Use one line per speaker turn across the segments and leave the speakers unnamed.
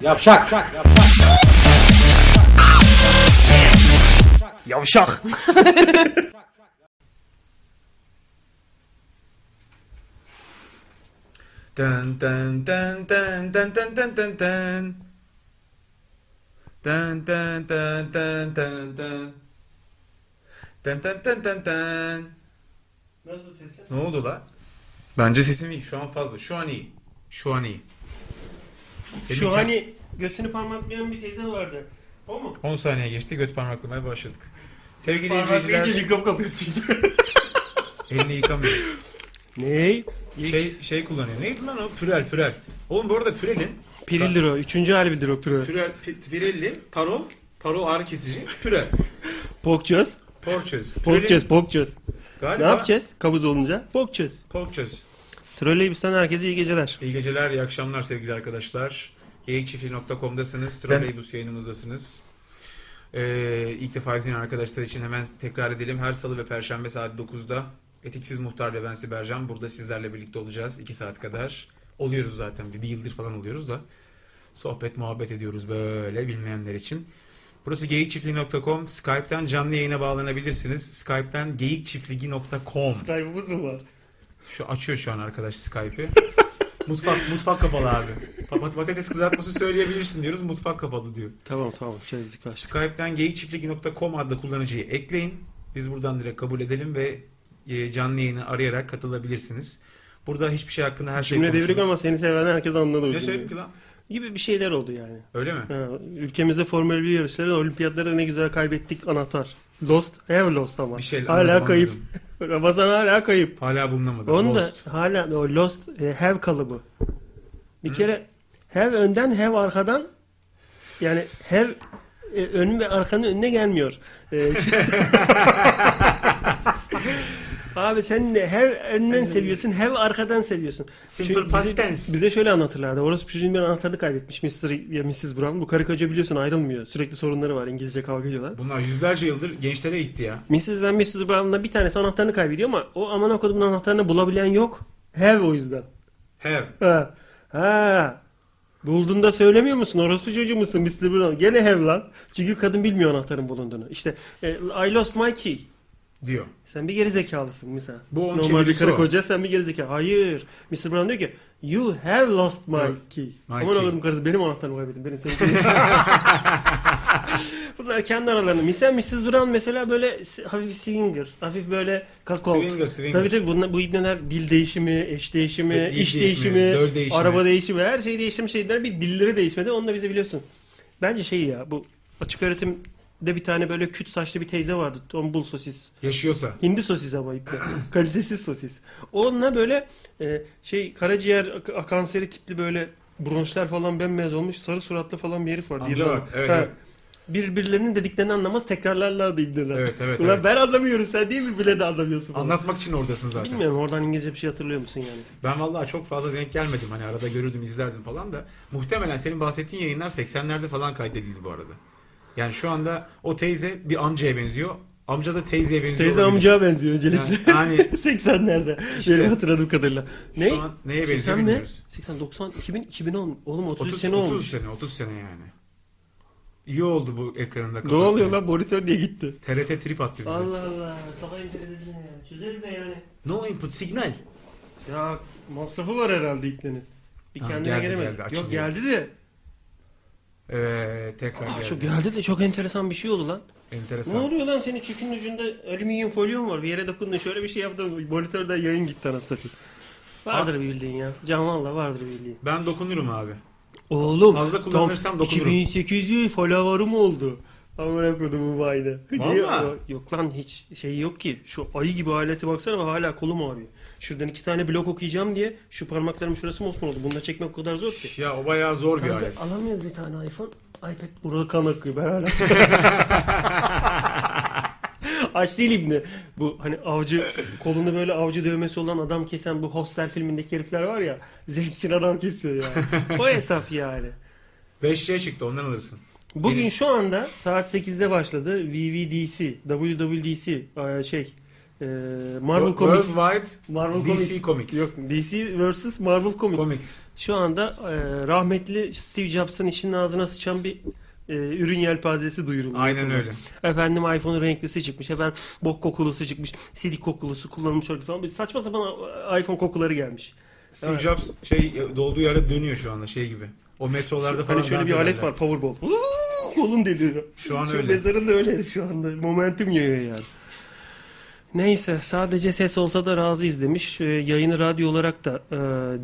Yavşak.
Yavşak. Dın dın dın dın dın dın dın dın dın. Dın dın dın dın dın dın. Dın dın dın dın dın.
Nasıl sesi?
Ne oldu la? Bence sesim iyi. Şu an fazla. Şu an iyi. Şu an iyi.
Şu hani göğsünü parmaklayan bir teyze vardı. O mu?
10 saniye geçti. Göt parmaklamaya başladık. Sevgili
Parmaklayınca
izleyiciler
mikrop kapıyor çünkü.
elini yıkamıyor.
Ney?
şey şey kullanıyor. Neydi lan o? Pürel, pürel. Oğlum bu arada pürelin,
Pirildir o. Üçüncü harbidir o piro.
pürel, pi- pirelli, parol, parol ağrı kesici, pürel.
Pokacağız.
Porçöz. Pürelin-
Pokacağız, pokacağız.
Galiba
Ne yapacağız? Kabız olunca. Pokacağız.
Porçöz.
Troleybüsten herkese iyi geceler.
İyi geceler, iyi akşamlar sevgili arkadaşlar. Geyikçiftliği.com'dasınız, Trolleybus yayınımızdasınız. Ee, ilk defa izleyen arkadaşlar için hemen tekrar edelim. Her salı ve perşembe saat 9'da Etiksiz Muhtar ve ben Sibercan. Burada sizlerle birlikte olacağız 2 saat kadar. Oluyoruz zaten, bir yıldır falan oluyoruz da. Sohbet, muhabbet ediyoruz böyle bilmeyenler için. Burası geyikçiftliği.com. Skype'ten canlı yayına bağlanabilirsiniz. Skype'ten geyikçiftliği.com.
Skype'ımız mı var?
Şu açıyor şu an arkadaş Skype'i. mutfak mutfak kapalı abi. Pat- Patates kızartması söyleyebilirsin diyoruz. Mutfak kapalı diyor.
Tamam tamam çözdük açtık.
Skype'den geyikçiftlik.com adlı kullanıcıyı ekleyin. Biz buradan direkt kabul edelim ve e, canlı yayını arayarak katılabilirsiniz. Burada hiçbir şey hakkında her şey
Cümle devrik ama seni seven herkes anladı o
Ne
cümleyi.
söyledim ki lan?
Gibi bir şeyler oldu yani.
Öyle mi?
Ha, ülkemizde Formül 1 yarışları, olimpiyatları ne güzel kaybettik anahtar. Lost, have lost ama.
Bir şey
hala
anladım,
kayıp.
anladım.
Ramazan hala kayıp.
Hala bulunamadı.
Onu
Lost.
da hala o Lost e, Have kalıbı. Bir kere Have önden Have arkadan yani Have e, ön ve arkanın önüne gelmiyor. E, Abi sen de Have önden seviyorsun, Have arkadan seviyorsun.
Simple
Çünkü
past
bize,
tense.
Bize şöyle anlatırlardı. Orası çocuğun bir anahtarını kaybetmiş Mr. ya Mrs. Brown. Bu karı koca biliyorsun ayrılmıyor. Sürekli sorunları var. İngilizce kavga ediyorlar.
Bunlar yüzlerce yıldır gençlere gitti ya.
Mrs. ve Mrs. Brown'la bir tanesi anahtarını kaybediyor ama o aman okudum anahtarını bulabilen yok. Have o yüzden.
Have.
Ha. Ha. Buldun da söylemiyor musun? Orospu çocuğu musun? Mr. Brown. Gene hem lan. Çünkü kadın bilmiyor anahtarın bulunduğunu. İşte e, I lost my key.
Diyor.
Sen bir gerizekalısın mesela.
Bu onun
Normal bir
çevirisi
karı
o.
koca sen bir gerizekalı. Hayır. Mr. Brown diyor ki You have lost my
Evet.
key.
My
Aman
key.
oğlum karısı benim anahtarımı kaybettim. Benim senin key. Bunlar kendi aralarında. Mesela Mrs. Brown mesela böyle s- hafif swinger. Hafif böyle kakao.
Swinger, swinger.
Tabii tabii bunlar, bu ibneler dil değişimi, eş değişimi,
Dil
iş
değişimi,
değişimi,
döl değişimi.
araba değişimi. Her şey değiştirmiş şeyler. Bir dilleri değişmedi. Onu da bize biliyorsun. Bence şey ya bu açık öğretimde bir tane böyle küt saçlı bir teyze vardı. Tombul sosis.
Yaşıyorsa.
Hindi sosis ama iple. Kalitesiz sosis. Onunla böyle e, şey karaciğer ak- akanseri tipli böyle bronşlar falan bembeyaz olmuş sarı suratlı falan bir herif vardı.
Amca
İrlanda.
var. Evet,
Ha.
evet.
Birbirlerinin dediklerini anlamaz tekrarlarlardı ibneler.
Evet, evet,
Ulan
evet.
ben anlamıyorum sen niye birbirlerini anlamıyorsun? falan?
Anlatmak için oradasın zaten.
Bilmiyorum oradan İngilizce bir şey hatırlıyor musun yani?
Ben vallahi çok fazla denk gelmedim. Hani arada görürdüm, izlerdim falan da. Muhtemelen senin bahsettiğin yayınlar 80'lerde falan kaydedildi bu arada. Yani şu anda o teyze bir amcaya benziyor. Amca da teyzeye benziyor.
Teyze
olabilir.
amcaya benziyor öncelikle.
Yani- yani-
80'lerde.
İşte.
Benim hatırladığım kadarıyla. Ne?
Şu an neye benziyor
80 mi?
bilmiyoruz.
80, 90, 2000, 2010. Oğlum 33
30
sene
30
olmuş.
sene, 30 sene yani. İyi oldu bu ekranında
Ne oluyor lan monitör niye gitti?
TRT trip attı bize.
Allah Allah. Sabah internetini yani. Çözeriz de yani.
No input signal.
Ya masrafı var herhalde iplenin. Bir
Ha,
kendine
geldi,
gelemedi.
geldi, açılıyor.
Yok geldi de.
Ee, tekrar
Aa,
geldi.
çok geldi de çok enteresan bir şey oldu lan.
Enteresan.
Ne oluyor lan senin çükünün ucunda alüminyum folyon var. Bir yere dokundun şöyle bir şey yaptın. Monitörden yayın gitti anasını satayım. Vardır bir bildiğin ya. Can valla vardır bir bildiğin.
Ben dokunurum abi.
Oğlum.
Fazla kullanırsam
tam
dokunurum.
2800 follower'ım oldu. Amına kodumu vayne. Niye-
Valla?
Yok lan hiç şey yok ki. Şu ayı gibi alete baksana ve hala kolum ağrıyor. Şuradan iki tane blok okuyacağım diye şu parmaklarım şurası mosmor oldu. Bunu da çekmek o kadar zor ki.
Ya o bayağı zor bir
Kanka
alet.
alamıyoruz bir tane iPhone. iPad burada kan akıyor ben hala. Aç değil İbni. Bu hani avcı kolunda böyle avcı dövmesi olan adam kesen bu Hostel filmindeki herifler var ya. Zevk için adam kesiyor ya. o hesap yani.
5G çıktı ondan alırsın.
Bugün
Benim-
şu anda saat 8'de başladı VVDC, WWDC e, şey Ee, Marvel Comics.
Worldwide
Marvel
DC Comics.
Yok DC vs Marvel Comics.
Comics.
Şu anda e, rahmetli Steve Jobs'ın işinin ağzına sıçan bir e, ürün yelpazesi duyuruldu.
Aynen öyle.
Efendim iPhone'un renklisi çıkmış. Efendim bok kokulusu çıkmış. CD kokulusu kullanılmış olarak falan. Bir Saçma sapan e, iPhone kokuları gelmiş.
Steve
Evet.
Jobs şey dolduğu yere dönüyor şu anda şey gibi. O metrolarda falan
Hani şöyle
dans
bir alet
ederler.
var Powerball. Huuu, Kolum deliriyor.
Şu an
Şu
öyle.
mezarın da öyle herif şu anda. Momentum yayıyor yani. Neyse sadece ses olsa da razıyız demiş. Ee, yayını radyo olarak da e,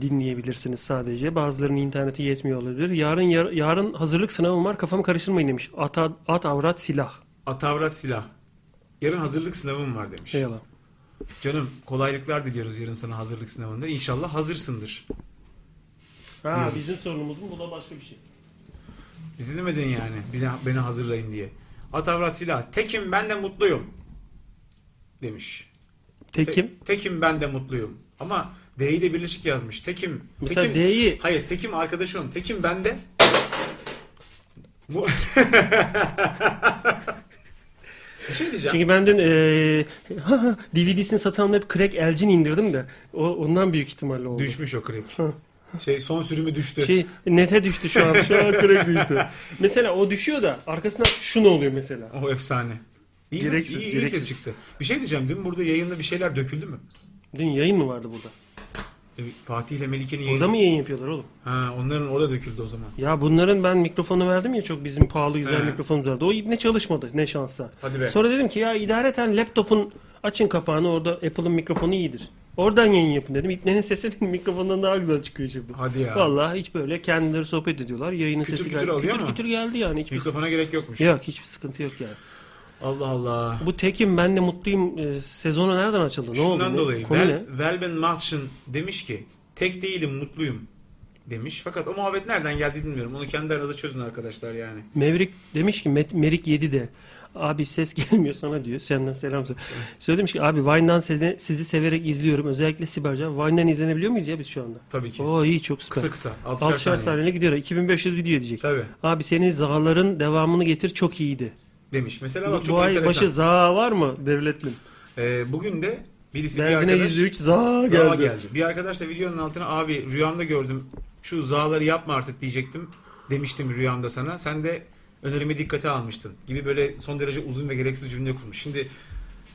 dinleyebilirsiniz sadece. Bazılarının interneti yetmiyor olabilir. Yarın yar- yarın hazırlık sınavım var kafamı karıştırmayın demiş. At, at avrat silah.
Atavrat silah. Yarın hazırlık sınavım var demiş.
Eyvallah.
Canım kolaylıklar diliyoruz yarın sana hazırlık sınavında. İnşallah hazırsındır.
Ha,
Diyoruz.
bizim sorunumuz mu? Bu da başka bir şey.
Bizi demedin yani beni, beni hazırlayın diye. Atavrat silah. Tekim ben de mutluyum. Demiş. Te-
Tekim.
tekim ben de mutluyum. Ama D'yi de birleşik yazmış. Tekim.
Mesela
tekim,
D'yi
Hayır Tekim arkadaşı onun. Tekim ben de. Bu... bir şey diyeceğim.
çünkü ben dün e, DVD'sini satanla hep Craig Elgin indirdim de o, ondan büyük ihtimalle oldu.
Düşmüş o krek. Şey son sürümü düştü.
Şey nete düştü şu an. Şu an crack düştü. Mesela o düşüyor da arkasından şu ne oluyor mesela?
O efsane. İyi ses-
Gereksiz,
iyi- iyi,
gereksiz.
ses çıktı. Bir şey diyeceğim. Dün burada yayında bir şeyler döküldü mü?
Dün yayın mı vardı burada?
E, Fatih ile Melike'nin yayını.
Orada mı yayın yapıyorlar oğlum?
Ha, onların orada döküldü o zaman.
Ya bunların ben mikrofonu verdim ya çok bizim pahalı güzel
He.
mikrofonumuz vardı. O ibne çalışmadı ne şansa.
Hadi be.
Sonra dedim ki ya idareten laptopun açın kapağını orada Apple'ın mikrofonu iyidir. Oradan yayın yapın dedim. İbnenin sesi benim mikrofondan daha güzel çıkıyor şimdi.
Hadi ya.
Vallahi hiç böyle kendileri sohbet ediyorlar. Yayının
Kütür
sesi
kütür
gayet-
alıyor
kütür
mu?
kütür geldi yani. Hiçbir,
Mikrofona gerek yokmuş.
yok hiçbir sıkıntı yok yani.
Allah Allah.
Bu tekim ben de mutluyum e, sezonu nereden açıldı? Ne oldu?
Şundan
Ne-
dolayı
Konu ne?
Vel, Velben Mahçın demiş ki tek değilim mutluyum demiş. Fakat o muhabbet nereden geldi bilmiyorum. Onu kendi aranızda çözün arkadaşlar yani.
Mevrik demiş ki Met- Merik 7 de abi ses gelmiyor sana diyor. Senden selam söyle. Söylemiş ki abi Vine'dan sizi, sizi severek izliyorum. Özellikle Sibercan. Vine'dan izlenebiliyor muyuz ya biz şu anda?
Tabii ki.
Oo iyi çok süper.
Kısa kısa. Altışar
Altışar
saniye.
saniyeyle gidiyor. 2500 video edecek.
Tabii
Abi senin zağların devamını getir çok iyiydi.
demiş. Mesela bak
Bu,
çok
bu ay
enteresan.
başı za var mı devletlin?
Ee, bugün de birisi bir
Benzine
arkadaş
%3 za geldi.
Zağa geldi. Bir arkadaş da videonun altına abi rüyamda gördüm şu zağları yapma artık diyecektim demiştim rüyamda sana. Sen de önerimi dikkate almıştın gibi böyle son derece uzun ve gereksiz cümle kurmuş. Şimdi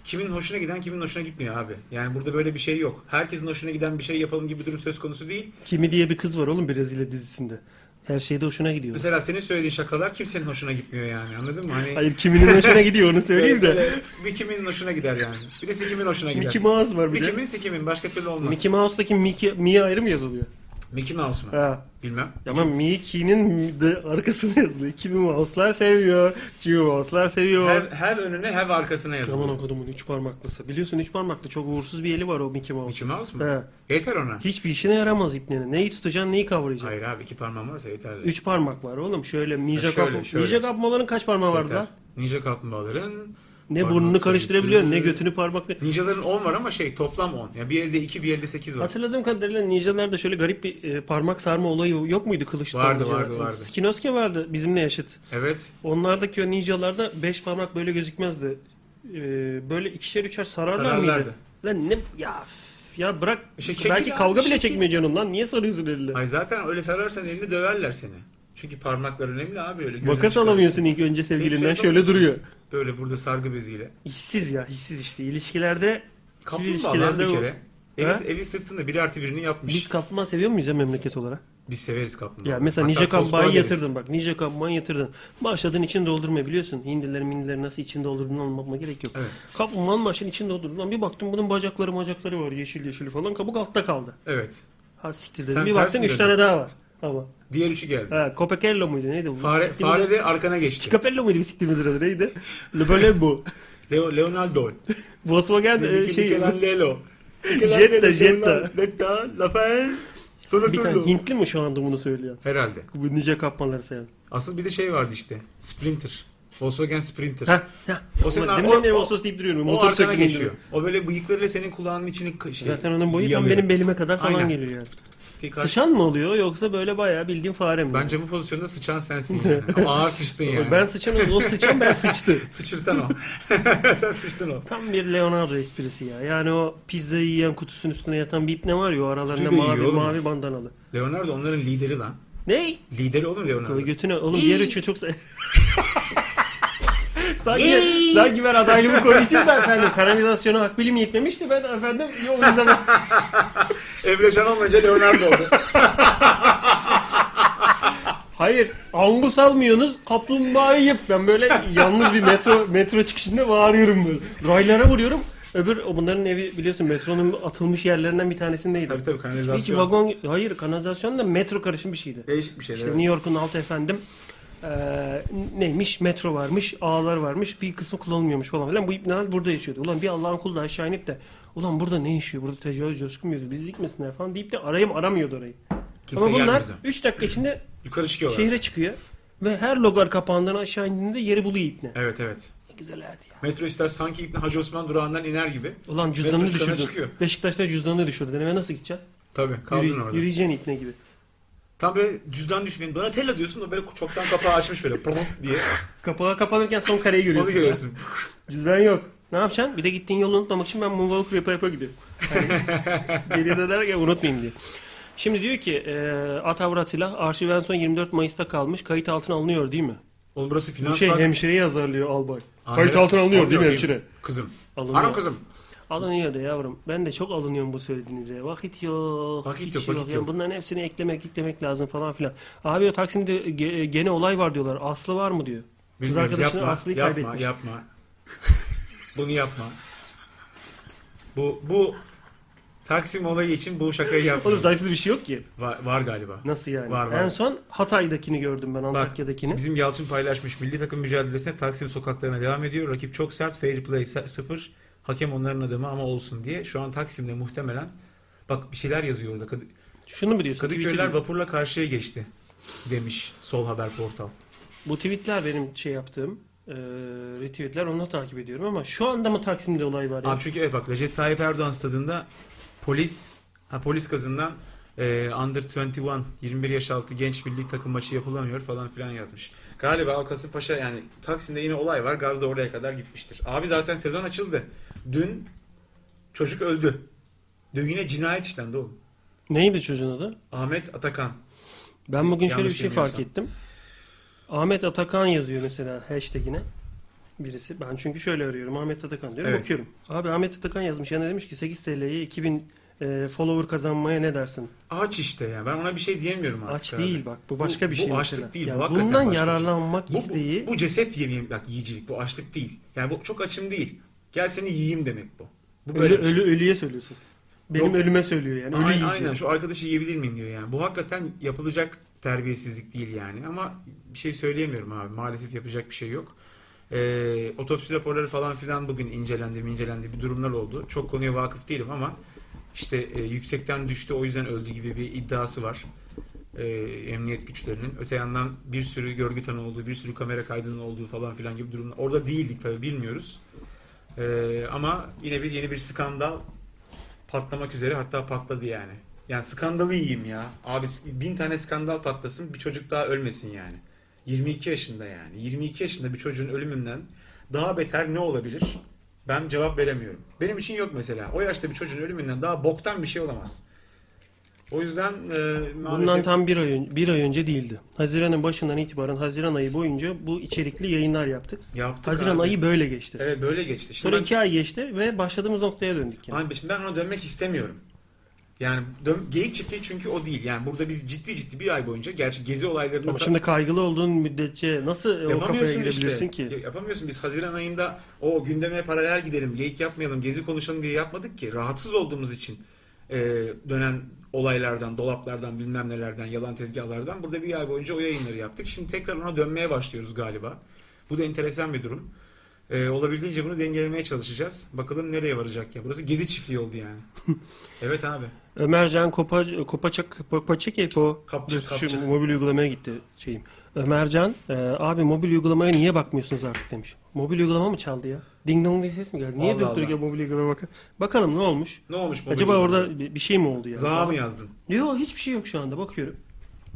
kimin hoşuna giden kimin hoşuna gitmiyor abi. Yani burada böyle bir şey yok. Herkesin hoşuna giden bir şey yapalım gibi bir durum söz konusu değil.
Kimi diye bir kız var oğlum Brezilya dizisinde. Her şeyde hoşuna gidiyor.
Mesela senin söylediğin şakalar kimsenin hoşuna gitmiyor yani anladın mı? Hani
Hayır kiminin hoşuna gidiyor onu söyleyeyim de.
böyle bir kimin hoşuna gider yani. Birisi kimin hoşuna gider.
Mickey Mouse var bir
Bir
de.
kimin sikimin başka türlü olmaz. Mickey,
Mickey Mouse'daki Mickey, Mia ayrı mı yazılıyor?
Mouse mu?
Ha.
Bilmem.
Ama Mickey'nin de arkasına yazılıyor. Kimi Mouse'lar seviyor, kimi Mouse'lar seviyor.
Hev, hev önüne hev arkasına yazılır.
Aman okudum üç parmaklısı. Biliyorsun üç parmaklı çok uğursuz bir eli var o Mickey Mouse.
Mickey Mouse mu?
He.
Yeter ona.
Hiçbir işine yaramaz ipnenin. Neyi tutacaksın, neyi kavrayacaksın.
Hayır abi iki parmağım varsa yeterli.
Üç parmak var oğlum. Şöyle ninja,
Ha, şöyle,
kapma-
şöyle.
ninja kapmaların kaç parmağı vardı
Yeter.
lan?
Ninja kaplumbağaların
Ne
Parmak
burnunu
sayısı.
karıştırabiliyorsun, ne götünü parmakla...
Ninjaların 10 var ama şey toplam 10. Yani bir elde 2 bir elde 8 var.
Hatırladığım kadarıyla ninjalarda şöyle garip bir e, parmak sarma olayı yok muydu kılıçta?
Vardı,
ninjalar?
vardı, vardı.
Skinosuke vardı bizimle yaşıt.
Evet.
Onlardaki o ninjalarda beş parmak böyle gözükmezdi. Ee, böyle ikişer üçer sararlar
Sararlardı.
mıydı? Lan ne ya f- ya bırak
İşte çekil
belki
abi,
kavga bile
çekil.
çekmiyor canım lan niye sarıyorsun elini?
Ay zaten öyle sararsan elini döverler seni. Çünkü parmaklar önemli abi öyle. gözünü
Makas
çıkarırsın.
alamıyorsun ilk önce sevgilinden
Hiçbir şey
şöyle duruyor.
Böyle burada sargı beziyle.
Hissiz ya hissiz işte ilişkilerde ikili
Kaplumbağa lan bir
bu-
kere. Evi,
He?
evi sırtında bir artı birini yapmış.
Biz
Biz,
kaplumbağa seviyor muyuz ya memleket olarak?
severiz kaplumbağa.
Ya mesela
Hatta
Ninja
tosbağa
Kaplumbağa'yı
deriz.
yatırdın bak. Ninja Kaplumbağa'yı yatırdın. Başladın için doldurma biliyorsun. Hindilerin mindileri nasıl içinde doldurduğunu anlatma gerek yok.
Evet.
Kaplumbağanın başını içinde doldurdun. Lan bir baktım bunun bacakları macakları var yeşil yeşil falan. Kabuk altta kaldı.
Evet.
Ha siktir dedim.
Sen
bir
tersin
baktım üç
dedin.
tane daha var. Ama.
Diğer üçü geldi.
Ha, Copacello muydu neydi? bu?
Fare,
Siktiğimiz-
fare de arkana geçti.
Capello muydu bisikletimiz adı neydi? Le Böyle bu.
Leo, Leonardo.
Volkswagen e,
Şey,
şey.
Michelangelo.
Jetta, Jetta.
Jetta, Lafayette,
Bir tane Hintli mi şu anda bunu söylüyor?
Herhalde.
Bu Ninja Kaplumbağaları sayan.
Asıl bir de şey vardı işte. Sprinter. Volkswagen Sprinter.
Ha, ha.
O senin-
Ulan
o-
Deminden beri
o-
Vossos deyip duruyorum.
o
Motor
arkana
söküyorum diyorum.
geçiyor. O böyle bıyıklarıyla senin kulağının içini şey k- işte
Zaten onun boyu tam
yalıyor.
benim belime kadar falan
E, Aynen.
geliyor yani.
taktiği karşı...
Sıçan mı oluyor yoksa böyle bayağı bildiğin fare mi?
Bence bu pozisyonda sıçan sensin yani. Ama ağır sıçtın yani.
Ben sıçan o sıçan ben sıçtı.
Sıçırtan o. Sen sıçtın o.
Tam bir Leonardo esprisi ya. Yani o pizzayı yiyen kutusunun üstüne yatan bir ne var ya o aralarında
Kutuyu da
mavi
yiyor oğlum.
mavi bandanalı.
Leonardo onların lideri lan.
Ne?
Lideri oğlum Leonardo.
Koy götüne oğlum
İyi.
yer üçü çok sa- sanki, sanki ben adaylığımı koruyacağım da efendim kanalizasyona akbilim yetmemişti ben efendim yok o yüzden ben-
Emre Can olmayınca Leonardo oldu.
Hayır angus almıyorsunuz kaplumbağayı yap. Ben böyle yalnız bir metro metro çıkışında bağırıyorum böyle. Raylara vuruyorum. Öbür o bunların evi biliyorsun metronun atılmış yerlerinden bir tanesindeydi.
tabii tabii kanalizasyon.
Hiç vagon hayır kanalizasyon da metro karışım bir şeydi.
Değişik bir şey.
İşte
evet.
New York'un altı efendim eee, neymiş metro varmış ağlar varmış bir kısmı kullanılmıyormuş falan filan bu ipnalar burada yaşıyordu. Ulan bir Allah'ın kulu da aşağı inip de ulan burada ne yaşıyor burada tecavüz coşkun mu yazıyor, bizlik misinler falan deyip de arayım aramıyordu orayı.
Kimse
Ama bunlar
gelmiyordu.
3 dakika içinde
Yukarı çıkıyorlar.
şehre çıkıyor ve her logar kapağından aşağı indiğinde yeri buluyor ipne.
Evet evet.
Ne güzel hayat ya.
Metro ister sanki İbni Hacı Osman durağından iner gibi.
Ulan cüzdanını
Metro çıkana
düşürdün.
çıkıyor.
Beşiktaş'ta cüzdanını düşürdün. Eve nasıl gideceksin?
Tabii kaldın
Yürü-
orada.
Yürüyeceksin ipne gibi.
Tam böyle cüzdan düşmeyin. Donatella diyorsun da böyle çoktan kapağı açmış böyle. Pırrr diye.
Kapağı kapanırken son kareyi görüyorsun.
Onu görüyorsun.
Cüzdan yok. Ne yapacaksın? Bir de gittiğin yolu unutmamak için ben moonwalker yapa yapa gidiyorum. Hani geriye de derken unutmayayım diye. Şimdi diyor ki e, at avrat silah arşiv en son 24 Mayıs'ta kalmış. Kayıt altına alınıyor değil mi?
Oğlum burası
Bu
finans
şey
bak.
hemşireyi yazarlıyor albay.
Aa,
Kayıt
evet.
altına alınıyor değil mi hemşire?
Kızım.
Alınıyor.
Anam kızım.
Alınıyor da yavrum. Ben de çok alınıyorum bu söylediğinize. Vakit yok.
Vakit
hiç
yok, vakit
Yani
yok.
bunların hepsini eklemek eklemek lazım falan filan. Abi o Taksim'de ge- gene olay var diyorlar. Aslı var mı diyor. Kız
Bilmiyorum,
arkadaşını
yapma,
Aslı'yı
yapma,
kaybetmiş.
Yapma. Bunu yapma. Bu bu Taksim olayı için bu şakayı yapma.
Oğlum Taksim'de bir şey yok ki.
Var, var galiba.
Nasıl yani?
Var, var.
En son Hatay'dakini gördüm ben Antakya'dakini.
Bizim Yalçın paylaşmış. Milli takım mücadelesine Taksim sokaklarına devam ediyor. Rakip çok sert. Fair play 0. Hakem onların adamı ama olsun diye. Şu an Taksim'de muhtemelen bak bir şeyler yazıyor orada. Kadı-
Şunu mu diyorsun?
Kadıköyler
Tweet'i-
vapurla karşıya geçti demiş Sol Haber Portal.
Bu tweetler benim şey yaptığım eee retweetler onu takip ediyorum ama şu anda mı Taksim'de olay var? Yani?
Abi çünkü evet bak Recep Tayyip Erdoğan stadında polis ha polis gazından e, under 21 21 yaş altı genç milli takım maçı yapılamıyor falan filan yazmış. Galiba o Kasımpaşa yani Taksim'de yine olay var. Gaz da oraya kadar gitmiştir. Abi zaten sezon açıldı. Dün çocuk öldü. Dün yine cinayet işlendi oğlum.
Neydi çocuğun adı?
Ahmet Atakan.
Ben bugün şöyle
Ee,
bir
Yanlış
şey fark
bilmiyorsam.
ettim. Ahmet Atakan yazıyor mesela hashtagine birisi. Ben çünkü şöyle arıyorum Ahmet Atakan diyorum
Evet.
bakıyorum. Abi Ahmet Atakan yazmış yani demiş ki 8 TL'ye 2000 eee, e, follower kazanmaya ne dersin?
Aç işte ya. Ben ona bir şey diyemiyorum artık.
Aç
abi.
değil bak bu başka
Bu-
bir şey.
bu açlık
mesela.
değil, bu
Yani
hakikaten
bundan
başka bir şey.
yararlanmak
Bu,
isteği
bu, bu ceset yemeyeyim bak yiyicilik. Bu açlık değil. Yani bu çok açım değil. Gel seni yiyeyim demek bu. Bu
ölü,
bir şey.
ölü ölüye söylüyorsun. Benim
Yok.
ölüme söylüyor yani. Ölü
Aynen,
yiyeceğim.
aynen şu arkadaşı yiyebilir miyim diyor yani. Bu hakikaten yapılacak terbiyesizlik değil yani. Ama bir şey söyleyemiyorum abi. Maalesef yapacak bir şey yok. Ee, otopsi raporları falan filan bugün incelendi mi incelendi bir durumlar oldu. Çok konuya vakıf değilim ama işte e, yüksekten düştü o yüzden öldü gibi bir iddiası var. Ee, emniyet güçlerinin. Öte yandan bir sürü görgü tanığı olduğu, bir sürü kamera kaydının olduğu falan filan gibi durumlar. Orada değildik tabii bilmiyoruz. Ee, ama yine bir yeni bir skandal patlamak üzere hatta patladı yani. Yani skandalı yiyeyim ya. Abi s- bin tane skandal patlasın bir çocuk daha ölmesin yani. 22 yaşında yani. 22 yaşında bir çocuğun ölümünden daha beter ne olabilir? Ben cevap veremiyorum. Benim için yok mesela. O yaşta bir çocuğun ölümünden daha boktan bir şey olamaz. O yüzden e,
Bundan
maalesef
tam bir ay, ön- bir ay önce değildi. Haziran'ın başından itibaren Haziran ayı boyunca bu içerikli yayınlar yaptık.
yaptık
Haziran
abi.
ayı böyle geçti.
Evet böyle geçti. Şimdi
Sonra
ben-
iki ay geçti ve başladığımız noktaya döndük yani.
Abi şimdi ben ona dönmek istemiyorum. Yani dön, geyik çiftliği çünkü o değil. Yani burada biz ciddi ciddi bir ay boyunca gerçi gezi olaylarını
Ama
da-
şimdi kaygılı olduğun müddetçe nasıl e, o kafaya
Yapamıyorsun
girebilirsin
işte.
ki?
Ya- Yapamıyorsun. Biz Haziran ayında o gündeme paralel gidelim, geyik yapmayalım, gezi konuşalım diye yapmadık ki. Rahatsız olduğumuz için e, dönen olaylardan, dolaplardan, bilmem nelerden, yalan tezgahlardan burada bir ay boyunca o yayınları yaptık. Şimdi tekrar ona dönmeye başlıyoruz galiba. Bu da enteresan bir durum. E, olabildiğince bunu dengelemeye çalışacağız. Bakalım nereye varacak ya. Burası gezi çiftliği oldu yani. evet abi.
Ömercan Kopa, Kopaçak, Kopaçak Epo
Kapçı,
Dur, şu
kapçı.
mobil uygulamaya gitti şeyim. Ömercan e, abi mobil uygulamaya niye bakmıyorsunuz artık demiş. Mobil uygulama mı çaldı ya? Ding dong diye ses mi geldi? Niye
Allah
durup dururken mobil uygulama bakın. Bakalım ne olmuş?
Ne olmuş mobil
Acaba
uygulama?
orada bir bir şey mi oldu yani?
Za mı yazdın?
Yok hiçbir şey yok şu anda bakıyorum.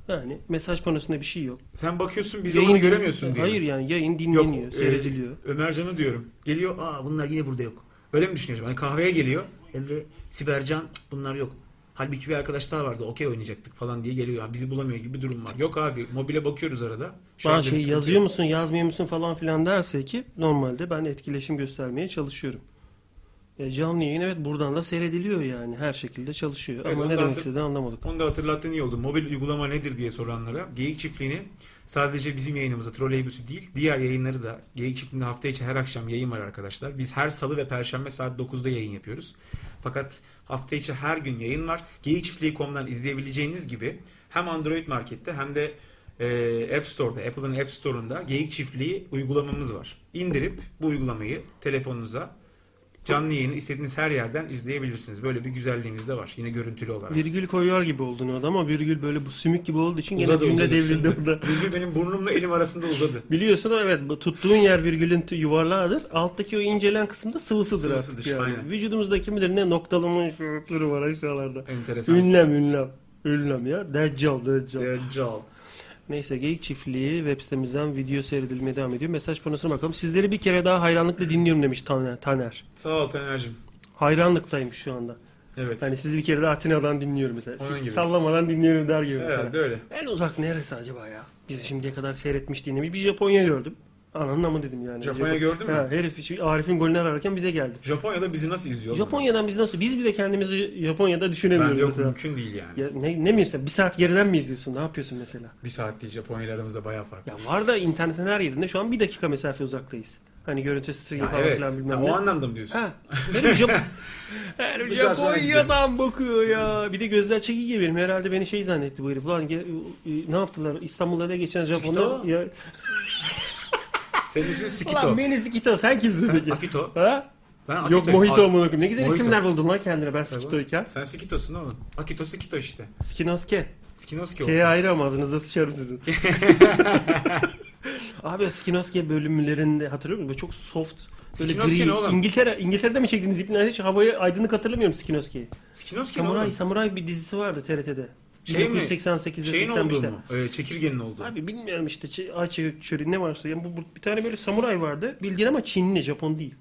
Yani mesaj panosunda bir şey yok.
Sen bakıyorsun biz
Yayın
onu
din-
göremiyorsun diye. mi?
Hayır yani yayın
Yok,
dinleniyor,
e,
seyrediliyor.
Ömercan'ı diyorum. Geliyor aa bunlar yine burada yok. Öyle mi düşünüyorsun? Hani kahveye geliyor. Emre, Sibercan cık, bunlar yok. Halbuki bir arkadaşlar vardı okey oynayacaktık falan diye geliyor. Ha, bizi bulamıyor gibi bir durum var. Yok abi mobile bakıyoruz arada. Şu
Bana
anda bir
şey
sıkıntı
yazıyor
yok.
musun, yazmıyor musun falan filan derse ki normalde ben etkileşim göstermeye çalışıyorum. E, canlı yayın evet buradan da seyrediliyor yani her şekilde çalışıyor.
Evet,
Ama
onu
ne
da
demek
hatır-
istediğini anlamadık.
Onu da hatırlattığın iyi oldu. Mobil uygulama nedir diye soranlara Geyik Çiftliği'ni sadece bizim yayınımıza troleybüsü değil diğer yayınları da Geyik Çiftliği'nde hafta içi her akşam yayın var arkadaşlar. Biz her salı ve perşembe saat 9'da yayın yapıyoruz. Fakat hafta içi her gün yayın var. Geyikçiftliği.com'dan izleyebileceğiniz gibi hem Android Market'te hem de e, App Store'da, Apple'ın App Store'unda Geyik Çiftliği uygulamamız var. İndirip bu uygulamayı telefonunuza canlı yayını istediğiniz her yerden izleyebilirsiniz. Böyle bir güzelliğimiz de var. Yine görüntülü olarak.
Virgül koyuyor gibi oldun orada ama virgül böyle bu sümük gibi olduğu için gene
Uzadı,
cümle
uzadı.
devrildi
Şimdi
orada.
Virgül benim burnumla elim arasında uzadı.
Biliyorsun evet bu tuttuğun yer virgülün tü- yuvarlağıdır. Alttaki o incelen kısım da sıvısıdır,
Sıvısıdır,
artık yani.
aynen.
Vücudumuzda kim bilir ne noktalama şurupları var aşağılarda.
Enteresan. şey.
Ünlem ünlem. Ünlem ya. Deccal deccal.
Deccal.
Neyse Geyik Çiftliği web sitemizden video seyredilmeye devam ediyor. Mesaj panosuna bakalım. Sizleri bir kere daha hayranlıkla dinliyorum demiş Taner. Taner.
Sağ ol Fener'cim.
Hayranlıktaymış şu anda.
Evet.
Yani sizi bir kere daha Atina'dan dinliyorum mesela.
Onun
Siz
gibi.
Sallamadan dinliyorum der gibi. mesela.
Herhalde öyle.
En uzak neresi acaba ya? Bizi şimdiye kadar seyretmiş dinlemiş. Bir Japonya gördüm. Ananın amı dedim yani.
Japonya
Japon-
gördün mü?
Ha, herif şu Arif'in golünü ararken bize geldi.
Japonya'da bizi nasıl izliyor?
Japonya'dan biz nasıl? Biz bile kendimizi Japonya'da
Ben
düşünemiyoruz
yok
mesela.
mümkün değil yani.
Ya, ne, ne mi izliyorsun? Bir saat geriden mi izliyorsun? Ne yapıyorsun mesela?
Bir saat değil Japonya ile aramızda bayağı fark. var.
Ya var da internetin her yerinde şu an bir dakika mesafe uzaktayız. Hani görüntü sesi
Ya
falan
evet.
filan
Ya
bilmem
o
ne.
anlamda mı diyorsun?
Ha. Benim Jap- Herif
Bir saat sonra
Japonya'dan bakıyor ya. Bir de gözler çeki gibi benim. Herhalde beni şey zannetti bu herif. Lan ge- e, ne yaptılar? İstanbul'a ele geçen Japonlar.
Sikito.
Ya...
Senin ismin Sikito.
Ulan beni Sikito sen kimsin peki?
Akito.
Ha?
Ben Akito.
Yok Mojito amına koyayım. Ne güzel
Mojito.
isimler buldun lan kendine ben Sikito'yken.
Sen Sikito'sun oğlum. Akito Sikito işte.
Skinoske.
Skinoski olsun.
K'ye ayrı ama ağzınızda sıçarım sizin. Abi Skinoske bölümlerinde hatırlıyor musun? Böyle çok soft. Böyle
Skinoski
gri.
ne oğlum?
İngiltere, İngiltere'de mi çektiğiniz ipler hiç havayı aydınlık hatırlamıyorum Skinoski'yi.
Skinoski ne
Samuray,
oğlum?
Samuray bir dizisi vardı TRT'de.
Şey mi?
1988'de
Şeyin olduğu
85'te.
mu? Ee, çekirgenin olduğu.
Abi bilmiyorum işte Ç- Ayça Çöri ne varsa. Yani bu, bu- bir tane böyle samuray vardı. Bildiğin ama Çinli, Japon değil.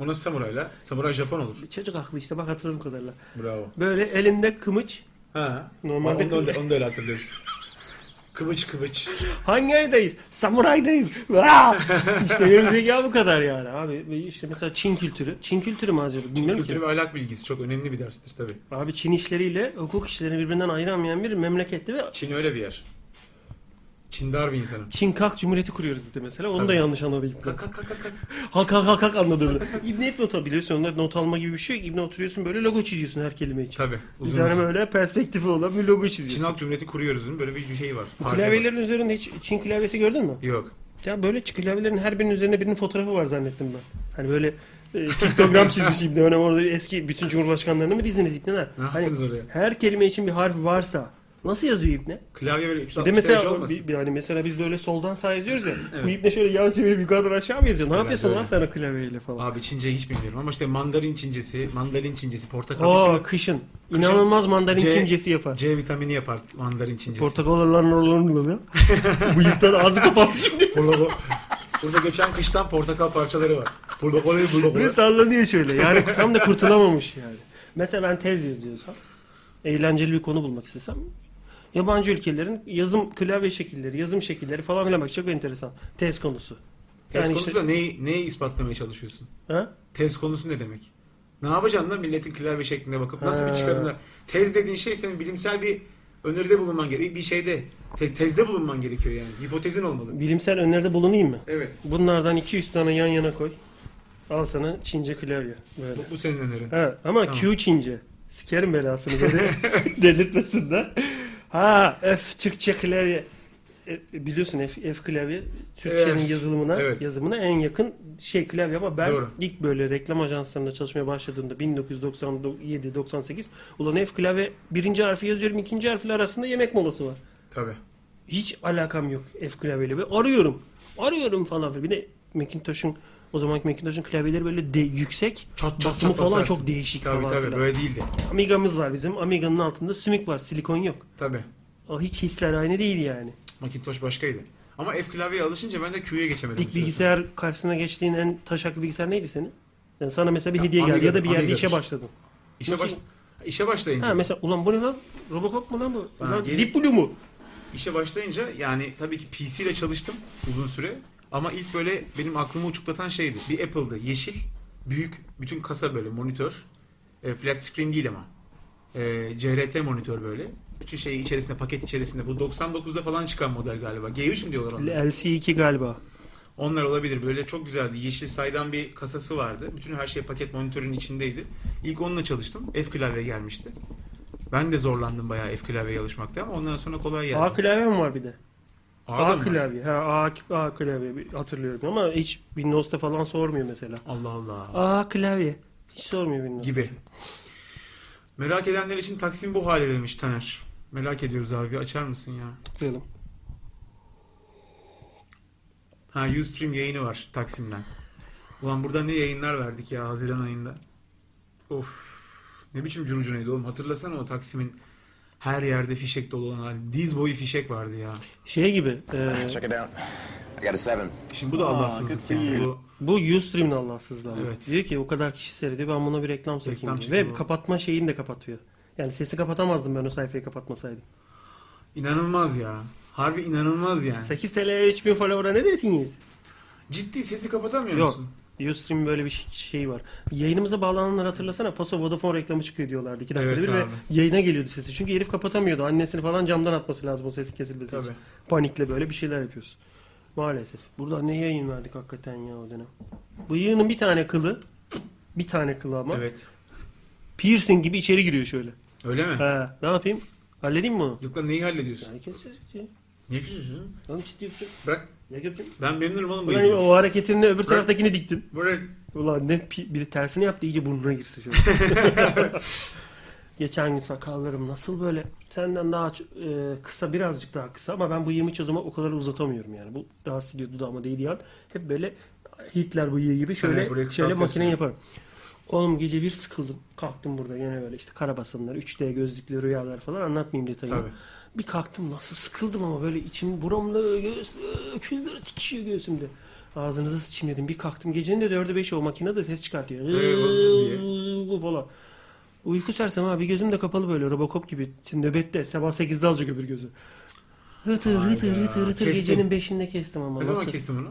O nasıl samurayla? Samuray Japon olur.
Çocuk aklı işte bak hatırladım kadarıyla.
Bravo.
Böyle elinde kımıç.
Ha.
Normalde-
Onu, da- onu, da, onu da öyle hatırlıyorsun. Kıvıç kıvıç.
Hangi aydayız? Samuraydayız. Vaa! işte benim zeka bu kadar yani. Abi işte mesela Çin kültürü. Çin kültürü mi acaba? Bilmiyorum
Kültür
ki.
ve ahlak bilgisi çok önemli bir derstir tabii.
Abi Çin işleriyle hukuk işlerini birbirinden ayıramayan bir memleketti ve
Çin öyle bir yer. Çin dar bir insanım.
Çin Kalk Cumhuriyeti kuruyoruz dedi mesela. Onu da
Tabii.
yanlış anladı İbni.
Kalk kalk kalk kalk.
Halk halk halk halk anladı öyle. İbni hep not al- biliyorsun. Onlar not alma gibi bir şey yok. İbni oturuyorsun böyle logo çiziyorsun her kelime için.
Tabii.
bir
Uzun
tane
uzun.
böyle perspektifi olan bir logo çiziyorsun.
Çin Halk Cumhuriyeti kuruyoruzun böyle bir şey var.
Bu
harbi
Klavyelerin üzerinde hiç Çin klavyesi gördün mü?
var. Yok.
Ya böyle çık- klavyelerin her birinin üzerine birinin fotoğrafı var zannettim ben. Hani böyle e, piktogram çizmiş İbni Önem orada eski bütün cumhurbaşkanlarını mı dizdiniz İbni Önem?
Ne
Hani
yaptınız oraya?
her kelime için bir harf varsa nasıl yazıyor İbni?
Klavye böyle 360
Bir de
derece
mesela,
olmasın.
bir, bir- hani mesela biz de öyle soldan sağa yazıyoruz ya.
Evet.
Bu İbni şöyle yan çevirip yukarıdan aşağı mı yazıyor? Ne yapıyorsun lan
öyle.
sen o klavyeyle falan?
Abi Çince hiç bilmiyorum ama işte mandarin Çincesi, mandalin Çincesi, portakal
Oo
suyu,
kışın. İnanılmaz mandarin
C-
çimcesi yapar.
C vitamini yapar mandarin Çincesi.
Portakalların oralarını buluyor. Bıyıktan ağzı kapalı şimdi.
Portakal. Burada geçen kıştan portakal parçaları var. Portakal,
Böyle
portakal.
sallanıyor şöyle. Yani tam da kurtulamamış yani. Mesela ben tez yazıyorsam, eğlenceli bir konu bulmak istesem, yabancı ülkelerin yazım klavye şekilleri, yazım şekilleri falan filan bak çok enteresan. Tez konusu.
Tez
Yani
konusunda neyi, neyi ispatlamaya çalışıyorsun?
Ha?
Tez konusu ne demek? Ne yapacaksın lan milletin klavye şekline bakıp nasıl
Ha.
bir çıkarına? Tez dediğin şey senin bilimsel bir öneride bulunman gerekiyor. Bir şeyde tez, tezde bulunman gerekiyor yani. Hipotezin olmalı.
Bilimsel öneride bulunayım mı?
Evet.
Bunlardan 200 tane yan yana koy. Al sana Çince klavye. Böyle.
Bu, bu senin önerin.
Ha, ama
Tamam.
Q Çince. Sikerim belasını böyle delirtmesinler. Ha F Türkçe klavye. E, biliyorsun F, F klavye Türkçenin
F,
yazılımına
evet.
yazımına en yakın şey klavye ama ben
Doğru.
ilk böyle reklam ajanslarında çalışmaya başladığımda 1997-98 ulan F klavye birinci harfi yazıyorum ikinci harfle arasında yemek molası var.
Tabii.
Hiç alakam yok F klavyeyle. Ve arıyorum. Arıyorum falan. filan. Bir de Macintosh'un o zamanki Macintosh'un klavyeleri böyle de, yüksek.
Çat çat
Basımı
çat
falan
basarsın.
çok değişik
Tabii
falan
tabii
filan.
böyle değildi.
Amiga'mız var bizim. Amiga'nın altında sümük var. Silikon yok.
Tabii.
O hiç hisler aynı değil yani.
Macintosh başkaydı. Ama F klavyeye alışınca ben de Q'ya geçemedim.
İlk bilgisayar karşısına geçtiğin en taşaklı bilgisayar neydi senin? Yani sana mesela bir
Ya,
hediye geldi ya da bir
Amiga'dır,
yerde
Amiga'dır.
işe başladın.
İşe,
nasıl-
baş... işe başlayınca.
Ha mesela ulan bu ne lan? Robocop mu lan bu?
Ha,
Ulan
gelip-
Deep Blue mu?
İşe başlayınca yani tabii ki PC ile çalıştım uzun süre. Ama ilk böyle benim aklımı uçuklatan şeydi. Bir Apple'dı. Yeşil. Büyük. Bütün kasa böyle monitör. E, flat screen değil ama. E, CRT monitör böyle. Bütün şeyi içerisinde paket içerisinde. Bu 99'da falan çıkan model galiba. G3 mü diyorlar ona?
LC2 galiba.
Onlar olabilir. Böyle çok güzeldi. Yeşil saydam bir kasası vardı. Bütün her şey paket monitörün içindeydi. İlk onunla çalıştım. F klavye gelmişti. Ben de zorlandım bayağı F klavyeye alışmakta ama ondan sonra kolay geldi.
A klavyem var bir de.
Ağda
A
mı?
klavye. Ha, A, A klavye bir- hatırlıyorum ama hiç Windows'ta falan sormuyor mesela.
Allah Allah.
A klavye. Hiç sormuyor Windows.
Gibi. Merak edenler için Taksim bu hale demiş Taner. Merak ediyoruz abi. Açar mısın ya?
Tıklayalım.
Ha Ustream yayını var Taksim'den. Ulan burada ne yayınlar verdik ya Haziran ayında. Of. Ne biçim curucunaydı oğlum. Hatırlasana o Taksim'in her yerde fişek dolu olan hali. Diz boyu fişek vardı ya.
Şey gibi. e,
Check it out. I got a seven.
Şimdi bu da Allahsızlık yani. Bu
bu Ustream'in Allahsızlığı.
Evet.
Diyor ki o kadar kişi seyrediyor ben buna bir reklam sokayım
Reklam
diyor.
çekiyor.
Ve kapatma şeyini de kapatıyor. Yani sesi kapatamazdım ben o sayfayı kapatmasaydım.
inanılmaz ya. Harbi inanılmaz yani.
8 TL 3000 follower'a ne dersiniz?
Ciddi sesi kapatamıyor
Yok.
musun?
Ustream böyle bir şey- şey var. Yayınımıza bağlananları hatırlasana. Paso Vodafone reklamı çıkıyor diyorlardı. iki dakikada
Evet
bir ve
abi.
yayına geliyordu sesi. Çünkü herif kapatamıyordu. Annesini falan camdan atması lazım o sesi kesilmesi
Tabii.
için. Panikle böyle bir şeyler yapıyorsun. Maalesef. Burada ne yayın verdik hakikaten ya o dönem. Bıyığının bir tane kılı. Bir tane kılı ama.
Evet.
Piercing gibi içeri giriyor şöyle.
Öyle mi?
He, ne yapayım? Halledeyim mi onu?
Yok lan neyi hallediyorsun?
Yani keseceğiz.
Niye küsüyorsun?
Oğlum ciddi yapacağım.
Bırak.
Ne yapayım?
Ben memnunum oğlum bu
Ulan
yayından.
o hareketinle öbür taraftakini diktin.
Bırak.
Ulan ne pi- biri tersini yaptı iyice burnuna girsin şöyle. Geçen gün sakallarım nasıl böyle senden daha ç- e, kısa birazcık daha kısa ama ben bıyığımı hiç o zaman o kadar uzatamıyorum yani. Bu rahatsız ediyor dudağıma değdiği an. Hep böyle Hitler bıyığı gibi şöyle
Evet, buraya
şöyle
kısaltıyorsun
makine
yani.
yaparım. Oğlum gece bir sıkıldım. Kalktım burada gene böyle işte karabasınlar, 3D gözlüklü rüyalar falan anlatmayayım detayını.
Tabii.
Bir kalktım nasıl sıkıldım ama böyle içim buramla göğüs, öküzler sikişiyor göğsümde. Ağzınıza sıçayım dedim. Bir kalktım gecenin de dörde beşi o makine de ses çıkartıyor.
Evet, vız diye.
Bu falan. Uyku sersem abi gözüm de kapalı böyle Robocop gibi. Şimdi nöbette sabah 8'de alacak öbür gözü. Hıtır hıtır
Hayda.
hıtır hıtır
Kestin.
gecenin 5'inde kestim ama
Ne zaman
nasıl?
kestin bunu?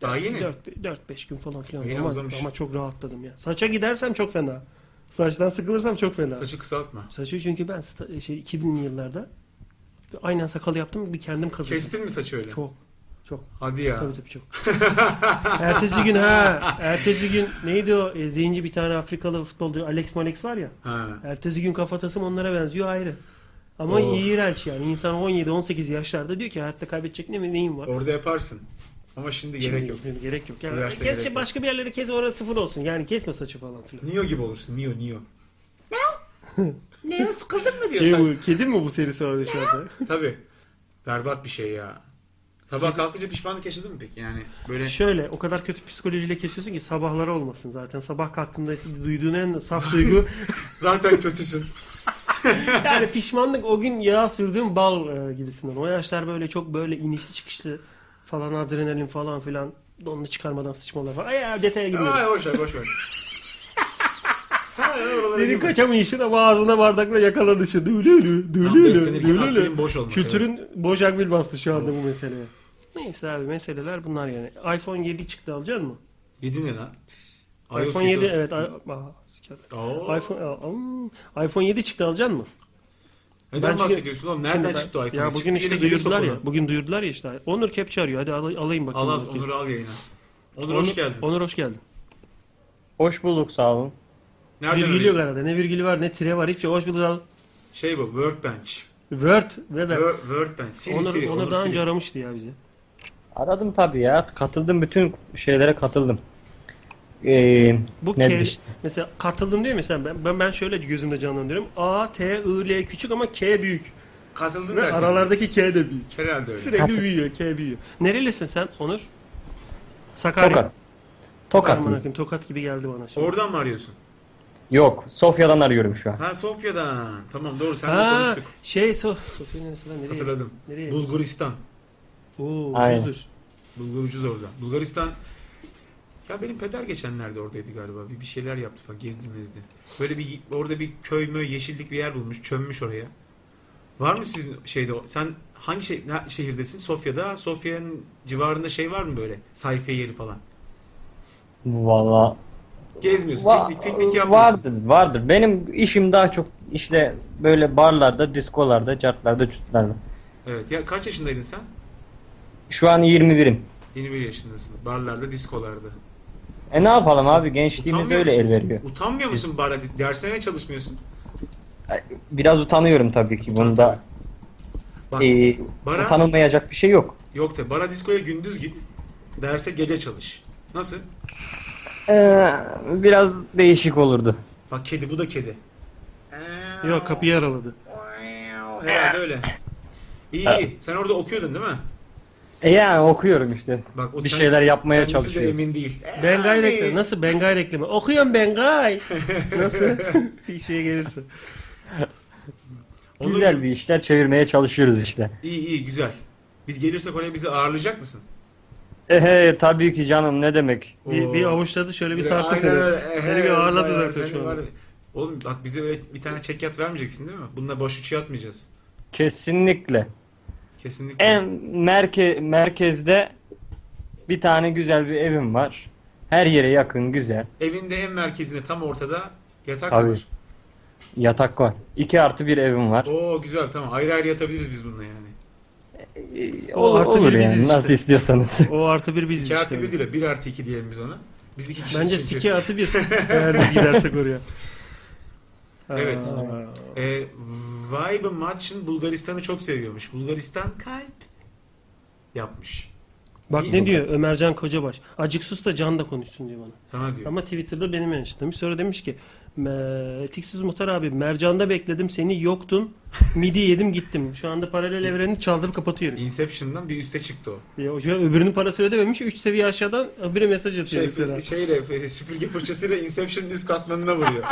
Daha yeni.
4-5 gün falan filan
Yeni
ama,
uzamış.
ama çok rahatladım ya. Saça gidersem çok fena. Saçtan sıkılırsam çok fena.
Saçı kısaltma.
Saçı çünkü ben sta- şey 2000'li yıllarda aynen sakalı yaptım bir kendim kazıdım.
Kestin mi saçı öyle?
Çok. Çok.
Hadi ya.
Tabii tabii çok. ertesi gün ha. Ertesi gün neydi o? E, zenci bir tane Afrikalı futbolcu Alex Malex var ya.
Ha.
Ertesi gün kafatasım onlara benziyor ayrı. Ama
Of.
iğrenç yani. İnsan 17-18 yaşlarda diyor ki hayatta kaybedecek ne mi neyim var.
Orada yaparsın. Ama şimdi gerek yok.
Şimdi Gerek yok.
Bu
Yani
yaşta
kes, şey,
gerek yok.
başka bir yerleri kes orası sıfır olsun. Yani kesme saçı falan filan.
Neo gibi olursun. Neo, Neo.
Neo sıkıldın mı diyor.
Şey bu, kedi mi bu serisi orada şu anda?
Şey, Tabii. Berbat bir şey ya.
Şey-
Sabah kalkınca pişmanlık yaşadın mı peki? Yani böyle
Şöyle o kadar kötü psikolojiyle kesiyorsun ki sabahları olmasın zaten. Sabah kalktığında duyduğun en saf duygu
zaten kötüsün.
yani pişmanlık o gün yağ sürdüğün bal e, gibisinden. O yaşlar böyle çok böyle inişli çıkışlı falan adrenalin falan filan donunu çıkarmadan sıçmalar falan. Ay, ya detaya girmiyorum.
Ay boş ver boş ver. Ha, oralara
Senin
girme.
kaçamayışın ama ağzına bardakla yakalanışı. Dülülü,
Tam
dülülü,
beslenirken
dülülü.
aklın boş olması.
Kültürün boş akbil bastı şu anda bu meseleye. Neyse abi meseleler bunlar yani. iPhone 7 çıktı alacak mı?
7 ne lan?
iPhone 7 evet. I- Aa, siker.
Oo.
iPhone, aa, am. iPhone 7 çıktı alacak mı?
Neden
çünkü-
bahsediyorsun oğlum? Nereden
Şimdi ben-
çıktı o iPhone?
Ya
Çıktı
bugün işte
yine geri
duyurdular
sok
ya.
onu.
Bugün duyurdular ya işte. Onur Kepçe arıyor. Hadi al- alayım bakayım.
Al al
Onur Kepçe.
Onur'u al yayına. Onur,
Onur-
hoş geldin.
Onur hoş geldin.
Hoş bulduk sağ olun.
Nereden
Virgül
arayayım?
yok arada. Ne virgülü var ne tire var. Hiçbir şey. Hoş bulduk al.
Şey bu Workbench.
Word ve de.
Word- Workbench. Siri
Onur,
Siri.
Onur
Onur
daha
Siri.
önce aramıştı ya bizi.
Aradım tabii ya. Katıldım bütün şeylere katıldım. Ee,
Bu
nedir
K,
işte?
mesela katıldım diyor mesela ben, ben ben şöyle gözümde canlandırıyorum. A, T, I, L küçük ama K büyük.
Katıldın
Ve
derken.
aralardaki K de büyük.
Herhalde öyle.
Sürekli
Katıl-
büyüyor, K büyüyor. Nerelisin sen Onur? Sakarya.
Tokat. Tokat
Aman
mı?
akım, tokat gibi geldi bana şimdi.
Oradan mı arıyorsun?
Yok. Sofya'dan arıyorum şu an.
Ha Sofya'dan. Tamam doğru senle
ha,
konuştuk.
şey so Sofya'nın neresi lan nereye?
Hatırladım.
Nereye?
Bulgaristan.
Oo,
Aynen.
ucuzdur.
Bulgur ucuz orada. Bulgaristan ya benim peder geçenlerde oradaydı galiba. Bir, bir şeyler yaptı falan. Gezdi mezdi. Böyle bir orada bir köy mö yeşillik bir yer bulmuş. Çömmüş oraya. Var mı sizin şeyde? o- Sen hangi şey, ne- şehirdesin? Sofya'da. Sofya'nın civarında şey var mı böyle? Sayfiye yeri falan.
Valla.
Gezmiyorsun.
Va-
piknik, piknik yapmıyorsun.
vardır, vardır. Benim işim daha çok işte böyle barlarda, diskolarda, cartlarda, cütlarda.
Evet. Ya kaç yaşındaydın sen?
Şu an 21'im.
21 yaşındasın. Barlarda, diskolarda.
E ne yapalım abi gençliğimiz öyle el
musun?
veriyor.
Utanmıyor musun barda? Dersine ne çalışmıyorsun?
Biraz utanıyorum tabii ki bunda.
Bak,
E,
Bara-
utanılmayacak bir şey yok.
Yok tabi. Bara diskoya gündüz git. Derse gece çalış. Nasıl?
Ee, biraz değişik olurdu.
Bak kedi bu da kedi.
Yok kapıyı araladı.
Herhalde öyle. İyi iyi. Sen orada okuyordun değil mi?
E yani okuyorum işte.
Bak o
bir
kend-
şeyler yapmaya
kendisi
çalışıyoruz.
de emin değil.
Bengay
Yani-
reklamı. Nasıl Bengay reklamı? Okuyorum Bengay. Nasıl? İşe gelirsin.
Onur,
Güzel bir işler çevirmeye çalışıyoruz işte.
İyi iyi güzel. Biz gelirsek oraya bizi ağırlayacak mısın?
Ehe tabii ki canım ne demek.
Bir,
Oo.
bir avuçladı şöyle bir
Aynen
tarttı seni.
öyle.
Seni
Ehe,
bir ağırladı
bayağı
zaten
seni
şu anda.
var- Oğlum bak bize böyle bir tane çekyat vermeyeceksin değil mi? Bununla boş üçü atmayacağız.
Kesinlikle.
Kesinlikle.
En merke merkezde bir tane güzel bir evim var. Her yere yakın güzel.
Evinde en merkezinde tam ortada yatak
Tabii.
var.
Yatak var. 2 artı bir evim var.
Oo güzel tamam. Ayrı ayrı yatabiliriz biz bununla yani.
E,
O artı
olur
bir
yani
biziz işte.
nasıl istiyorsanız.
O artı bir biziz
2
işte.
artı 1 değil 1 artı 2 diyelim biz ona. Biz iki kişiyiz
Bence
çünkü.
siki artı bir. Eğer biz gidersek oraya.
Evet.
Aa.
E, Vibe Maç'ın Bulgaristan'ı çok seviyormuş. Bulgaristan kalp yapmış.
Bak
İyi
ne
bak.
diyor Ömercan Kocabaş. Acık sus da can da konuşsun diyor bana.
Sana diyor.
Ama Twitter'da benim eniştemiş. Sonra demiş ki "Me- Etiksiz Muhtar abi Mercan'da bekledim seni yoktun. Midi yedim gittim. Şu anda paralel evreni çaldırıp kapatıyorum.
Inception'dan bir üste çıktı o.
Ya, hoca öbürünün parasını ödememiş. 3 seviye aşağıdan öbürü mesaj atıyor.
Şey,
mesela.
şeyle, süpürge fırçasıyla Inception'ın üst katmanına vuruyor.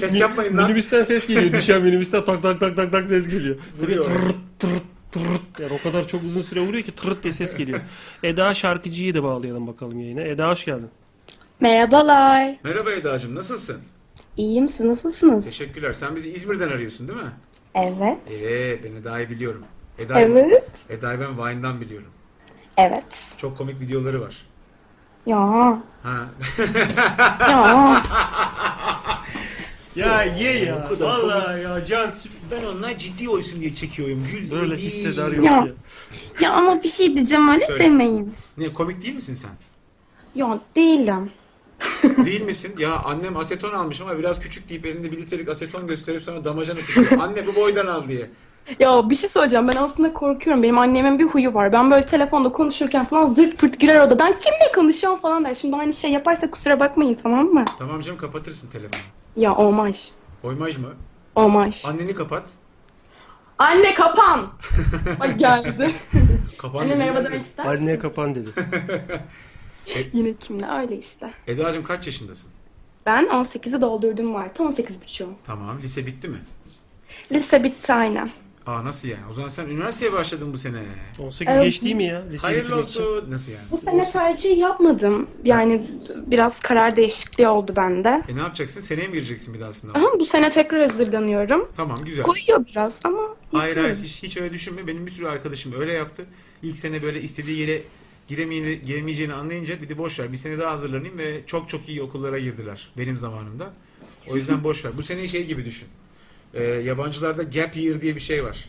Ses yapmayın lan.
Minibüsten ses geliyor. Düşen minibüsten tak tak tak tak tak ses geliyor. Vuruyor.
Vuruyor.
Tırırt tırırt tırırt. Yani o kadar çok uzun süre vuruyor ki tırırt diye ses geliyor. Eda şarkıcıyı da bağlayalım bakalım yayına. Eda hoş geldin.
Merhabalar.
Merhaba Eda'cığım nasılsın?
İyiyim, siz nasılsınız?
Teşekkürler. Sen bizi İzmir'den arıyorsun değil mi?
Evet.
Evet ben Eda'yı biliyorum. Eda'yı,
Evet.
Eda'yı ben Vine'dan biliyorum.
Evet.
Çok komik videoları var.
Ya.
Ha.
Ya.
Ya ye ya.
kadar
Vallahi ya can süper.
ben onlar ciddi olsun diye çekiyorum. Gül
Böyle
değil.
hissedar yok
Ya.
ya.
ya ama bir şey diyeceğim öyle
Söyle.
demeyin.
Ne komik değil misin sen?
Ya değilim.
Değil misin? Ya annem aseton almış ama biraz küçük deyip elinde bir litrelik aseton gösterip sana damacana tutuyor. Anne bu boydan al diye.
Ya bir şey söyleyeceğim ben aslında korkuyorum. Benim annemin bir huyu var. Ben böyle telefonda konuşurken falan zırt pırt girer odadan. Kimle konuşuyorsun falan der. Şimdi aynı şey yaparsa kusura bakmayın tamam mı?
Tamam canım kapatırsın telefonu.
Ya olmaz.
Oymaj mı?
Olmaz.
Anneni kapat.
Anne kapan. Ay geldi.
Kapan.
Anne merhaba
dedi.
demek ister misin?
Anneye kapan dedi.
Yine kimle öyle işte.
Eda'cığım kaç yaşındasın?
Ben 18'i doldurdum Mart'ta 18 buçuğum.
Tamam lise bitti mi?
şey Lise bitti aynen.
Aa nasıl yani? O zaman sen üniversiteye başladın bu sene.
18
Evet.
geç değil mi ya? Lise
Hayırlı
bitirmek için.
olsun. Nasıl yani?
Bu sene tercih yapmadım. Yani biraz karar değişikliği oldu bende.
E ne yapacaksın? Seneye mi gireceksin bir daha sınava?
Ama bu sene tekrar hazırlanıyorum.
Tamam güzel.
Koyuyor biraz ama
Hayır hayır
yapıyoruz.
hiç, hiç öyle düşünme. Benim bir sürü arkadaşım öyle yaptı. İlk sene böyle istediği yere giremeyeni, giremeyeceğini anlayınca dedi boş ver bir sene daha hazırlanayım ve çok çok iyi okullara girdiler benim zamanımda. O yüzden boş ver. Bu sene şey gibi düşün. Ee, yabancılarda gap year diye bir şey var.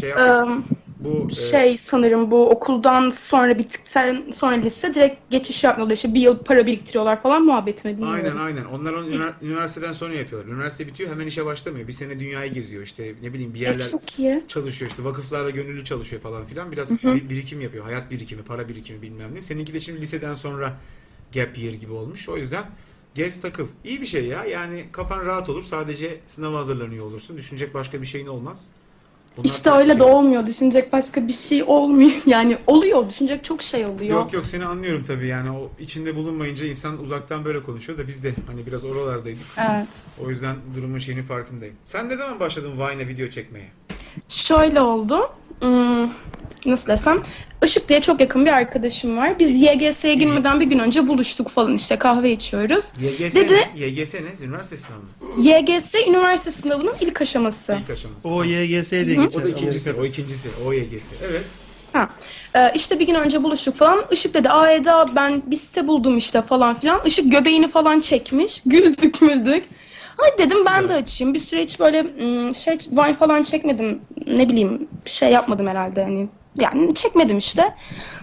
Şey yap-
Eee,
bu e,
şey sanırım bu okuldan sonra bittikten sonra lise direkt geçiş yapmıyorlar. İşte bir yıl para biriktiriyorlar falan muhabbet mi bilmiyorum.
Aynen aynen. Onlar onu üner- üniversiteden sonra yapıyorlar. Üniversite bitiyor hemen işe başlamıyor. Bir sene dünyayı geziyor işte ne bileyim bir
E,
yerler
çok iyi.
çalışıyor işte vakıflarda gönüllü çalışıyor falan filan biraz bir- birikim yapıyor hayat birikimi para birikimi bilmem ne seninki de şimdi liseden sonra gap year gibi olmuş o yüzden gez takıl iyi bir şey ya yani kafan rahat olur sadece sınava hazırlanıyor olursun düşünecek başka bir şeyin olmaz Bunlar
İşte
farklı
öyle de
şeyler.
olmuyor. Düşünecek başka bir şey olmuyor. Yani oluyor. Düşünecek çok şey oluyor.
Yok yok seni anlıyorum tabii yani o içinde bulunmayınca insan uzaktan böyle konuşuyor da biz de hani biraz oralardaydık.
Evet.
O yüzden durumun şeyini farkındayım. Sen ne zaman başladın Vine'e video çekmeye?
Şöyle oldu. Hmm, nasıl desem? Işık diye çok yakın bir arkadaşım var. Biz YGS'ye girmeden bir gün önce buluştuk falan işte kahve içiyoruz.
YGS
Dedi-
ne? YGS ne? Üniversite sınavı mı?
YGS üniversite sınavının ilk aşaması.
İlk aşaması.
O YGS diye geçer.
O da ikincisi,
Amerika'da.
o ikincisi, o YGS. Evet.
Ha. Ee, işte bir gün önce buluştuk falan. Işık dedi aa Eda ben bir site buldum işte falan filan. Işık göbeğini falan çekmiş. Güldük müldük. Hadi dedim ben de açayım. Bir süre hiç böyle ım, şey Vine falan çekmedim. Ne bileyim şey yapmadım herhalde hani. Yani çekmedim işte.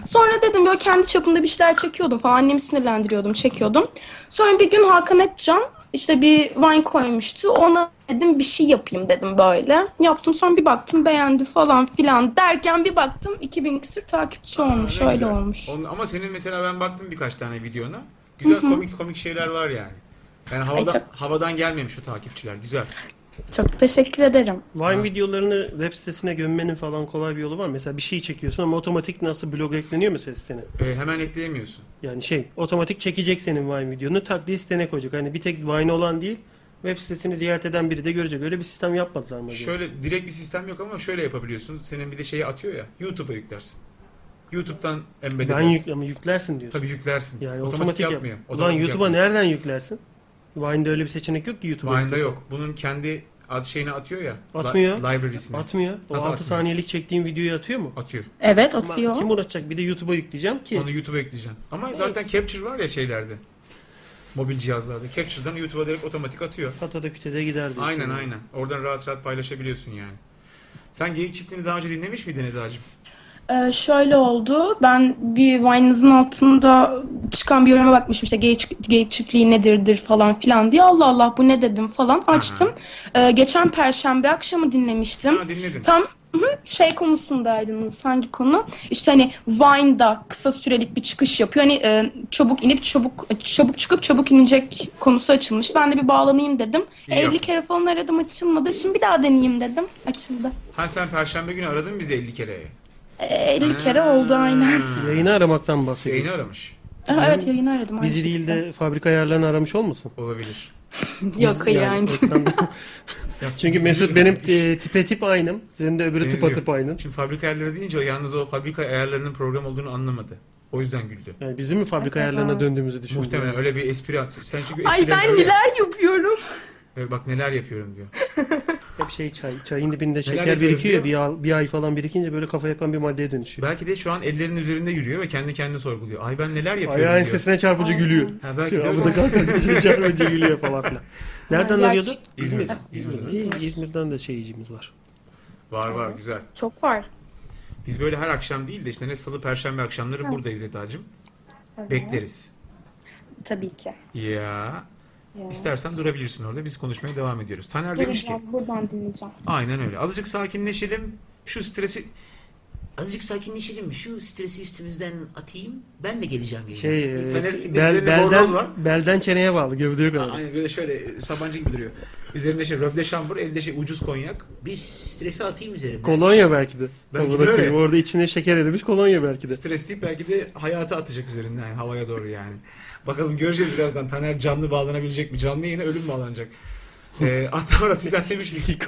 Sonra dedim böyle kendi çapımda bir şeyler çekiyordum falan. Annemi sinirlendiriyordum, çekiyordum. Sonra bir gün Hakan Etcan işte bir Vine koymuştu. Ona dedim bir şey yapayım dedim böyle. Yaptım sonra bir baktım beğendi falan filan derken bir baktım 2000 küsür takipçi olmuş.
Ne
Öyle
güzel.
olmuş.
Onun- ama senin mesela ben baktım birkaç tane videona. Güzel komik komik şeyler var yani. Yani havadan,
çok-
havadan gelmemiş o takipçiler. Güzel.
Çok teşekkür ederim.
Vine videolarını web sitesine gömmenin falan kolay bir yolu var. mı? Mesela bir şey çekiyorsun ama otomatik nasıl blog ekleniyor mu sitesine?
Ee, hemen ekleyemiyorsun.
Yani şey otomatik çekecek senin Vine videonu tak diye sitene koyacak. Hani bir tek Vine olan değil web sitesini ziyaret eden biri de görecek. Öyle bir sistem yapmadılar mı? acaba?
Şöyle direkt bir sistem yok ama şöyle yapabiliyorsun. Senin bir de şeyi atıyor ya. YouTube'a yüklersin. YouTube'dan embed
ben
edersin.
yük, ama yüklersin diyorsun.
Tabii yüklersin.
Yani
otomatik,
otomatik, yap-
yapmıyor.
Ulan
Otomatik
YouTube'a
yapmıyor.
nereden yüklersin? Vine'da öyle bir seçenek yok ki YouTube'a.
Vine'da yok. Bunun kendi ad şeyini atıyor ya. Li-
Atmıyor.
Library'sine.
Atmıyor. O
Nasıl
6
atmıyor?
saniyelik çektiğin videoyu atıyor mu?
Atıyor.
Evet
Ama
atıyor.
Kim uğraşacak? Bir de YouTube'a yükleyeceğim ki.
Onu YouTube'a ekleyeceğim. Ama zaten Capture var ya şeylerde. Mobil cihazlarda. Capture'dan YouTube'a direkt otomatik atıyor.
Patada kütede gider diyorsun.
Aynen
Yani.
aynen. Oradan rahat rahat paylaşabiliyorsun yani. Sen geyik çiftliğini daha önce dinlemiş miydin Eda'cığım?
Ee, şöyle oldu. Ben bir Vine'ınızın altında çıkan bir yoruma bakmışım işte gay, gay çiftliği nedirdir falan filan diye. Allah Allah bu ne dedim falan açtım. Ee, geçen perşembe akşamı dinlemiştim.
Ha dinledin.
Tam hı, şey konusundaydınız hangi konu? İşte hani Vine'da kısa sürelik bir çıkış yapıyor. Hani e, çabuk inip çabuk çabuk çıkıp çabuk inecek konusu açılmış. Ben de bir bağlanayım dedim.
İyi
50
yaptın.
kere falan aradım açılmadı. Şimdi bir daha deneyeyim dedim. Açıldı.
Ha sen perşembe günü aradın bizi 50 kere.
E, 50 kere oldu aynen.
Yayını aramaktan bahsediyor.
Yayını aramış.
Aha, evet yayını aradım. aynı
Bizi değil
şekilde.
de fabrika ayarlarını aramış olmasın?
Olabilir.
Yok hayır
Yani
yani.
oradan da-
Ya,
Çünkü Mesut benim
şey
e, tipe tip aynım. Senin de öbürü tıpa
Benziyor.
tıp aynın.
Şimdi fabrika ayarları deyince o yalnız o fabrika ayarlarının program olduğunu anlamadı. O yüzden güldü.
Yani bizim mi fabrika
Hakikaten.
ayarlarına döndüğümüzü düşündüm.
Muhtemelen öyle bir espri atsın. Sen çünkü
Ay
esprilerini
ben
öyle-
neler yapıyorum.
Evet, bak neler yapıyorum diyor.
Hep şey çay, çayın dibinde şeker
yapıyoruz diyor.
birikiyor. Bir, al- bir ay falan birikince böyle kafa yapan bir maddeye dönüşüyor.
Belki de şu an ellerinin üzerinde yürüyor ve kendi kendini sorguluyor. Ay ben neler yapıyorum
Ayağın
diyor.
sesine çarpıcı gülüyor.
Ha, belki
Şey,
de
Amuda
öyle.
kalkan çarpıcı gülüyor falan filan. Nereden
Gerçek-
arıyordu?
İzmir'den.
İzmir'den.
İzmir'den.
İyi, İzmir'den de şeycimiz var.
Var var güzel.
Çok var.
Biz böyle her akşam değil de işte ne salı perşembe akşamları buradayız Eda'cığım. Bekleriz.
Tabii ki. Ee,
Ya. İstersen durabilirsin orada. Biz konuşmaya devam ediyoruz. Taner demiş ki
Duracağım, buradan dinleyeceğim.
aynen öyle. Azıcık sakinleşelim. Şu stresi
Azıcık sakinleşelim mi? Şu stresi üstümüzden atayım. Ben de geleceğim. geleceğim.
Şey, e,
Taner-
bel-
bellerinde bornoz var.
belden, belden çeneye bağlı gövdeye kadar.
Aynen böyle şöyle e, Sabancı gibi duruyor. Üzerinde şey röbde şambur, elde şey ucuz konyak.
Bir stresi atayım üzerime.
Kolonya belki de.
Belki de
Amına
öyle.
koyayım, Orada içine şeker erimiş kolonya belki de.
Stres deyip belki de hayata atacak üzerinden yani havaya doğru yani. Bakalım göreceğiz birazdan. Taner canlı bağlanabilecek mi? Canlı yine ölüm bağlanacak. Ee, hatta orası da demiş ki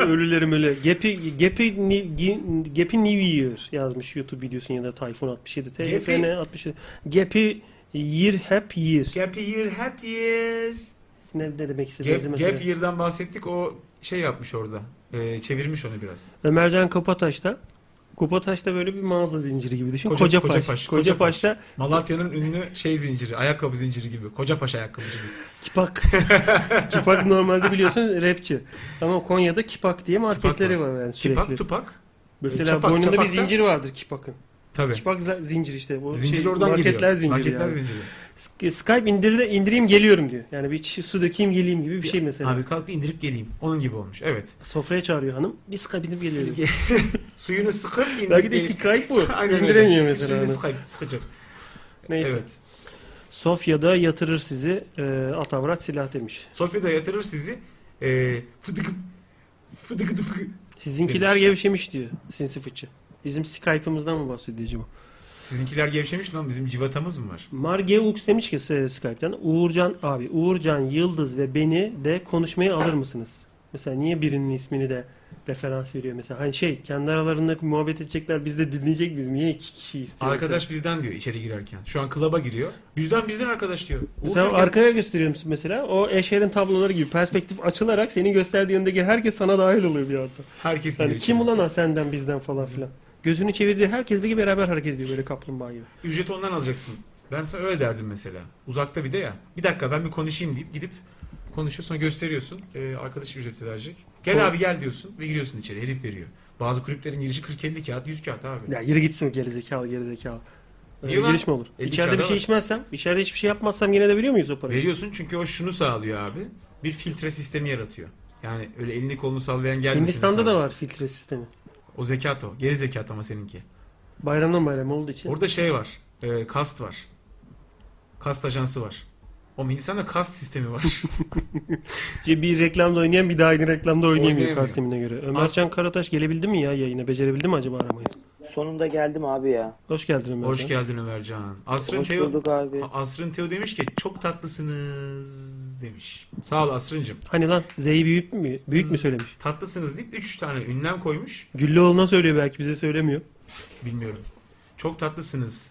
Ölülerim öyle. Gepi, Gepi, Ni- Gi- Gepi New Year yazmış YouTube videosunu ya da Tayfun 67. TFN 67. Gepi Year Hep Year.
Gap year, hat year.
Ne, ne demek istediğinizi
Gap,
mesela.
gap year'dan bahsettik. O şey yapmış orada. Ee, çevirmiş onu biraz.
Ömercan Kapataş'ta Kapataş'ta böyle bir mağaza zinciri gibi düşün.
Koca-
Kocapaş.
Kocapaş,
Kocapaş.
Kocapaş.
Kocapaş'ta
Malatya'nın ünlü şey zinciri, ayakkabı zinciri gibi. Kocapaş ayakkabıcı gibi.
Kipak. kipak normalde biliyorsun rapçi. Ama Konya'da Kipak diye marketleri
Kipak
var. yani sürekli.
Kipak tupak.
Mesela
Çapak,
boynunda
çapak
bir
da-
zincir vardır Kipak'ın.
Tabii.
Kipak zla- zincir işte. O
Zincir
şey,
oradan
marketler
geliyor.
Zinciri
marketler
yani.
zinciri.
Sk- Skype indir de indireyim geliyorum diyor. Yani bir çi- su dökeyim geleyim gibi bir şey mesela.
Abi kalk da indirip geleyim. Onun gibi olmuş. Evet.
Sofraya çağırıyor hanım. Bir Skype indirip geliyorum.
Suyunu sıkıp indirip
Belki de
geleyim.
Skype bu.
Aynen öyle.
İndiremiyor mesela.
Suyunu
hanım.
sıkayım, sıkacak.
Neyse.
Evet.
Sofya'da yatırır sizi e, atavrat silah demiş.
Ee, Sofya'da yatırır sizi. E, fıdıkı fıdıkı dıfıkı
Sizinkiler
Demiş.
gevşemiş diyor sinsi fıçı. Bizim Skype'ımızdan mı bahsediyor acaba?
Sizinkiler gevşemiş lan bizim civatamız mı var?
Margeux demiş ki e, Skype'ten Uğurcan abi Uğurcan Yıldız ve beni de konuşmaya alır mısınız? Mesela niye birinin ismini de referans veriyor mesela? Hani şey kendi aralarında muhabbet edecekler biz de dinleyecek biz niye iki kişi istiyor?
Arkadaş bizden diyor içeri girerken. Şu an klaba giriyor. Bizden bizden arkadaş diyor.
Mesela
Uğurcan
Sen arkaya gösteriyor musun mesela? O Eşer'in tabloları gibi perspektif açılarak senin gösterdiği yöndeki herkes sana dahil oluyor bir anda.
herkes
Yani
gelir.
kim ulan ha senden bizden falan filan. Gözünü çevirdiği herkes de beraber hareket ediyor böyle kaplumbağa gibi.
Ücreti ondan alacaksın. Ben sana öyle derdim mesela. Uzakta bir de ya. Bir dakika ben bir konuşayım deyip gidip konuşuyor. Sonra gösteriyorsun. Ee, arkadaş ücreti verecek. Gel
Doğru.
abi gel diyorsun ve giriyorsun içeri. Herif veriyor. Bazı kulüplerin girişi 40-50 kağıt, 100 kağıt abi.
Ya yürü gitsin gerizekalı gerizekalı. Öyle
Niye lan?
giriş mi olur?
Elli
içeride bir
kağıda
şey
var.
içmezsem, içeride hiçbir şey yapmazsam yine de veriyor muyuz o parayı?
Veriyorsun çünkü o şunu sağlıyor abi. Bir filtre sistemi yaratıyor. Yani öyle elini kolunu sallayan gelmesin.
Hindistan'da
sana.
da var filtre sistemi.
O zekat o. Geri zekat ama seninki.
Bayramdan bayram olduğu için.
Orada şey var. E, kast var. Kast ajansı var. O Hindistan'da kast sistemi var.
Bir reklamda oynayan bir daha aynı reklamda oynayamıyor
Oynayamıyor.
Kasım'ına göre. Ömercan Karataş gelebildi mi ya yayına? Becerebildi mi acaba aramayı?
Sonunda geldim abi ya.
Hoş geldin Ömercan.
Hoş geldin Ömercan. Asrın
Hoş
Teo-
bulduk abi.
Asrın Teo demiş ki çok tatlısınız demiş. Sağ ol Asrıncım.
Hani lan Z'yi büyük mü, büyük mü söylemiş?
Tatlısınız deyip 3 tane ünlem koymuş.
Güllüoğlu'na söylüyor belki bize söylemiyor.
Bilmiyorum. Çok tatlısınız.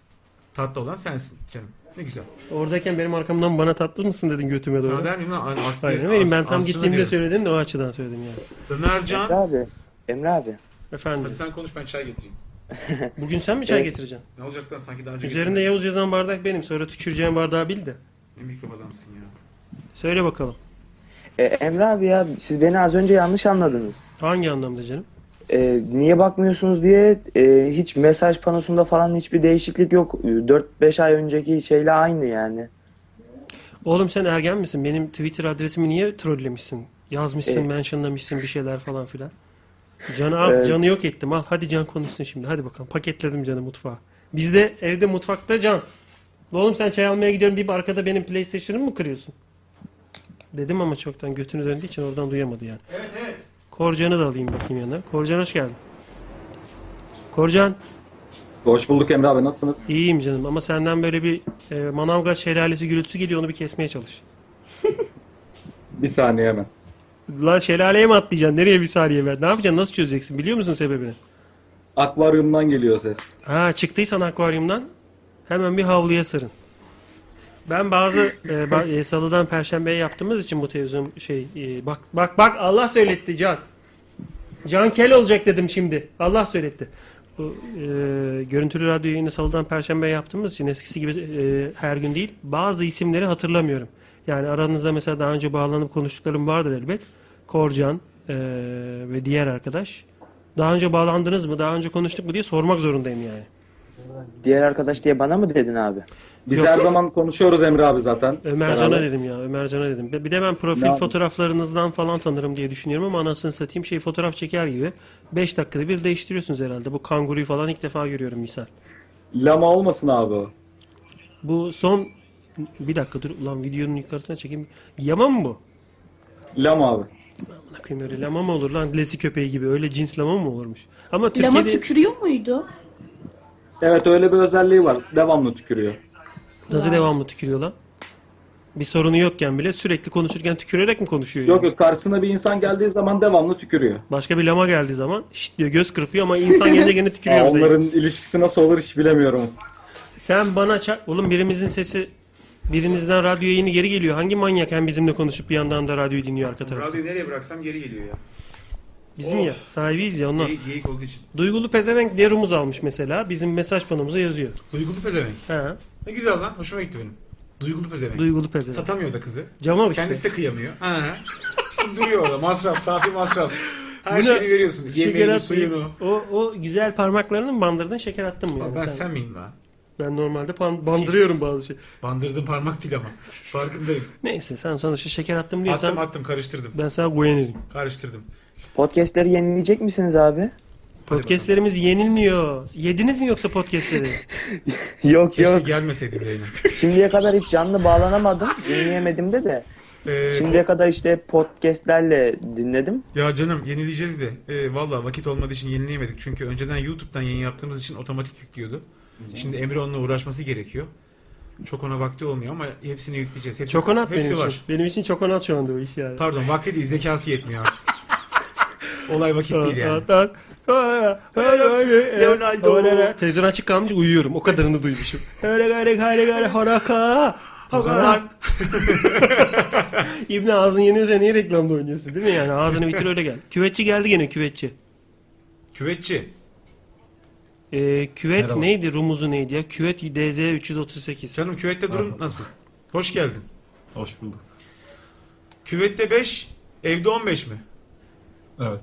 Tatlı olan sensin canım. Ne güzel.
Oradayken benim arkamdan bana tatlı mısın dedin götüme doğru.
Sana der miyim lan? Aslı,
Hayır ne bileyim ben
As-
tam
Asrı'na
gittiğimde
diyorum.
söyledim de o açıdan söyledim yani.
Emre
Ömercan.
abi. Emre abi.
Efendim
Hadi sen konuş ben çay getireyim.
bugün sen mi çay
Evet.
getireceksin?
Ne olacak lan sanki daha önce
Üzerinde Yavuz yazan bardak benim sonra tüküreceğim bardağı bil de.
Ne mikrop adamsın ya.
Söyle bakalım
E, Emre abi ya siz beni az önce yanlış anladınız.
hangi anlamda canım?
E, niye bakmıyorsunuz diye e, hiç mesaj panosunda falan hiçbir değişiklik yok. E, 4-5 ay önceki şeyle aynı yani.
Oğlum sen ergen misin? Benim Twitter adresimi niye trollemişsin? Yazmışsın, mentionlamışsın bir şeyler falan filan. Canı al,
Evet.
canı yok ettim al. Hadi can konuşsun şimdi. Hadi bakalım. Paketledim canı mutfağa. Bizde evde mutfakta can. Oğlum sen çay almaya gidiyorum deyip arkada benim PlayStation'ımı mı kırıyorsun? Dedim ama çoktan götünü döndüğü için oradan duyamadı yani. Evet evet. Korcan'ı da alayım bakayım yanına. Korcan hoş geldin. Korcan
Hoş bulduk Emre abi nasılsınız?
iyiyim canım ama senden böyle bir e, Manavgat şelalesi gürültüsü geliyor onu bir kesmeye çalış.
Bir saniye hemen.
La şelaleye mi atlayacaksın? Nereye bir saniye ver? Ne yapacaksın? Nasıl çözeceksin? Biliyor musun sebebini?
Akvaryumdan geliyor ses.
Ha çıktıysan akvaryumdan hemen bir havluya sarın. Ben bazı e, ba- e, salıdan perşembeye yaptığımız için bu televizyon şey e, bak bak bak Allah söyletti Can. Can kel olacak dedim şimdi. Allah söyletti. Bu e, görüntülü radyo yayını salıdan perşembeye yaptığımız için eskisi gibi e, her gün değil. Bazı isimleri hatırlamıyorum. Yani aranızda mesela daha önce bağlanıp konuştuklarım vardır elbet. Korcan e, ve diğer arkadaş. Daha önce bağlandınız mı? Daha önce konuştuk mu diye sormak zorundayım yani.
Diğer arkadaş diye bana mı dedin abi?
Biz
Yok.
her zaman konuşuyoruz Emre abi zaten.
Ömercan'a
Beraber.
dedim ya. Ömercan'a dedim. Bir de ben profil
Ne abi?
fotoğraflarınızdan falan tanırım diye düşünüyorum ama anasını satayım şey fotoğraf çeker gibi. 5 dakikada bir değiştiriyorsunuz herhalde. Bu kanguruyu falan ilk defa görüyorum misal.
Lama olmasın abi o.
Bu son bir dakika dur ulan videonun yukarısına çekeyim. Yama mı bu?
Lama abi.
Amına koyayım öyle lama mı olur lan? Lesi köpeği gibi. Öyle cins lama mı olurmuş? Ama
Lama
Türkiye'de
tükürüyor muydu?
Evet öyle bir özelliği var. Devamlı tükürüyor.
nasıl devamlı tükürüyor lan? Bir sorunu yokken bile sürekli konuşurken tükürerek mi konuşuyor? yani?
Yok yok karşısına bir insan geldiği zaman devamlı tükürüyor.
Başka bir lama geldiği zaman şit diyor göz kırpıyor ama insan gene gene tükürüyor.
Aa,
bize.
onların ilişkisi nasıl olur hiç bilemiyorum.
Sen bana çak... Oğlum birimizin sesi birinizden radyo yayını geri geliyor. Hangi manyak hem bizimle konuşup bir yandan da radyoyu dinliyor arka tarafta?
Radyoyu nereye bıraksam geri geliyor ya.
Bizim
Oh.
ya sahibiyiz ya onlar.
Geyik, geyik olduğu için.
Duygulu pezevenk diye rumuz almış mesela. Bizim mesaj panomuza yazıyor.
Duygulu pezevenk.
He.
Ne güzel lan. Hoşuma gitti benim. Duygulu pezevenk.
Duygulu pezevenk.
Satamıyor da kızı.
Cemal işte.
Kendisi de kıyamıyor. Ha. Kız duruyor orada. Masraf, safi masraf. Her
Buna
şeyini veriyorsun.
şeker
Yemeğini,
atmayıp-
suyunu.
O, o güzel parmaklarını mı bandırdın şeker attın mı?
Abi
yani
ben
sen?
sen miyim lan?
Ben normalde pan- bandırıyorum bazı şey.
Bandırdım parmak değil ama. Farkındayım.
Neyse sen sonuçta şeker attım diyorsan
attım attım karıştırdım.
ben sana güvenirim.
Karıştırdım.
Podcast'leri yenileyecek misiniz abi?
Podcastlerimiz yenilmiyor. Yediniz mi yoksa podcastleri?
yok
Keşke
yok.
gelmeseydim yayına.
Şimdiye kadar hiç canlı bağlanamadım. Dinleyemedim de de.
Ee,
Şimdiye kadar işte hep podcastlerle dinledim.
Ya canım yenileyeceğiz de. Ee, Valla vakit olmadığı için yenileyemedik. Çünkü önceden YouTube'dan yayın yaptığımız için otomatik yüklüyordu. Şimdi Emre onunla uğraşması gerekiyor. Çok ona vakti olmuyor ama hepsini yükleyeceğiz. Hepsi,
Çokonat
hepsi
benim
var.
için. Benim için çokonat şu anda o iş yani.
Pardon vakti değil zekası yetmiyor artık. Olay vakit değil yani.
Leonardo. Televizyon açık kalmış uyuyorum. O kadarını duymuşum. Öyle gare gare gare haraka.
Ulan!
İbni ağzın yeni üzerine niye reklamda oynuyorsun değil mi yani? Ağzını bitir öyle gel. Küvetçi geldi gene küvetçi.
Küvetçi.
Ee, küvet
Merhaba.
neydi? Rumuzu neydi ya? Küvet DZ 338.
Canım küvette durum nasıl? Hoş geldin.
Hoş bulduk.
Küvette 5, evde 15 mi?
Evet.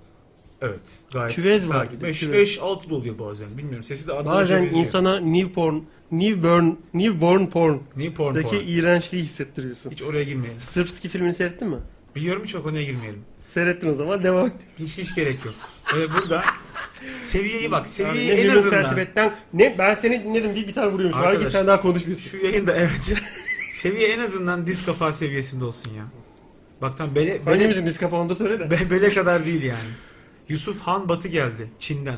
Evet. Gayet
Küvez var bir
sakin.
de,
5,
küvez.
5, 6 da oluyor bazen. Bilmiyorum sesi de adlı
Bazen insana new porn, new burn, new born porn'daki
New porn porn.
iğrençliği hissettiriyorsun.
Hiç oraya girmeyelim.
Sırpski filmini seyrettin mi?
Biliyorum hiç o konuya girmeyelim.
Seyrettin o zaman devam.
Hiç hiç gerek yok. Ee, burada seviyeyi bak.
Abi,
Seviyeyi
ne
en
Human
azından.
Sertibet'ten- ne ben seni dinledim bir gitar vuruyormuş.
Arkadaş.
Hangi sen daha konuşmuyorsun?
Şu yayında evet. Seviye en azından diz kapağı seviyesinde olsun ya. Bak tam bele, bele,
Hangimizin disk kapağını da söyle de.
be- bele kadar değil yani. Yusuf Han Batı geldi Çin'den.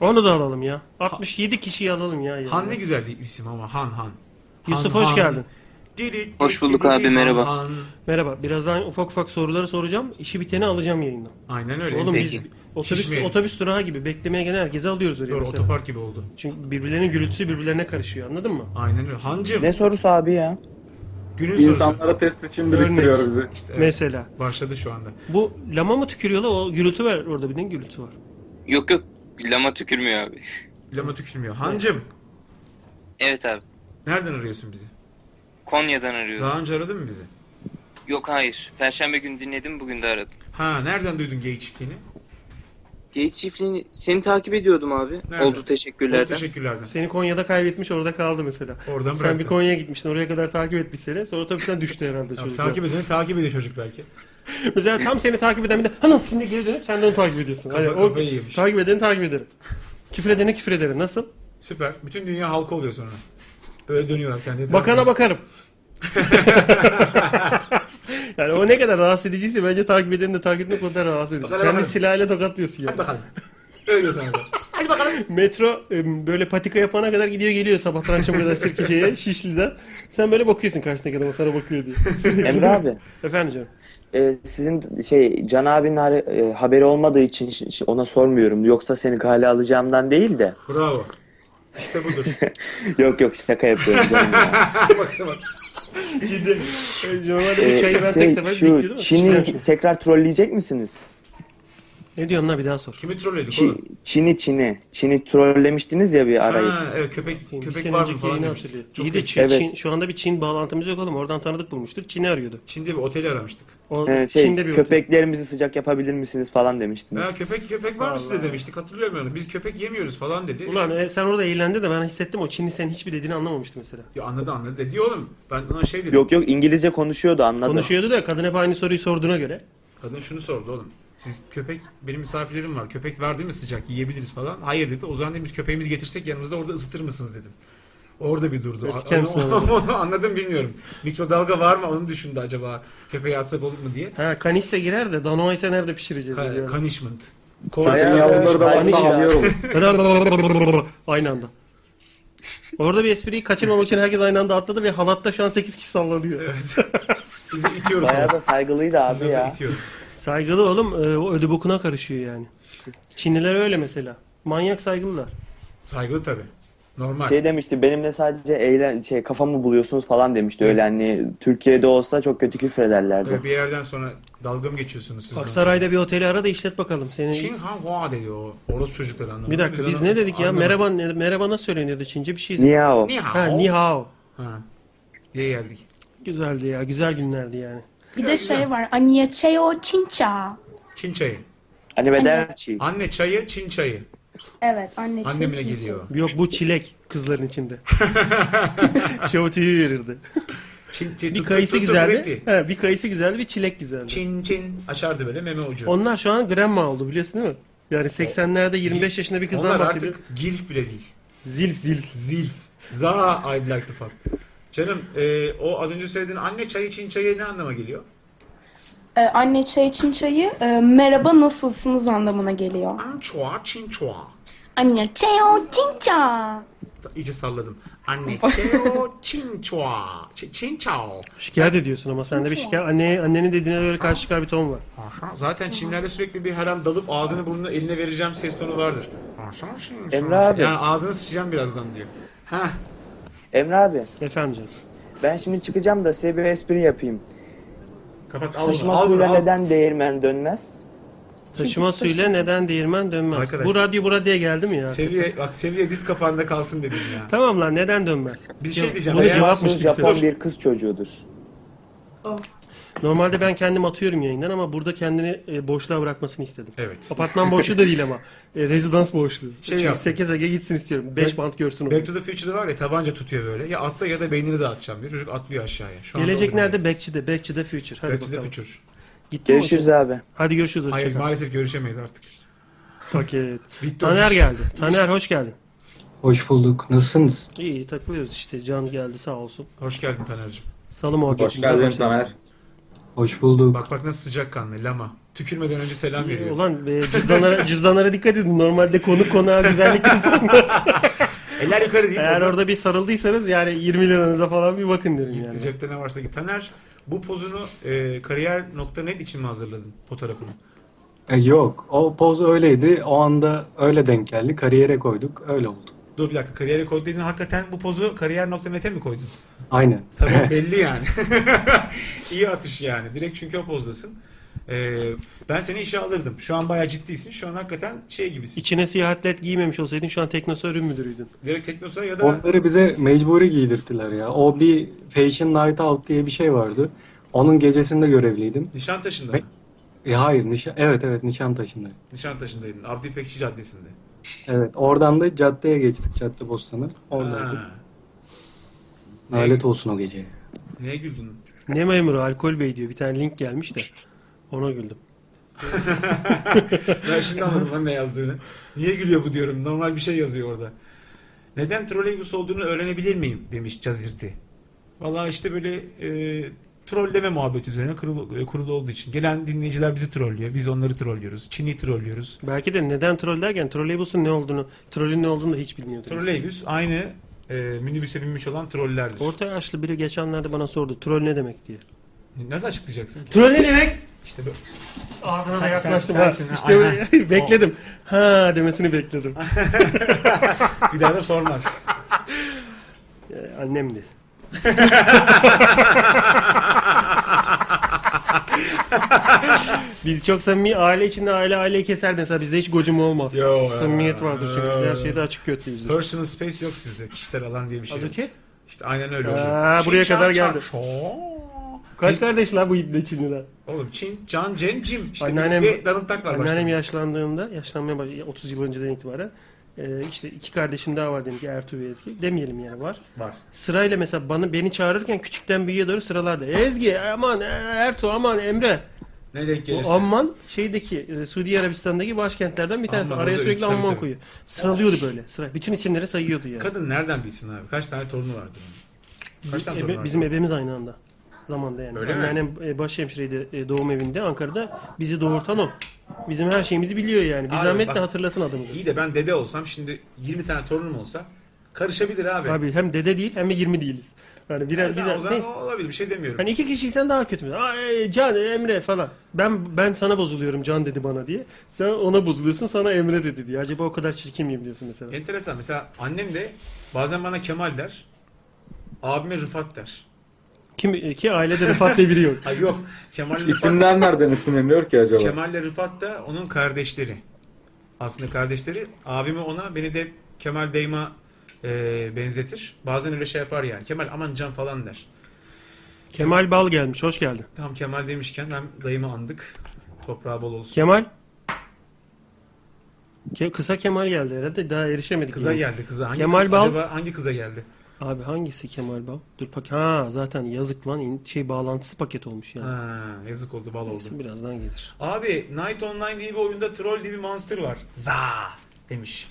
Onu da alalım ya. 67 kişiyi alalım ya. yani.
Han ne güzel bir isim ama Han Han.
Yusuf
Han,
hoş
Han.
geldin.
Diri,
Hoş
diri,
bulduk
diri,
abi,
Han,
merhaba.
Han.
Merhaba. Birazdan ufak ufak soruları soracağım. İşi biteni alacağım yayından.
Aynen öyle.
Oğlum
Peki.
biz otobüs,
Şişmeyelim.
otobüs durağı gibi beklemeye gelen herkesi alıyoruz oraya.
Doğru
mesela.
otopark gibi oldu.
Çünkü birbirlerinin gürültüsü birbirlerine karışıyor anladın mı?
Aynen öyle. Hancım
Ne sorusu abi ya?
günün sorusu.
İnsanlara test için biriktiriyor bizi.
İşte evet,
Mesela.
başladı şu anda.
Bu lama mı tükürüyorlar o gürültü var orada bir de gürültü var.
Yok yok lama tükürmüyor abi.
Lama tükürmüyor. Hancım
Evet abi.
nereden arıyorsun bizi?
Konya'dan arıyorum.
Daha önce aradın mı bizi?
Yok hayır. Perşembe günü dinledim bugün de aradım.
Ha nereden duydun gay çiftliğini?
Geyik çiftliğini seni takip ediyordum abi.
Nerede?
Oldu teşekkürlerden.
Çok teşekkürlerden.
Seni Konya'da kaybetmiş orada kaldı mesela.
Oradan
Sen
bıraktı.
bir Konya'ya gitmiştin oraya kadar takip etmiş seni. Sonra otobüsten düştü herhalde
Ya,
çocuk.
takip edeni takip ediyor çocuk belki.
Mesela tam seni takip eden bir de "Ana, şimdi geri dönüp sen de onu takip ediyorsun.
Kafa-
Hani o-
kafayı yemiş.
Takip edeni takip ederim. küfür edene küfür ederim. Nasıl?
Süper. Bütün dünya halka oluyor sonra. Böyle dönüyorlar kendi
Bakana bakarım. yani o ne kadar rahatsız ediciyse bence takip edeni de takip etmek o kadar rahatsız edici.
Bakana
Kendi
bakarım.
silahıyla tokatlıyorsun yani.
Hadi bakalım. Öyle sana da.
Metro em, böyle patika yapana kadar gidiyor geliyor sabahtan akşama kadar Sirkeci'ye, Şişli'den. Sen böyle bakıyorsun karşındaki adama sana bakıyor diye.
Emre abi.
Efendim canım.
e, sizin şey Can abinin hare- e, haberi olmadığı için ş- ş- ona sormuyorum. Yoksa seni kale alacağımdan değil de.
Bravo. İşte budur.
Yok yok şaka yapıyorum. canım ya.
bak bak.
Şimdi e, normalde
E,
bu çayı ben
şey,
tek seferde
şu
bekliyordum.
Çin'i tekrar trolleyecek misiniz?
Ne diyorsun lan bir daha sor.
Kimi trolledik
Çi-
oğlum?
Çin'i Çin'i. Çin'i trollemiştiniz ya bir arayı.
Ha, evet, köpek
Bir
köpek
sene
var mı
önceki
falan
yayını
demiş.
hatırlıyor.
Çok
İyi de
eski.
Çin,
Evet.
Çin- şu anda bir Çin bağlantımız yok oğlum. Oradan tanıdık bulmuştuk. Çin'i arıyordu.
Çin'de bir oteli aramıştık.
O,
Ee, şey,
Çin'de bir otel.
köpeklerimizi sıcak yapabilir misiniz falan demiştiniz.
Ya köpek köpek var mı size
Vallahi.
demiştik. Hatırlıyorum yani. Biz köpek yemiyoruz falan dedi.
Ulan e, sen orada eğlendin de ben hissettim o Çinli senin hiçbir dediğini anlamamıştı mesela.
Ya anladı anladı dedi oğlum. Ben ona şey dedim.
Yok yok İngilizce konuşuyordu anladım.
Konuşuyordu da kadın hep aynı soruyu sorduğuna göre.
Kadın şunu sordu oğlum. Siz köpek, benim misafirlerim var. Köpek var değil mi sıcak yiyebiliriz falan. Hayır dedi. O zaman demiş köpeğimizi getirsek yanımızda orada ısıtır mısınız dedim. Orada bir durdu.
Ya sikerim
Onu-
seni
onu anladım bilmiyorum. Mikrodalga var mı onu düşündü acaba. Köpeği atsak olur mu diye.
Ha kanişse girer de danoa ise nerede pişireceğiz?
Ka-
diyor.
Punishment.
Bütün yavruları da varsa
Aynı şey.
anlıyorum.
aynı anda. Orada bir espriyi kaçırmamak için herkes aynı anda atladı ve halatta şu an 8 kişi sallanıyor.
Evet. Biz de itiyoruz.
Bayağı
onu.
da saygılıydı abi
Onları da
ya.
itiyoruz.
Saygılı oğlum e, o ödü bokuna karışıyor yani. Çinliler öyle mesela. Manyak saygılılar.
Saygılı tabii. Normal.
Şey demişti benimle sadece eğlen şey kafamı buluyorsunuz falan demişti. Öyle hani Türkiye'de olsa çok kötü küfür ederlerdi.
Böyle bir yerden sonra dalga mı geçiyorsunuz siz?
Aksaray'da bir oteli ara da işlet bakalım. Seni
Çin Han Hua dedi o. Orası çocukları anlamadı.
Bir dakika biz
onu
ne dedik ya?
anlamadık.
Merhaba ne- merhaba nasıl söyleniyordu Çince bir şey.
Niye o?
Ni hao.
Ha, ni hao.
Ha. Diye geldik.
Güzeldi ya. Güzel günlerdi yani.
Bir de şey var. Aniye Cheo Çinça.
Çin çayı.
Hani Bederçi.
Anne çayı, Çin çayı.
Evet anne Çin
Annemle
Çin
geliyor.
Yok bu çilek kızların içinde. Show TV verirdi.
Çin, çin,
Bir
tut-
kayısı
tut- tut-
güzeldi.
üretti.
He, bir kayısı güzeldi, bir çilek güzeldi.
Çin çin aşardı böyle meme ucu.
Onlar şu an grandma oldu biliyorsun değil mi? Yani 80'lerde 25 yaşında bir kızdan
Onlar
bahsediyor.
artık gilf bile değil.
Zilf zilf.
Zilf. Za I'd like to fuck. Canım e, o az önce söylediğin anne çayı için çayı ne anlama geliyor?
Ee, anne çay için çayı e, merhaba nasılsınız anlamına geliyor.
Çua çin çua.
Anne çay o çinça.
Ta- İyice salladım. Anne çeo çin çua. Ç- Çin çao.
Şikayet ediyorsun ama sende bir şikayet. Anne, annenin dediğine göre karşı çıkar bir ton var.
Zaten Çinlerde sürekli bir her an dalıp ağzını burnunu eline vereceğim ses tonu vardır.
Emre abi.
Yani ağzını sıçacağım birazdan diyor. Ha.
Emre abi.
Efendim canım.
Ben şimdi çıkacağım da size bir espri yapayım.
Kapat al bunu
Sıçma
al bunu
suyla
al.
neden değirmen dönmez?
Taşıma
Çünkü
suyla neden değirmen dönmez.
Arkadaş-
Bu radyo bu radyoya geldi mi ya?
Seviye, bak seviye diz kapağında kalsın dedim ya.
Tamam lan neden dönmez?
Bir şey diyeceğim.
Bunu
Eğer-
cevapmış gibi
Japon
söylüyorum.
bir kız çocuğudur.
Normalde ben kendim atıyorum yayından ama burada kendini e, boşluğa bırakmasını istedim.
Evet.
Apartman boşluğu da değil ama. E, rezidans boşluğu.
Şey
Çünkü
yap.
8 Ege gitsin istiyorum. 5
Back-
bant görsün onu.
Back to the Future'da var ya tabanca tutuyor böyle. Ya atla ya da beynini de atacağım diyor. Çocuk atlıyor aşağıya. Şu anda
Gelecek
oradayız.
nerede? Backçi'de. Backçi'de Future. Hadi
Back to the
bakalım.
Future.
Gitti mi o şey?
Görüşürüz
senin?
abi.
Hadi görüşürüz.
Hayır
Hoşçakal.
maalesef görüşemeyiz artık.
Paket.
Victor
Taner
Hugo.
geldi. Taner hoş geldin.
Hoş bulduk. Nasılsınız?
İyi takılıyoruz işte. Can geldi sağ olsun.
Hoş geldin Taner'cim.
Salım orada.
Taner.
Hoş bulduk.
Bak bak nasıl sıcak kanlı lama. Tükürmeden önce selam veriyor.
Ulan e, cüzdanlara, cüzdanlara dikkat edin. Normalde konu konuğa güzellik göstermez.
Eller yukarı değil.
Eğer
Orada-
orada bir sarıldıysanız yani 20 liranıza falan bir bakın derim yani.
Cepte ne varsa git. Taner bu pozunu e, kariyer.net için mi hazırladın fotoğrafını?
E, yok. O poz öyleydi. O anda öyle denk geldi. Kariyere koyduk. Öyle oldu.
Dur bir dakika kariyere koydun dediğin hakikaten bu pozu kariyer.net'e mi koydun?
Aynen.
Tabii belli yani. İyi atış yani. Direkt çünkü o pozdasın. E, ben seni işe alırdım. Şu an bayağı ciddiysin. Şu an hakikaten şey gibisin.
İçine siyah atlet giymemiş olsaydın şu an Teknosa ürün müdürüydün.
Direkt Teknosa ya da
Onları bize mecburi giydirttiler ya. O bir Fashion Night Out diye bir şey vardı. Onun gecesinde görevliydim.
Nişantaşı'nda
Ve-
mı?
E, hayır. Nişan, evet evet Nişantaşı'nda.
Nişantaşı'ndaydın. Abdi Pekçi Caddesi'nde.
Evet. Oradan da caddeye geçtik. Cadde Bostan'a. Oradaydık.
Ha,
Nalet olsun o geceye.
neye güldün?
Ne memuru alkol bey diyor. Bir tane link gelmiş de. Ona güldüm.
Ben şimdi anladım lan ne yazdığını. Niye gülüyor bu diyorum. Normal bir şey yazıyor orada. Neden trolleybüs olduğunu öğrenebilir miyim demiş Cazirti. Valla işte böyle e, trolleme muhabbet üzerine kurulu, e, kurulu olduğu için. Gelen dinleyiciler bizi trollüyor. Biz onları trollüyoruz. Çin'i trollüyoruz.
Belki de neden troll derken trolleybüsün ne olduğunu, trollün ne olduğunu da hiç bilmiyordum.
Trolleybüs aynı e, minibüse binmiş olan trollerdir.
Orta yaşlı biri geçenlerde bana sordu. Troll ne demek diye.
Nasıl açıklayacaksın ki?
Troll ne demek?
İşte böyle.
Ağzına
Sen-
da yaklaştım.
sen-
ha.
sensin ha.
İşte
Aynen.
böyle- bekledim. Ha demesini bekledim.
Bir daha da sormaz.
Ee, Annemdi. Biz çok samimi aile içinde aile aileyi keser mesela bizde hiç gocum olmaz.
Yo,
Samimiyet
ya.
vardır çünkü biz her şeyde açık götlüyüzdür.
Personal space yok sizde. Kişisel alan diye bir şey. yok.
Aduket?
İşte aynen öyle oluyor.
Aa, buraya
Çin,
kadar
çan,
geldi.
çan, şoo.
Kaç kardeş lan bu ibne Çinliler?
Oğlum Çin, Can, Cen, Cim. İşte
Anneannem-
birlikte darıltak var
Anneannem
başta.
yaşlandığında, yaşlanmaya baş 30 yıl önceden itibaren e, işte iki kardeşim daha var dedim ki Ertuğ ve Ezgi. Demeyelim yani var.
Var.
Sırayla mesela bana beni çağırırken küçükten büyüğe doğru sıralarda. Ezgi, aman e, Ertuğ, aman Emre.
Ne denk
O
gelirse.
Amman şeydeki e, Suudi Arabistan'daki başkentlerden bir tanesi.
Amman,
Araya
orada
sürekli
üç, tabii,
Amman
tabii.
koyuyor. Sıralıyordu böyle. Sıra. Bütün isimleri sayıyordu yani.
Kadın nereden bilsin abi? Kaç tane torunu vardı? bunun? Kaç tane
Ebe-
torunu vardı?
e, bizim ebemiz aynı anda. Zamanda yani.
Öyle mi?
Anneannem e, başhemşireydi e, doğum evinde Ankara'da. Bizi doğurtan o. Bizim her şeyimizi biliyor yani. Bir
Abi
zahmet
bak-
de hatırlasın adımızı.
İyi de ben dede olsam şimdi 20 tane torunum olsa karışabilir abi.
Abi hem dede değil hem de 20 değiliz. Yani
Ya
biraz
da o
biraz
zaman
neyse.
olabilir bir şey demiyorum.
Hani iki kişiysen daha kötü. mü? Aa, e, Can, Emre falan. Ben ben sana bozuluyorum Can dedi bana diye. Sen ona bozuluyorsun sana Emre dedi diye. Acaba o kadar çirkin miyim diyorsun mesela.
Enteresan mesela annem de bazen bana Kemal der. Abime Rıfat der.
Kim e, ki ailede Rıfat diye biri yok.
Hayır yok. Kemal Rıfat,
İsimler nereden isimleniyor ki acaba?
Kemal ile Rıfat da onun kardeşleri. Aslında kardeşleri. Abimi ona beni de hep Kemal Deyma e, benzetir. Bazen öyle şey yapar yani. Kemal aman can falan der.
Kemal Bal gelmiş. Hoş geldin.
Tam Kemal demişken hem dayımı andık. Toprağı bol olsun.
Kemal Ke- kısa Kemal geldi herhalde. Daha erişemedik.
Kıza
yine.
geldi kıza. Hangi
Kemal Bal-
Acaba hangi kıza geldi?
Abi hangisi Kemal Bal? Dur pak ha zaten yazık lan in- şey bağlantısı paket olmuş yani.
Ha, yazık oldu bal oldu.
Neyse, birazdan gelir.
Abi Night Online diye bir oyunda troll diye bir monster var. Za demiş.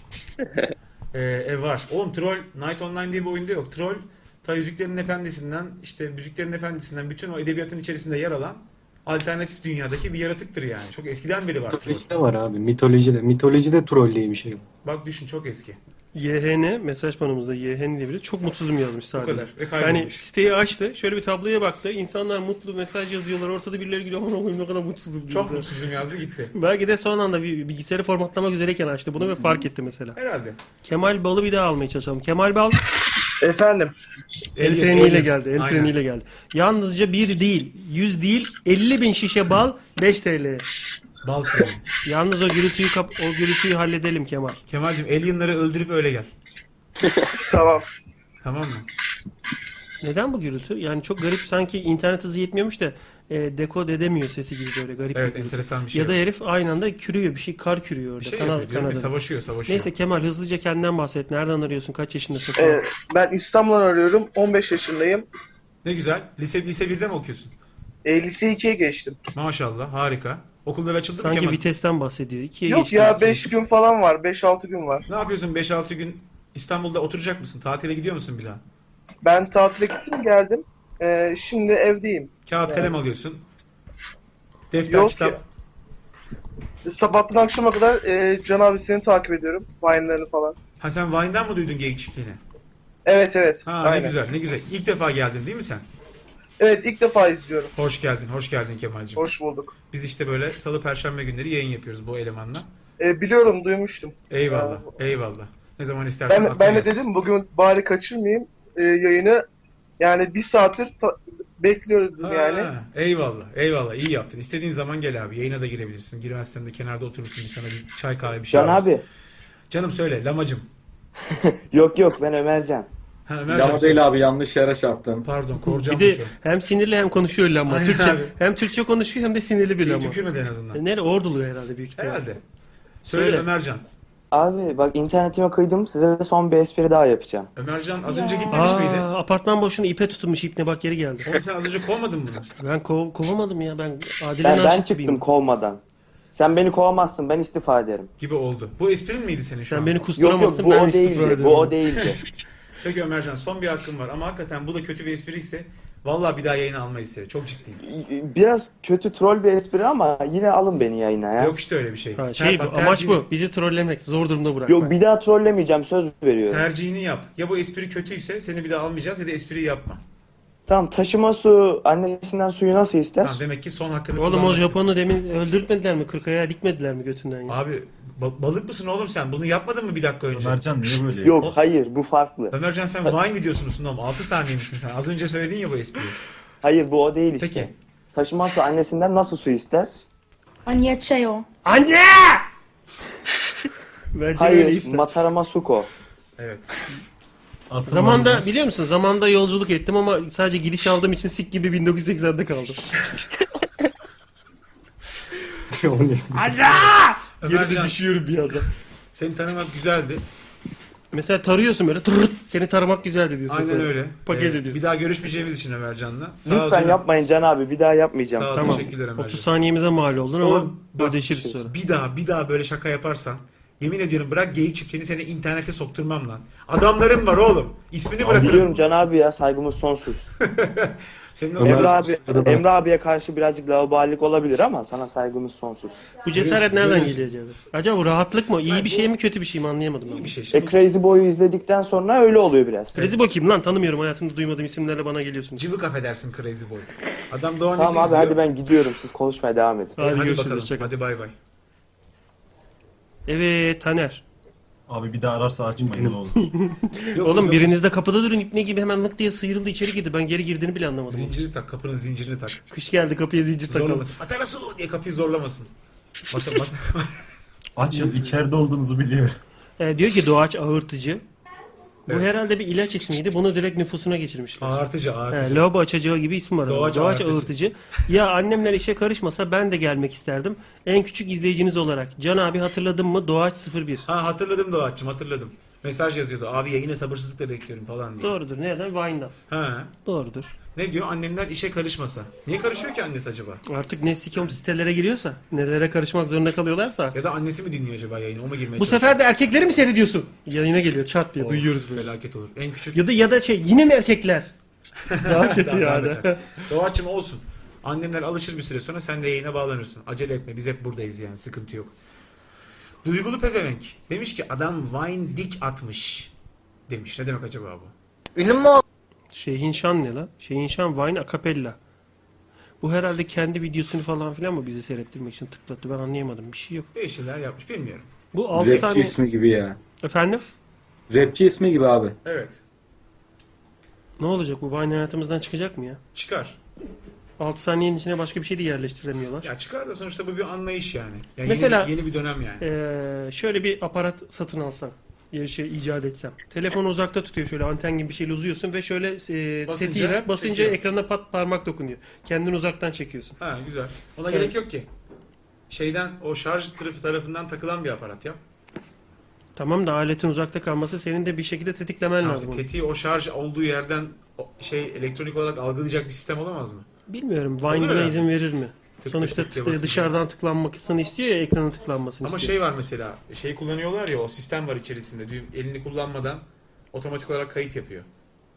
ee, e var. Oğlum troll Night Online diye bir oyunda yok. Troll Ta Yüzüklerin Efendisi'nden işte Müziklerin Efendisi'nden bütün o edebiyatın içerisinde yer alan alternatif dünyadaki bir yaratıktır yani. Çok eskiden beri var.
Mitolojide var abi. Mitolojide. Mitolojide troll diye bir şey.
Bak düşün çok eski.
YHN mesaj panomuzda YHN diye biri çok mutsuzum yazmış sadece.
kadar. Ve kaybolmuş.
Yani siteyi açtı. Şöyle bir tabloya baktı. İnsanlar mutlu mesaj yazıyorlar. Ortada birileri gülüyor. Aman Allah'ım ne kadar mutsuzum. diyor.
Çok mutsuzum yazdı gitti.
Belki de son anda bir bilgisayarı formatlamak üzereyken açtı bunu ve fark etti mesela.
Herhalde.
Kemal Bal'ı bir daha almaya çalışalım. Kemal Bal
Efendim.
el
Elim,
freniyle
elim.
geldi. El
Aynen.
freniyle geldi. Yalnızca bir değil, yüz değil, 50 bin şişe bal 5 TL.
Bal freni.
Yalnız o gürültüyü kap o gürültüyü halledelim Kemal.
Kemal'cim alienları öldürüp öyle gel.
tamam.
Tamam mı?
Neden bu gürültü? Yani çok garip sanki internet hızı yetmiyormuş da e, dekod edemiyor sesi gibi böyle garip.
Evet,
gürültü.
enteresan bir şey
Ya da
yok.
herif aynı anda kürüyor bir şey kar kürüyor orada.
şey
kanal-
yapıyor, diyorum ya,
kanadını.
savaşıyor, savaşıyor.
Neyse Kemal hızlıca kendinden bahset. Nereden arıyorsun? Kaç yaşındasın? falan.
Ee, ben İstanbul'dan arıyorum. 15 yaşındayım.
Ne güzel. Lise lise 1'de mi okuyorsun?
E, lise 2'ye geçtim.
Maşallah harika. Okullar açıldı mı
Sanki
Kemal?
vitesten bahsediyor. İkiye
Yok
geçti.
ya 5 gün falan var. 5-6 gün var.
Ne yapıyorsun 5-6 gün İstanbul'da oturacak mısın? Tatile gidiyor musun bir daha?
Ben tatile gittim geldim. Ee, şimdi evdeyim.
Kağıt kalem alıyorsun. Defter,
Yok
kitap.
Sabahtan akşama kadar e, Can abi seni takip ediyorum. Vine'larını falan.
Ha sen Vine'den mı duydun geyik çiftliğini?
Evet evet.
Ha ne güzel ne güzel. İlk defa geldin değil mi sen?
Evet ilk defa izliyorum.
Hoş geldin, hoş geldin Kemal'cim.
Hoş bulduk.
Biz işte böyle salı perşembe günleri yayın yapıyoruz bu elemanla.
E, biliyorum duymuştum.
Eyvallah, eyvallah. Ne zaman istersen
Ben,
aklına
ben de
gel.
dedim bugün bari kaçırmayayım e, yayını. Yani bir saattir ta- bekliyordum
Ha,
yani.
Eyvallah, eyvallah. iyi yaptın. İstediğin zaman gel abi. Yayına da girebilirsin. Girmezsen de kenarda oturursun. Bir sana bir çay kahve bir şey
Can
alırız.
abi.
Canım söyle, lamacım.
Yok yok ben Ömercan.
Ha,
Lama değil abi yanlış yere çarptın.
Pardon
Bir de
şey.
hem sinirli hem konuşuyor lamba.
Aynen
Türkçe,
abi.
hem Türkçe konuşuyor hem de sinirli bir
İyi
lamba.
tükürmedi en
azından.
E, Nere? Ordulu herhalde büyük ihtimalle.
Herhalde.
Söyle
Ömercan.
Abi bak internetime kıydım size de son bir espri daha yapacağım.
Ömercan az önce gitmemiş
Aa,
miydi?
apartman boşuna ipe tutulmuş ipne bak geri geldi.
Oğlum sen az önce kovmadın mı?
Ben kov- kovamadım ya ben Adile
Ben, ben
Naşit
çıktım
gibiyim.
kovmadan. Sen beni kovamazsın ben istifa ederim.
Gibi oldu. Bu esprin miydi senin şu
Sen
an?
beni kusturamazsın,
Yok yok bu
ben
o
istifa
değildi.
ederim.
Bu o değildi.
Peki Ömercan son bir hakkın var ama hakikaten bu da kötü bir espri ise vallahi bir daha yayına almayız seni. Çok ciddiyim.
Biraz kötü troll bir espri ama yine alın beni yayına ya.
Yok işte öyle bir şey.
Ha, şey bu,
Ter- bak,
amaç
tercih-
bu. Bizi trollemek. Zor durumda bırakmak.
Yok bir daha trollemeyeceğim söz veriyorum.
Tercihini yap. Ya bu espri kötüyse seni bir daha almayacağız ya da espriyi yapma.
Tamam taşıma su annesinden suyu nasıl ister?
Tamam demek ki son hakkını
Oğlum o
kullanmak-
Japon'u demin öldürtmediler mi? Kırkaya dikmediler mi götünden ya?
Abi ba- balık mısın oğlum sen? Bunu yapmadın mı bir dakika önce? Ömercan niye böyle?
Yok hayır bu farklı.
Ömercan sen Vine videosu musun oğlum? 6 saniye misin sen? Az önce söyledin ya bu espriyi.
Hayır bu o değil işte.
Peki.
Taşıma su annesinden nasıl su ister?
Anya Cheo.
Anne! Bence
hayır
öyle ister.
matarama suko.
Evet.
Zamanda biliyor musun? Zamanda yolculuk ettim ama sadece gidiş aldığım için sik gibi 1980'de kaldım. Allah! Geride düşüyorum bir anda.
Seni tanımak güzeldi.
Mesela tarıyorsun böyle tırırt, seni taramak güzeldi diyorsun.
Aynen
sonra.
öyle.
Paket
Ee,
ediyorsun.
Bir daha görüşmeyeceğimiz için Ömercan'la. Sağ ol
Lütfen
canım.
yapmayın Can abi bir daha yapmayacağım.
Sağ ol,
Tamam.
teşekkürler Ömerciğim.
30 saniyemize mal oldun ama
Oğlum, bak,
şey,
şey- Bir daha bir daha böyle şaka yaparsan yemin ediyorum bırak geyik çiftliğini seni internete sokturmam lan. Adamlarım var oğlum. İsmini
Abi
bırakırım.
Biliyorum Can abi ya saygımız sonsuz.
Senin o-
Emre abi Emre abiye karşı birazcık laubalilik olabilir ama sana saygımız sonsuz.
bu cesaret nereden geliyor acaba? Acaba bu rahatlık mı? İyi bir şey mi kötü bir şey mi anlayamadım. İyi
bir şey.
E Crazy Boy'u izledikten sonra öyle oluyor biraz.
Krezi bakayım lan tanımıyorum hayatımda duymadığım isimlerle bana geliyorsun.
Cıvık affedersin Crazy Boy. Adam Doğan
Tamam abi hadi ben gidiyorum siz konuşmaya devam edin.
Hadi, görüşürüz.
bakalım.
hoşça kal.
Hadi bay bay.
Evet Taner.
Abi bir daha ararsa açmayın ne olur.
Oğlum biriniz de kapıda durun ipne gibi hemen lık diye sıyrıldı içeri girdi. Ben geri girdiğini bile anlamadım.
Zinciri tak kapının zincirini tak.
Kış geldi kapıya zincir takalım.
Zorlamasın. Atarasu diye kapıyı zorlamasın. Bata, bata.
Açın içeride olduğunuzu biliyorum.
E, diyor ki doğaç ağırtıcı. Bu herhalde bir ilaç ismiydi. Bunu direkt nüfusuna geçirmişler.
Ağırtıcı, ağırtıcı.
He, lavabo açacağı gibi isim var.
Doğaç
Doğaç,
ağırtıcı.
ağırtıcı. ya annemler işe karışmasa ben de gelmek isterdim. En küçük izleyiciniz olarak. Can abi hatırladın mı? Doğaç 01.
Ha hatırladım Doğaç'cığım hatırladım. Mesaj yazıyordu. Abi yayını sabırsızlıkla bekliyorum falan diye.
Doğrudur. Neden? Vine'dan.
Ha.
Doğrudur.
Ne diyor? Annemler işe karışmasa. Niye karışıyor ki annesi acaba?
Artık ne sikom sitelere giriyorsa, nelere karışmak zorunda kalıyorlarsa artık.
Ya da annesi mi dinliyor acaba yayını? O mu girmeye
Bu
çalışıyor?
sefer de erkekleri mi seyrediyorsun? Yayına geliyor çat diye
Of,
duyuyoruz böyle.
Felaket olur. En küçük
Ya da ya da şey yine mi erkekler? Daha kötü yani.
beter. Doğaçım olsun. Annemler alışır bir süre sonra sen de yayına bağlanırsın. Acele etme biz hep buradayız yani sıkıntı yok. Duygulu pezevenk. Demiş ki adam wine dik atmış. Demiş. Ne demek acaba bu?
Ünlü mü oldu? Şeyhin Şan ne la? Şeyhin Şan Vine Acapella. Bu herhalde kendi videosunu falan filan mı bize seyrettirmek için tıklattı ben anlayamadım. Bir şey yok.
Bir şeyler yapmış bilmiyorum.
Bu 6
Rapçi
saniye...
ismi gibi ya.
Efendim?
Rapçi ismi gibi abi.
Evet.
Ne olacak bu Vine hayatımızdan çıkacak mı ya?
Çıkar.
6 saniyenin içine başka bir şey de yerleştiremiyorlar.
Ya çıkar da sonuçta bu bir anlayış yani. yani
Mesela-
yeni, yeni bir dönem yani.
Ee, şöyle bir aparat satın alsam. Ya şey icat etsem. Telefonu uzakta tutuyor şöyle anten gibi bir şeyle uzuyorsun ve şöyle e,
Basınca
tetiğiyle basınca
çekiyor.
ekrana pat parmak dokunuyor. Kendini uzaktan çekiyorsun.
Ha güzel. Ona
Evet.
gerek yok ki. Şeyden o şarj tarafı tarafından takılan bir aparat yap.
Tamam da aletin uzakta kalması senin de bir şekilde tetiklemen lazım.
Artık
onu.
tetiği o şarj olduğu yerden o- şey elektronik olarak algılayacak bir sistem olamaz mı?
Bilmiyorum
Olur
Vine buna
herhalde.
izin verir mi?
Tık
Sonuçta
tık tık diye
tık-
basınca.
dışarıdan tıklanmasını istiyor ya ekrana tıklanmasını
Ama
istiyor.
şey var mesela, şey kullanıyorlar ya o sistem var içerisinde. Düğüm elini kullanmadan otomatik olarak kayıt yapıyor.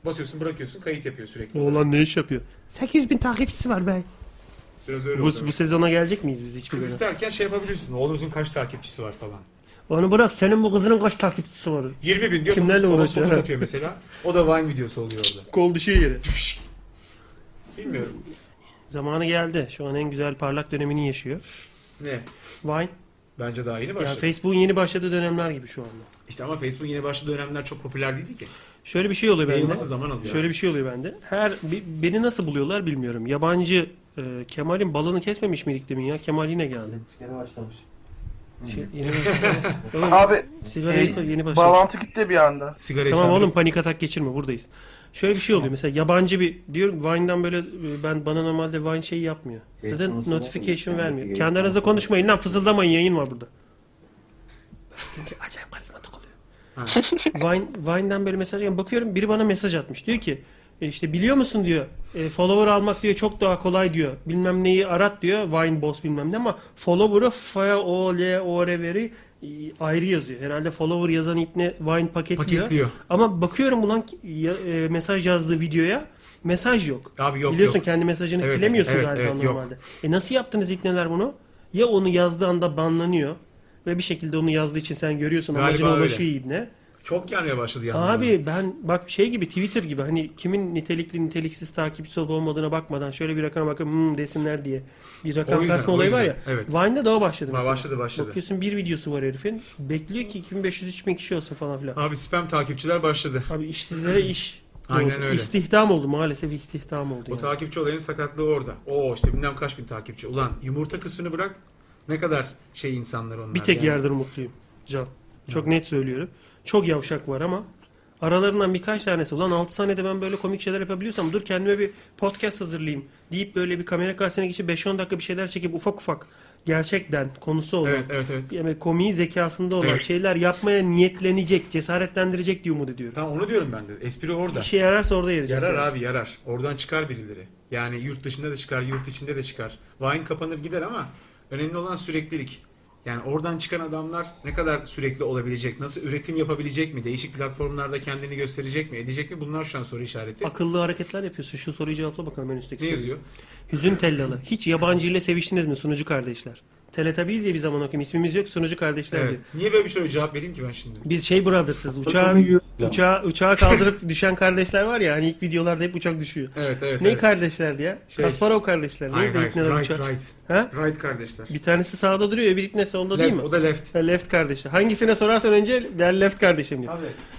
Basıyorsun, bırakıyorsun, kayıt yapıyor sürekli.
Oğlan ne iş yapıyor?
800 bin takipçisi var be.
Biraz öyle
Bu,
oluyor.
bu sezona gelecek miyiz biz hiçbir
Kız
bölüm?
isterken şey yapabilirsin. Oğlumuzun kaç takipçisi var falan.
Onu bırak senin bu kızının kaç takipçisi var?
20 bin diyor.
Kimlerle
babası
uğraşıyor?
tokat atıyor mesela. O da Vine videosu oluyor orada.
Kol düşüyor yere.
Bilmiyorum.
Zamanı geldi. Şu an en güzel parlak dönemini yaşıyor.
Ne?
Vine.
Bence daha yeni
Yani
başladı.
Facebook'un yeni başladığı dönemler gibi şu anda.
İşte ama Facebook yine başladığı dönemler çok popüler değildi ki.
Şöyle bir şey oluyor bende.
Yayılması zaman alıyor.
Şöyle bir şey oluyor bende. Her bi- beni nasıl buluyorlar bilmiyorum. Yabancı e, Kemal'in balını kesmemiş miydik demin ya? Kemal yine geldi.
Yeni başlamış.
Şey,
Hı.
yeni
Abi
sigarayı koy,
şey,
yeni başlamış.
bağlantı gitti bir anda.
tamam oğlum panik atak geçirme buradayız. Şöyle bir şey oluyor mesela yabancı bir diyorum Vine'dan böyle e, ben bana normalde Vine şeyi yapmıyor.
Yayın
Neden
konusu nasıl?
notification
Yani
vermiyor?
yayın
Kendi aranızda konuşmayın lan fısıldamayın yayın var burada. acayip karizmatik oluyor. Vine, Vine'den böyle mesaj geliyor. Bakıyorum biri bana mesaj atmış. Diyor ki e, işte biliyor musun diyor e, follower almak diyor çok daha kolay diyor. Bilmem neyi arat diyor. Vine boss bilmem ne ama follower'ı f o l o r veri e, ayrı yazıyor. Herhalde follower yazan ipne Vine paketliyor.
Paketliyor.
Ama bakıyorum ulan ki- ya- e, mesaj yazdığı videoya mesaj yok.
Abi yok
Biliyorsun
yok.
kendi mesajını
Evet,
silemiyorsun
evet,
galiba
evet, yok.
normalde. E nasıl yaptınız ipneler bunu? Ya onu yazdığı anda banlanıyor ve bir şekilde onu yazdığı için sen görüyorsun
Galiba
amacına
öyle.
ulaşıyor ibne.
Çok gelmeye başladı yalnız.
Abi ben bak şey gibi Twitter gibi hani kimin nitelikli niteliksiz takipçisi olup olmadığına bakmadan şöyle bir rakama bakıp hmm desinler diye bir rakam
O yüzden,
kasma
o
olayı var ya.
yüzden, evet.
Vine'da da o başladı.
Ha,
mesela.
başladı, başladı.
Bakıyorsun bir videosu var herifin. Bekliyor ki 2500-3000 kişi olsun falan filan.
Abi spam takipçiler başladı.
Abi işsizlere iş.
Aynen
oldu.
öyle.
İstihdam oldu maalesef istihdam oldu.
O
yani.
takipçi olayının sakatlığı orada. Oo işte bilmem kaç bin takipçi. Ulan yumurta kısmını bırak. Ne kadar şey insanlar onlar.
Bir tek
yani.
yerden mutluyum Can. Çok net söylüyorum. Çok yavşak var ama aralarından birkaç tanesi ulan 6 saniyede ben böyle komik şeyler yapabiliyorsam dur kendime bir podcast hazırlayayım deyip böyle bir kamera karşısına geçip 5-10 dakika bir şeyler çekip ufak ufak gerçekten konusu olan
Evet, evet, evet.
yani komiği zekasında olan
Evet.
şeyler yapmaya niyetlenecek, cesaretlendirecek diye umut ediyorum.
Tamam onu diyorum ben de. Espri orada.
İşe yararsa orada yarayacak.
Yarar
yani.
abi yarar. Oradan çıkar birileri. Yani yurt dışında da çıkar, yurt içinde de çıkar. Vine kapanır gider ama önemli olan süreklilik. Yani oradan çıkan adamlar ne kadar sürekli olabilecek, nasıl üretim yapabilecek mi, değişik platformlarda kendini gösterecek mi, edecek mi bunlar şu an soru işareti.
Akıllı hareketler yapıyorsun. Şu soruyu cevapla bakalım en üstteki
Ne
soruyu.
yazıyor?
Hüzün tellalı. Hiç yabancı ile seviştiniz mi sunucu kardeşler? Teletabiyiz ya bir zaman okuyayım. İsmimiz yok sunucu kardeşler
Evet.
diyor.
Niye böyle bir soruya cevap vereyim ki ben şimdi?
Biz şey brothers'ız. Uçağı,
Takımı yiyorlar.
uçağı, uçağı kaldırıp düşen kardeşler var ya hani ilk videolarda hep uçak düşüyor.
Evet evet.
ne
evet.
kardeşlerdi ya?
Şey-
Kasparov kardeşler.
Hayır,
Neydi
hayır.
ilk neden
Right,
uçağı?
right.
Ha?
Right kardeşler.
Bir tanesi sağda duruyor öbür ikne solda
Left,
değil mi?
o da left.
Ha, left kardeşler. Hangisine sorarsan önce ben left kardeşim diyor.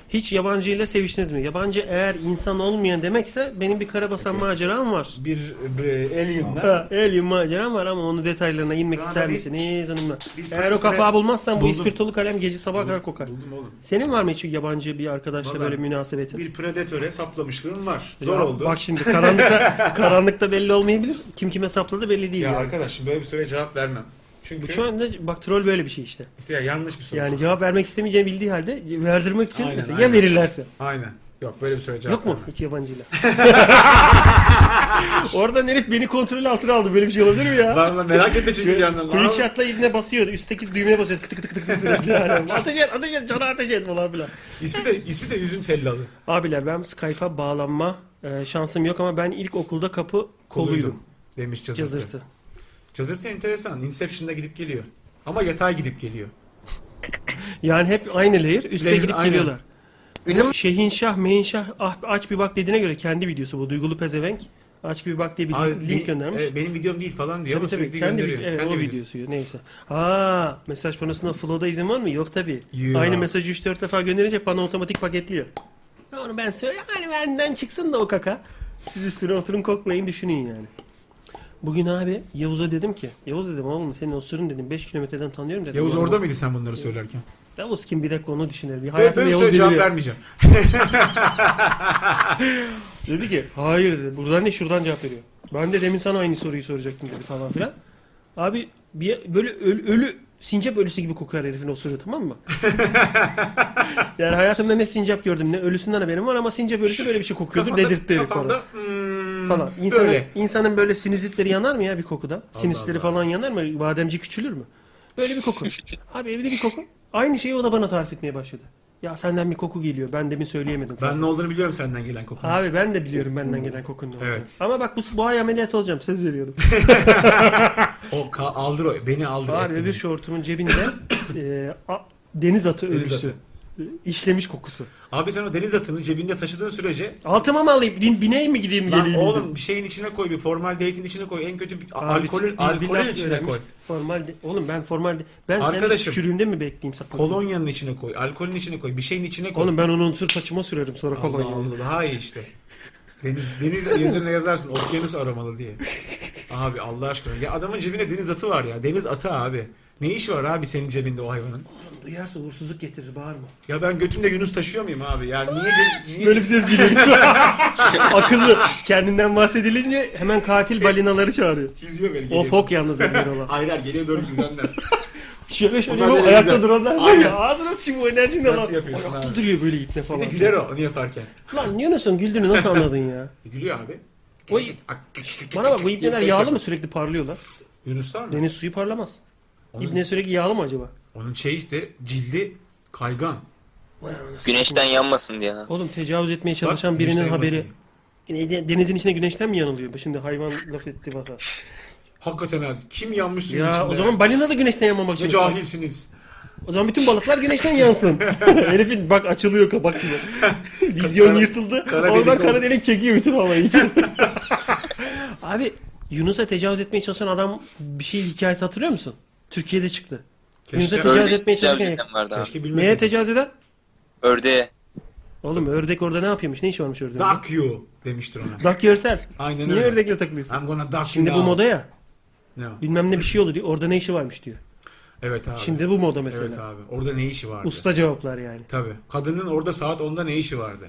Hiç yabancı ile seviştiniz mi? Yabancı eğer insan olmayan demekse benim bir karabasan maceram var.
Bir, bir alien'la.
Ha, alien maceram var ama onun detaylarına inmek
Şu anda
ister
bir-
misin? Hiç onunla.
bir-
Eğer o kapağı bulmazsan bu
Buldum.
ispirtolu kalem gece sabaha kadar kokar.
Buldum oğlum.
Senin var mı hiç yabancı bir arkadaşla
Vallahi
böyle münasebetin?
Bir predatöre saplamışlığım var. Zor
Ya,
oldu.
Bak şimdi karanlıkta karanlıkta belli olmayabilir. Kim kime sapladı belli değil.
Ya
yani.
arkadaş şimdi böyle bir soruya cevap vermem. Çünkü
Bu şu anda bak troll böyle bir şey işte.
İşte ya yanlış bir soru.
Yani cevap vermek istemeyeceğini bildiği halde verdirmek için
Aynen,
mesela
aynen.
ya verirlerse.
Aynen. Yok böyle bir soru cevap
Yok mu hiç yabancıyla? Oradan herif beni kontrol altına aldı. Böyle bir şey olabilir mi ya?
Ben- ben merak ettim çünkü bir yandan.
Quick shot'la ibne basıyordu. Üstteki düğmeye basıyordu. Tık tık tık tık tık sürekli yani. Ateş et, ateş et, cana ateş et falan filan.
İsmi de, ismi de üzüm tellalı.
Abiler ben Skype'a bağlanma e, şansım yok ama ben ilk okulda kapı koluydum.
Demiş Cazırtı.
Cazırtı.
Cazırtı enteresan. Inception'da gidip geliyor. Ama yatağa gidip geliyor.
Yani hep aynı layer üste
Layer,
gidip
aynen.
geliyorlar. Bu Şehinşah, Mehinşah, ah, aç bir bak dediğine göre kendi videosu bu. Duygulu pezevenk. Aç bir bak diye bir
Abi,
link
benim-
göndermiş.
e, benim videom değil falan diyor ama sürekli
kendi
gönderiyor.
video- evet,
Kendi
o
videosu.
videosu neyse. Aa, mesaj panosunda flow'da izin var mı? Yok tabi.
Yuh.
Aynı mesajı 3-4 defa gönderince pano otomatik paketliyor. Ya Onu ben söyle hani benden çıksın da o kaka. Siz üstüne oturun koklayın düşünün yani. Bugün abi Yavuz'a dedim ki Yavuz dedim oğlum senin o sırrın dedim 5 kilometreden tanıyorum dedim.
Yavuz
Yani
orada
bu-
mıydı sen bunları söylerken?
Yavuz kim bir dakika onu düşünelim. Bir
Ben,
hayatımda
ben
Yavuz
Yavuz cevap
biri-
vermeyeceğim.
dedi ki hayır dedi. Buradan ne şuradan cevap veriyor. Ben de demin sana aynı soruyu soracaktım dedi falan filan. Abi bir, böyle ölü, ölü sincap ölüsü gibi kokar herifin osuruyor tamam mı? yani hayatımda ne sincap gördüm ne ölüsünden haberim var ama sincap ölüsü böyle bir şey kokuyordur dedirtti herif bana. Falan. İnsanın,
böyle.
insanın böyle sinüzitleri yanar mı ya bir kokuda? Sinüsleri falan yanar mı? Bademci küçülür mü? Böyle bir koku. Abi evde bir koku. Aynı şeyi o da bana tarif etmeye başladı. Ya senden bir koku geliyor. Ben demin söyleyemedim. falan.
Ben ne olduğunu biliyorum senden gelen kokunun.
Abi ben de biliyorum benden gelen kokunun olduğunu.
Evet.
Ama bak bu, bu ay ameliyat olacağım söz veriyorum.
O ka- aldır o. Beni aldır.
Abi öbür şortumun cebinde e, a- deniz atı
Deniz
ölüsü. E, İşlemiş kokusu.
Abi sen o deniz atını cebinde taşıdığın sürece
Altıma mı alayım? Bin, bineyim mi gideyim
Lan
geleyim?
oğlum bir şeyin içine koy bir formaldehitin içine koy en kötü bir
Abi,
alkolün,
bir- bir
alkolün
laf
içine
öğrenmiş.
koy.
Formal de- oğlum ben formal de- ben
Arkadaşım.
Arkadaşım, tükürüğümde mi bekleyeyim sakın?
Kolonyanın içine koy, alkolün içine koy, bir şeyin içine koy.
Oğlum ben onu unutur saçıma sürerim sonra
Allah
kolonya.
Allah daha iyi işte. Deniz deniz üzerine yazarsın okyanus aramalı diye. Abi Allah aşkına ya adamın cebine deniz atı var ya. Deniz atı abi. Ne iş var abi senin cebinde o hayvanın?
Duyarsa uğursuzluk getirir bağırma.
Ya ben götümde Yunus taşıyor muyum abi? Yani niye, niye
Böyle bir şey- ses geliyor. Akıllı. Kendinden bahsedilince hemen katil balinaları çağırıyor.
çiziyor böyle
O
geliyor.
fok yalnız emir olan.
Hayır hayır geriye doğru güzenler.
Şöyle şöyle
Bunlar
yapıp
böyle
ayakta
güzel.
duranlar var
Aynen.
ya. Ağzına sıçayım bu enerjini
Nasıl
alan.
yapıyorsun
Ayakta
abi?
duruyor böyle ipne falan.
Bir de güler o onu yaparken. E,
Lan Yunus'un güldüğünü nasıl anladın ya?
Gülüyor abi.
O i- Bana bak bu ipneler yağlı mı sürekli parlıyorlar?
Yunuslar şey mı?
Deniz suyu parlamaz.
Onun-
İpne sürekli yağlı mı acaba?
Onun şey işte cildi kaygan.
Güneşten yanmasın diye. ha.
Oğlum tecavüz etmeye çalışan
Bak,
birinin
güneşten
haberi. Neydi? Denizin içine güneşten mi yanılıyor? Bu Şimdi hayvan laf etti bana.
Hakikaten abi kim yanmış suyun
Ya
içinde?
o zaman balina da güneşten yanmamak
ne
için.
cahilsiniz.
O zaman bütün balıklar güneşten yansın. Herifin bak açılıyor kabak gibi. Vizyon
Kara-
yırtıldı.
kara delik
Oradan
oldu.
kara delik çekiyor bütün havayı için. Abi Yunus'a tecavüz etmeye çalışan adam bir şey hikayesi hatırlıyor musun? Türkiye'de çıktı. Yunus'a tecavüz
Ördeğe
etmeye
tecavüz
çalışan.
eden vardı abi.
Neye tecavüz eden?
Ördeğe.
Oğlum ördek orada ne yapıyormuş? Ne işi varmış ördeğin?
Duck you demiştir ona.
Dak görsel.
Aynen
Niye
öyle.
ördekle takılıyorsun?
I'm gonna duck
Şimdi
you
bu
now.
moda ya.
Ne o?
Bilmem ne bir şey oldu diyor. Orada ne işi varmış diyor.
Evet abi.
Şimdi bu moda mesela.
Evet abi. Orada ne işi vardı?
Usta cevaplar yani.
Tabii. Kadının orada saat 10'da ne işi vardı?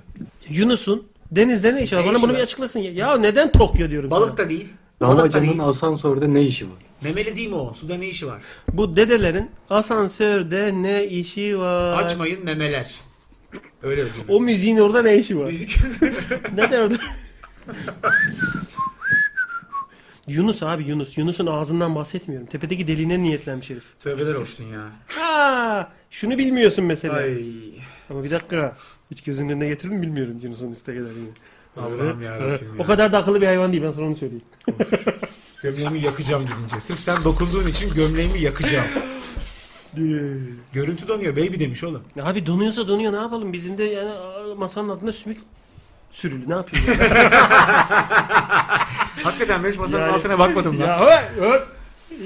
Yunus'un denizde ne işi var?
Ne
Bana
işi
bunu
var?
bir açıklasın ya. Ya neden Tokyo diyorum sana.
Balık da değil. Balık da
Damacanın
değil.
asansörde ne işi var?
Memeli değil mi o? Suda ne işi var?
Bu dedelerin asansörde ne işi var?
Açmayın memeler. Öyle bir cümle.
O müziğin orada ne işi var? Neden orada? Yunus abi Yunus. Yunus'un ağzından bahsetmiyorum. Tepedeki deliğine niyetlenmiş herif.
Tövbeler olsun ya.
Aa, şunu bilmiyorsun mesela.
Ay.
Ama bir dakika. Hiç gözünün önüne getirdin mi bilmiyorum Yunus'un üste kadar yine.
Allah'ım yarabbim ya.
O kadar da akıllı bir hayvan değil ben sana onu söyleyeyim.
Gömleğimi yakacağım gidince. Sırf sen dokunduğun için gömleğimi yakacağım. Ee. Görüntü donuyor baby demiş oğlum.
Ya Abi donuyorsa donuyor ne yapalım? Bizim de yani aa, masanın altında sümük sürülü ne yapayım? ya?
Hakikaten ben hiç masanın
Yani-
altına bakmadım
Ya
lan.
hop, hop.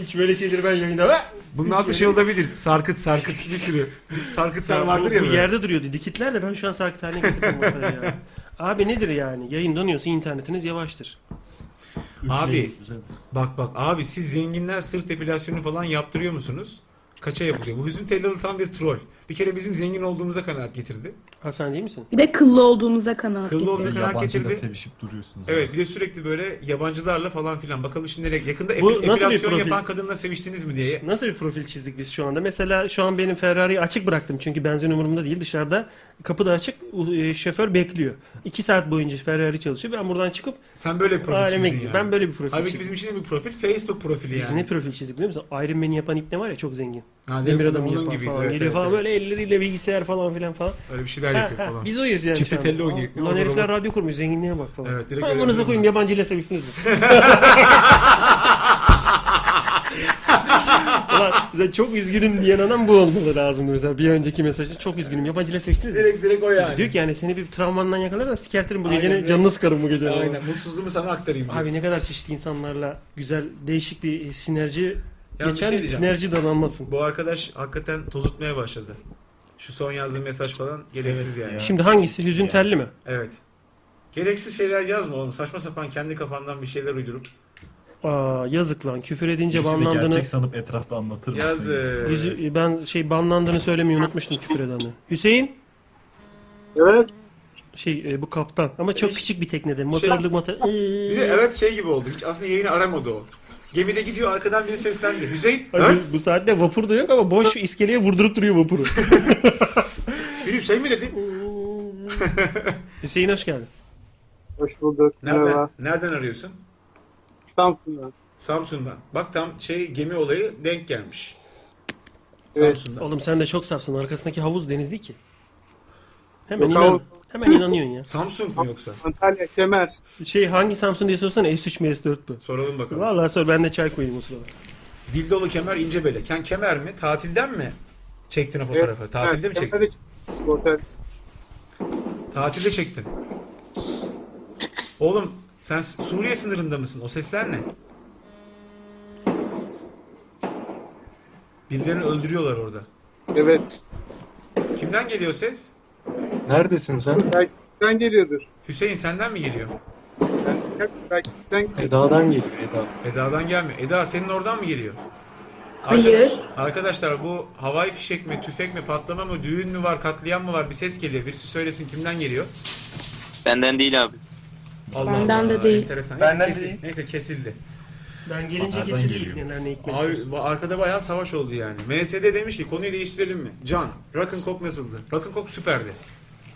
Hiç böyle şeyleri ben yayında hop.
Bunun
Hiç
altı şey
böyle-
olabilir. Sarkıt sarkıt bir sürü. Sarkıtlar
Ya bu-
vardır ya.
Bu
böyle.
yerde duruyordu. Dikitler de ben şu an sarkıt haline getirdim masaya ya. Abi nedir yani? Yayın donuyorsa internetiniz yavaştır.
Abi bak bak abi siz zenginler sırt depilasyonu falan yaptırıyor musunuz? kaça yapılıyor. Bu Hüzün Tellalı tam bir troll. Bir kere bizim zengin olduğumuza kanaat getirdi.
Hasan değil misin?
Bir de kıllı olduğumuza kanaat
Kıllı olduğuna
getirdim.
kanaat
Yabancıyla
getirdi.
sevişip duruyorsunuz.
Evet bir de sürekli böyle yabancılarla falan filan. Bakalım şimdi nereye yakında
Bu
epi-
nasıl bir
epilasyon
profil?
yapan kadınla seviştiniz mi diye.
Nasıl bir profil çizdik biz şu anda? Mesela şu an benim Ferrari'yi açık bıraktım çünkü benzin umurumda değil dışarıda. Kapı da açık, u- e, şoför bekliyor. İki saat boyunca Ferrari çalışıyor. Ben buradan çıkıp
Sen böyle bir profil
aleme
çizdin
gideyim.
yani.
Ben böyle bir profil
Halbuki
çizdim.
bizim için de bir profil Facebook profili
Biz
yani.
ne profil çizdik biliyor musun? Iron Man'i yapan ipne var ya çok zengin.
Ha,
Demir
direkt
adamı
onun
yapan
gibiyiz,
falan.
evet,
geliyor
evet,
falan
evet.
böyle elleriyle bilgisayar falan filan falan.
Öyle bir şeyler
Ha,
yapıyor
ha,
falan.
Biz oyuz yani.
Çifte
şu an.
telli oynuyor.
Aa, Ulan herifler radyo kurmuş zenginliğe bak falan.
Evet, direkt
Evet, direkt
öyle
Amanıza
yapıyor.
koyayım yabancıyla seviştiniz mi? Ulan bize çok üzgünüm diyen adam bu olmalı lazım mesela. Bir önceki mesajda çok üzgünüm yabancıyla seviştiniz mi?
Direkt direkt o yani.
Diyor ki yani seni bir travmandan yakalarım sikertirim bu
Aynen,
geceni
direkt-
canını sıkarım bu gece.
Aynen, mutsuzluğumu sana aktarayım diyor.
Abi ne kadar çeşitli insanlarla güzel değişik bir e, sinerji
Yalnız bir
geçer
şey diyeceğim.
sinerji donanmasın.
Bu arkadaş hakikaten tozutmaya başladı. Şu son yazdığı mesaj falan gereksiz yani.
Şimdi hangisi? Hüzün telli mi?
Evet. Gereksiz şeyler yazma oğlum. Saçma sapan kendi kafandan bir şeyler uydurup.
Aa, yazık lan küfür edince
İkisi de
banlandığını
gerçek sanıp etrafta anlatır mısın?
Yazık.
Yüzü- ben şey banlandığını söylemeyi unutmuştum küfür edenleri. Hüseyin?
Evet.
Şey e, bu kaptan ama çok küçük bir teknede
şey
motorlu motor.
Bir de evet şey gibi oldu. Hiç aslında yayını aramadı o. Gemide gidiyor arkadan biri seslendi. Hüseyin.
Abi, bu saatte vapur da yok ama boş iskeleye vurdurup duruyor vapuru.
Biri Hüseyin mi dedi?
Hüseyin hoş geldin.
Hoş bulduk.
Nereden,
Merhaba.
nereden arıyorsun?
Samsun'dan.
Samsun'dan. Bak tam şey gemi olayı denk gelmiş. Samsun'dan.
Oğlum sen de çok safsın. Arkasındaki havuz deniz değil ki. Hemen
Yok,
inan.
havuz.
Hemen inanıyorsun ya.
Samsung mu yoksa?
Antalya Kemer.
Şey hangi Samsung diye sorsana S3 mi S4 mü?
Soralım bakalım.
Vallahi sor ben de çay koyayım o sırada.
Dildolu kemer ince bele. Ken kemer mi? Tatilden mi çektin o fotoğrafı? Tatilde mi çektin?
Otel.
Tatilde çektin. Oğlum sen Suriye sınırında mısın? O sesler ne? Birilerini öldürüyorlar orada.
Evet.
Kimden geliyor ses?
Neredesin sen?
Belki sen geliyordur.
Hüseyin senden mi geliyor?
Belki sen
Eda'dan geliyor Eda.
Eda'dan gelmiyor. Eda senin oradan mı geliyor?
Hayır.
Arkadaşlar bu havai fişek mi, tüfek mi, patlama mı, düğün mü var, katliam mı var bir ses geliyor. Birisi söylesin kimden geliyor?
Benden değil abi.
Allah
Benden
Allah,
de değil.
Enteresan.
Benden de
Neyse, kesil-
değil.
Neyse kesildi.
Ben gelince kesildi ikneler ne hikmetse.
Abi bu arkada bayağı savaş oldu yani. MSD demiş ki konuyu değiştirelim mi? Can, Rock'n'Coke nasıldı? Rock'n'Coke süperdi.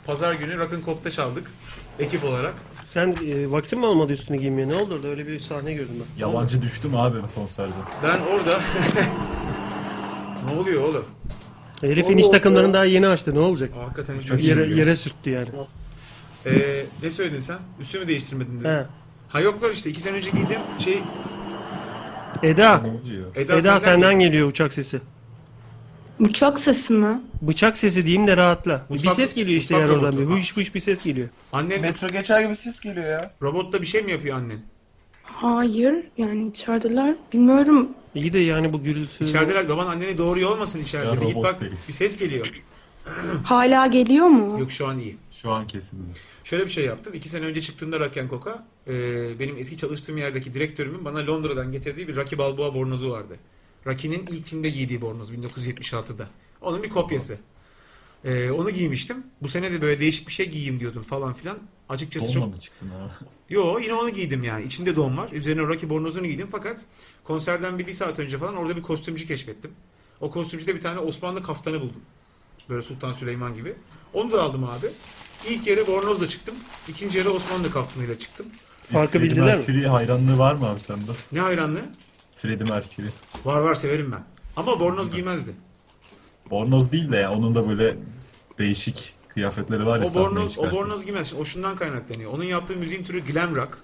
Pazar günü Rock'n'Coke'da çaldık ekip olarak.
Sen e, vaktin mi olmadı üstünü giymeye? Ne oldu orada? Öyle bir sahne gördüm ben.
Yabancı düştüm abi konserde.
Ben orada... ne oluyor oğlum?
Herif iniş takımlarını daha yeni açtı. Ne olacak?
Hakikaten
Çok yere, yere sürttü yani.
Ee, ne söyledin sen? Üstümü değiştirmedin dedin.
He.
Ha yoklar işte iki sene önce giydim şey
Eda.
Eda
Eda,
senden
senden, geliyor uçak sesi.
Uçak sesi mi?
Bıçak sesi diyeyim de rahatla.
Mutfak-
bir ses geliyor işte
mutfak
yani oradan bir.
robotu.
Hış hış bir ses geliyor.
annen
Metro geçer gibi ses geliyor ya.
robotla bir şey mi yapıyor annen?
Hayır. Yani içerideler. Bilmiyorum.
İyi de yani bu gürültü.
İçerideler baban anneni doğuruyor olmasın içeride.
Ya
bir git
robot
bak
değil.
bir ses geliyor.
Hala geliyor mu?
Yok şu an iyi.
Şu an kesin.
Şöyle bir şey yaptım. İki sene önce çıktığımda Raken Coke'a e, benim eski çalıştığım yerdeki direktörümün bana Londra'dan getirdiği bir Rocky Balboa bornozu vardı. Rocky'nin ilk filmde giydiği bornoz 1976'da. Onun bir kopyası. E, onu giymiştim. Bu sene de böyle değişik bir şey giyeyim diyordum falan filan. Açıkçası
Donla
çok
mı çıktın abi?
Yo yine onu giydim yani. İçinde don var. Üzerine Rocky bornozunu giydim fakat konserden bir, bir saat önce falan orada bir kostümcü keşfettim. O kostümcüde bir tane Osmanlı kaftanı buldum. Böyle Sultan Süleyman gibi. Onu da aldım abi. İlk yere bornozla çıktım. İkinci yere Osmanlı kaftanıyla çıktım.
Freddie Mercury hayranlığı var mı abi sende?
Ne hayranlığı?
Freddie Mercury.
Var var severim ben. Ama bornoz giymezdi.
Bornoz değil de ya, onun da böyle değişik kıyafetleri var ya
O
sahneye
bornoz, o
çıkarsa.
bornoz giymez. O şundan kaynaklanıyor. Onun yaptığı müziğin türü glam rock.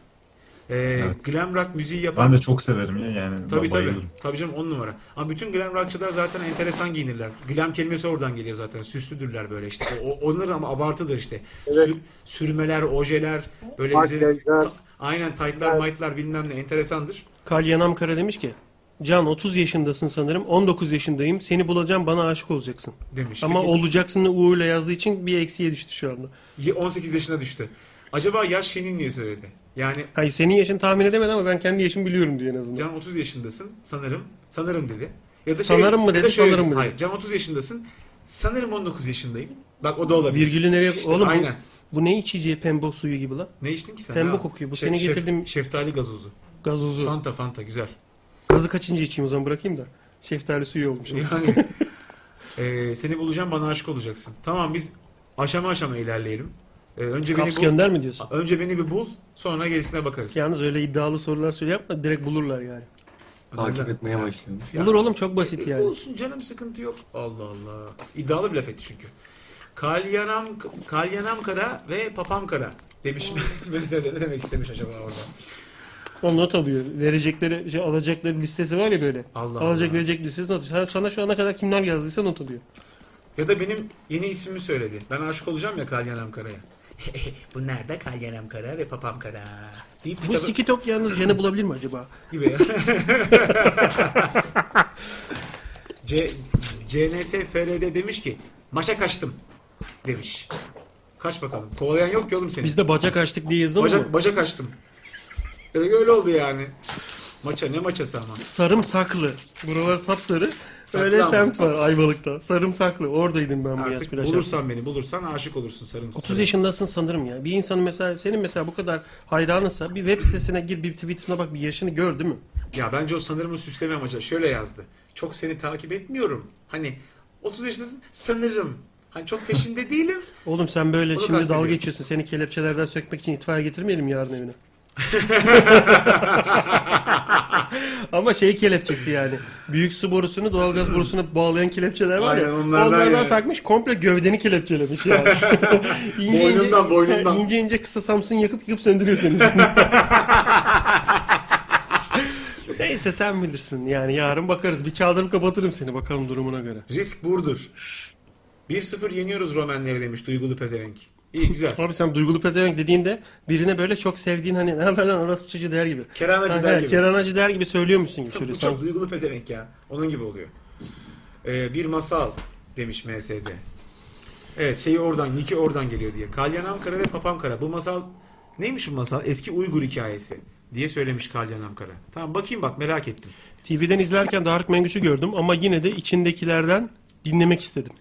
Ee, Glam rock müziği yapan...
Ben de çok severim ya yani.
Tabii
Tabii,
tabii.
bayılırım.
Tabii canım on numara. Ama bütün glam rockçılar zaten enteresan giyinirler. Glam kelimesi oradan geliyor zaten. Süslüdürler böyle işte. O, o- onlar ama abartıdır işte. Sür- sürmeler, ojeler, böyle üzeri- Ta- aynen taytlar, maytlar bilmem ne enteresandır.
Kalyan Amkara demiş ki Can 30 yaşındasın sanırım 19 yaşındayım seni bulacağım bana aşık olacaksın.
Demiş.
Ama
Peki.
olacaksın U ile yazdığı için bir eksiye düştü şu anda.
Ye- 18 yaşına düştü. Acaba yaş şeyini niye söyledi? Yani
Hayır senin yaşın tahmin edemedim ama ben kendi yaşımı biliyorum diyor en azından.
Can 30 yaşındasın sanırım. Sanırım dedi. Ya da şey-
Sanırım mı
ya da
dedi,
şöyle
sanırım
dedi.
mı
Hayır, Can 30 yaşındasın. Sanırım 19 yaşındayım. Bak o da olabilir.
Virgülü nereye?
İşte
Oğlum bu-
aynen.
Bu, ne içeceği pembe suyu gibi la?
Ne içtin ki sen?
Pembe
ha?
kokuyor. Bu
Şef-
seni
şef-
getirdim.
Şeftali gazozu.
Gazozu.
Fanta fanta güzel.
Gazı kaçıncı içeyim o zaman bırakayım da. Şeftali suyu olmuş.
Yani Ee, seni bulacağım bana aşık olacaksın. Tamam biz aşama aşama ilerleyelim. Ee, önce
Kaps
beni bul.
gönder mi diyorsun?
Önce beni bir bul, sonra gerisine bakarız.
Yalnız öyle iddialı sorular söyle yapma direkt bulurlar yani.
Takip
etmeye başlıyormuş.
Bulur oğlum çok basit
E,
yani.
Olsun canım sıkıntı yok. Allah Allah. İddialı bir laf etti çünkü. Kalyanam, kalyanam kara ve papam kara demiş. Mesela ne demek istemiş acaba orada?
O not alıyor. Verecekleri, şey, alacakları listesi var ya böyle.
Allah
Alacak
Allah.
verecek listesi not alıyor. Sana, sana şu ana kadar kimler yazdıysa not alıyor.
Ya da benim yeni ismimi söyledi. Ben aşık olacağım ya Kalyanam Kara'ya. Bunlar da Kalyanam Kara ve Papam Kara. Deyip
Bu
kitabı-
siki top yalnız Jen'i bulabilir mi acaba?
gibi ya. C, CNS FRD demiş ki maça kaçtım demiş. Kaç bakalım. Kovalayan yok ki oğlum seni.
Biz de bacak açtık diye yazalım
Bacak,
mı?
bacak açtım. E, Öyle, öyle oldu yani. Maça ne maçası ama.
Sarımsaklı. Buralar sapsarı.
Saklı
Öyle
ama.
semt var Ayvalık'ta. Sarımsaklı. Oradaydım ben bu yaz
Artık
plaj
bulursan beni bulursan aşık olursun sarımsak.
30 yaşındasın sanırım ya. Bir insanın mesela senin mesela bu kadar hayranınsa bir web sitesine gir bir tweetine bak bir yaşını gör değil mi?
Ya bence o sanırımın süsleme amacı. Şöyle yazdı. Çok seni takip etmiyorum. Hani 30 yaşındasın sanırım. Hani çok peşinde değilim.
Oğlum sen böyle
Bunu
şimdi dalga
kastediyorum.
geçiyorsun. Seni kelepçelerden sökmek için itfaiye getirmeyelim yarın evine. Ama şey kelepçesi yani. Büyük su borusunu doğalgaz borusuna bağlayan kelepçeler var ya.
Aynen, onlardan yani.
takmış komple gövdeni kelepçelemiş yani. İnce ince-
Boynundan, boynundan.
İnce ince kısa Samsun yakıp yakıp söndürüyor seni. Neyse sen bilirsin yani yarın bakarız. Bir çaldırıp kapatırım seni bakalım durumuna göre.
Risk burdur. 1-0 yeniyoruz Romenleri demiş duygulu pezevenk. İyi güzel.
Abi sen duygulu pezevenk dediğinde birine böyle çok sevdiğin hani ne haber lan orası çocuğu der gibi.
Kerhanacı
Ha,
der
he,
gibi.
Kerhanacı der gibi söylüyormuşsun gibi
Bu
söylüyorsun.
çok duygulu pezevenk ya. Onun gibi oluyor. Ee, bir masal demiş MSD. Evet şeyi oradan, Niki oradan geliyor diye. Kalyanam Kara ve Papam Kara. Bu masal neymiş bu masal? Eski Uygur hikayesi diye söylemiş Kalyanam Kara. Tamam bakayım bak merak ettim.
TV'den izlerken Tarık Mengüç'ü gördüm ama yine de içindekilerden dinlemek istedim.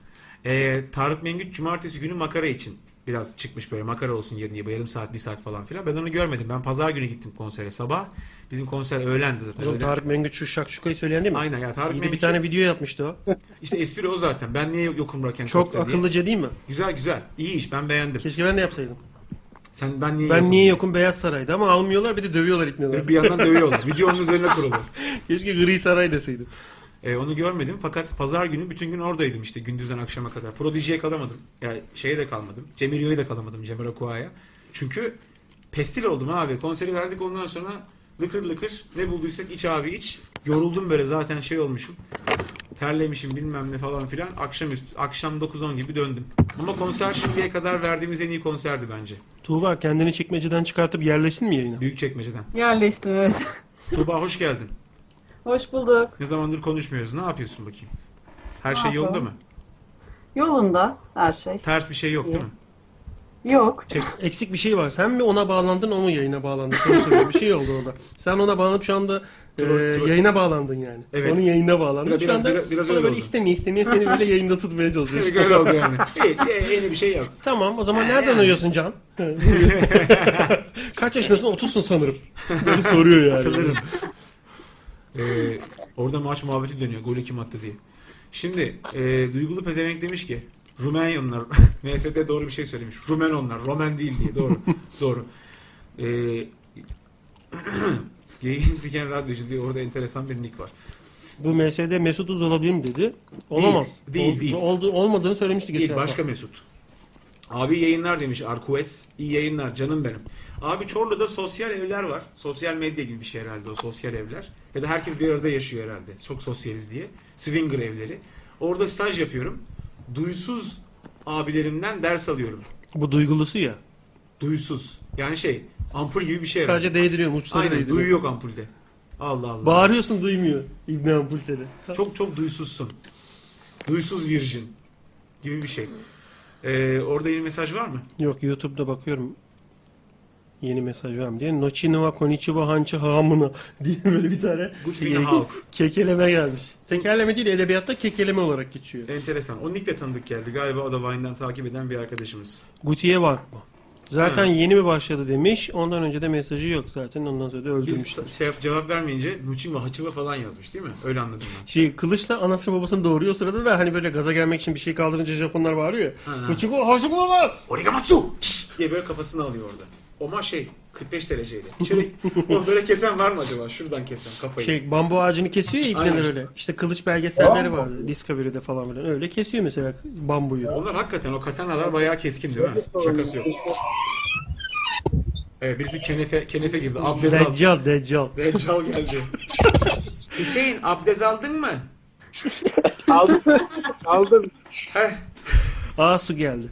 Ee, Tarık Mengüç cumartesi günü makara için biraz çıkmış böyle makara olsun yerine diye yarım saat bir saat falan filan. Ben onu görmedim. Ben pazar günü gittim konsere sabah. Bizim konser öğlendi zaten.
Oğlum
Öğlen-
Tarık Mengüç şu şakşukayı söyleyen değil mi?
Aynen ya Tarık
İyi de
Mengüç-
bir tane video yapmıştı o.
İşte espri o zaten. Ben niye yokum Raken
Çok
Top'ta diye.
akıllıca değil mi?
Güzel güzel. İyi iş. Ben beğendim.
Keşke ben de yapsaydım.
Sen ben niye
Ben
yokum?
niye yokum Beyaz Saray'da ama almıyorlar bir de dövüyorlar ikneler.
Ve bir yandan dövüyorlar. Videonun üzerine kurulu.
Keşke Gri Saray deseydim.
E, onu görmedim fakat pazar günü bütün gün oradaydım işte gündüzden akşama kadar. Prodigy'ye kalamadım. Yani şeye de kalmadım. Cemilo'ya da kalamadım Cemil Okua'ya. Çünkü pestil oldum abi. Konseri verdik ondan sonra lıkır lıkır ne bulduysak iç abi iç. Yoruldum böyle zaten şey olmuşum. Terlemişim bilmem ne falan filan. Akşam akşam 9-10 gibi döndüm. Ama konser şimdiye kadar verdiğimiz en iyi konserdi bence.
Tuğba kendini çekmeceden çıkartıp yerleşsin mi yayına?
Büyük çekmeceden.
Yerleştim evet.
Tuba hoş geldin.
Hoş bulduk.
Ne zamandır konuşmuyoruz. Ne yapıyorsun bakayım? Her
Ne
şey yolunda
yapalım?
mı?
Yolunda her şey.
Ters bir şey yok değil mi?
Yok.
Eksik bir şey var. Sen mi ona bağlandın o mu yayına bağlandı? Sana soruyorum. bir şey oldu orada. Sen ona bağlanıp şu anda e,
Troll- troll.
yayına bağlandın yani.
Evet.
Onun yayına bağlandın.
Biraz-
şu anda
biraz- biraz
sonra
öyle
böyle
oldu.
istemeye istemeye seni böyle yayında tutmaya çalışıyorsun.
Öyle oldu yani. İyi, iyi, yeni bir şey yok.
Tamam o zaman nereden arıyorsun Can? Kaç yaşındasın? 30'sun sanırım. Böyle soruyor yani.
Sanırım. Ee, orada maç muhabbeti dönüyor. Golü kim attı diye. Şimdi e, Duygulu Pezevenk demiş ki Rumenyonlar, MSD doğru bir şey söylemiş. Rumen onlar, Romen değil diye. Doğru. doğru. E, Yayın siken radyocu diye orada enteresan bir nick var.
Bu MSD Mesut Uz olabilir mi dedi. Olamaz.
Değil, değil,
Ol-
değil.
Oldu, olmadığını söylemişti geçen
Değil, başka
hafta.
Mesut. Abi yayınlar demiş Arkues. İyi yayınlar canım benim. Abi Çorlu'da sosyal evler var. Sosyal medya gibi bir şey herhalde o sosyal evler. Ya da herkes bir arada yaşıyor herhalde. Çok sosyaliz diye. Swinger evleri. Orada staj yapıyorum. Duysuz abilerimden ders alıyorum.
Bu duygulusu ya.
Duysuz. Yani şey ampul gibi bir şey herhalde.
Sadece değdiriyorum, uçları
Aynen
değdiriyorum.
duyu yok ampulde. Allah Allah.
Bağırıyorsun duymuyor İbni Ampulte'de.
Çok çok duysuzsun. Duysuz virgin gibi bir şey. Ee, orada yeni mesaj var mı?
Yok YouTube'da bakıyorum. Yeni mesaj var mı diye. Nochinova Konichiwa Hanchi Hamuna diye böyle bir tane şey,
Good in the house.
kekeleme gelmiş. Tekerleme değil edebiyatta kekeleme olarak geçiyor.
E- Enteresan. O nick de tanıdık geldi. Galiba o da Vine'den takip eden bir arkadaşımız.
Gutiye var mı? Zaten
Hı.
yeni mi başladı demiş. Ondan önce de mesajı yok zaten. Ondan sonra da
Biz
öldürmüş.
şey yap- cevap vermeyince Nuçin ve Haçıva falan yazmış değil mi? Öyle anladım ben.
Şey, kılıçla anasını babasını doğuruyor o sırada da hani böyle gaza gelmek için bir şey kaldırınca Japonlar bağırıyor ya. Uçuku hoşuku baba.
Origamatsu! Şşş! diye böyle kafasını alıyor orada. Oma şey 45 dereceyle. Şöyle o böyle kesen var mı acaba? Şuradan kesen kafayı.
Şey bambu ağacını kesiyor ya iplenir
Aynen.
öyle. İşte kılıç belgeselleri
Bambu.
vardı. Discovery'de falan filan. Öyle kesiyor mesela bambuyu.
Onlar hakikaten o katanalar bayağı keskin değil mi? Şakası yok. Evet, birisi kenefe, kenefe girdi. Abdest aldı.
Deccal, deccal.
Deccal geldi. Hüseyin abdest aldın mı?
Aldım. Aldım. Aa su geldi.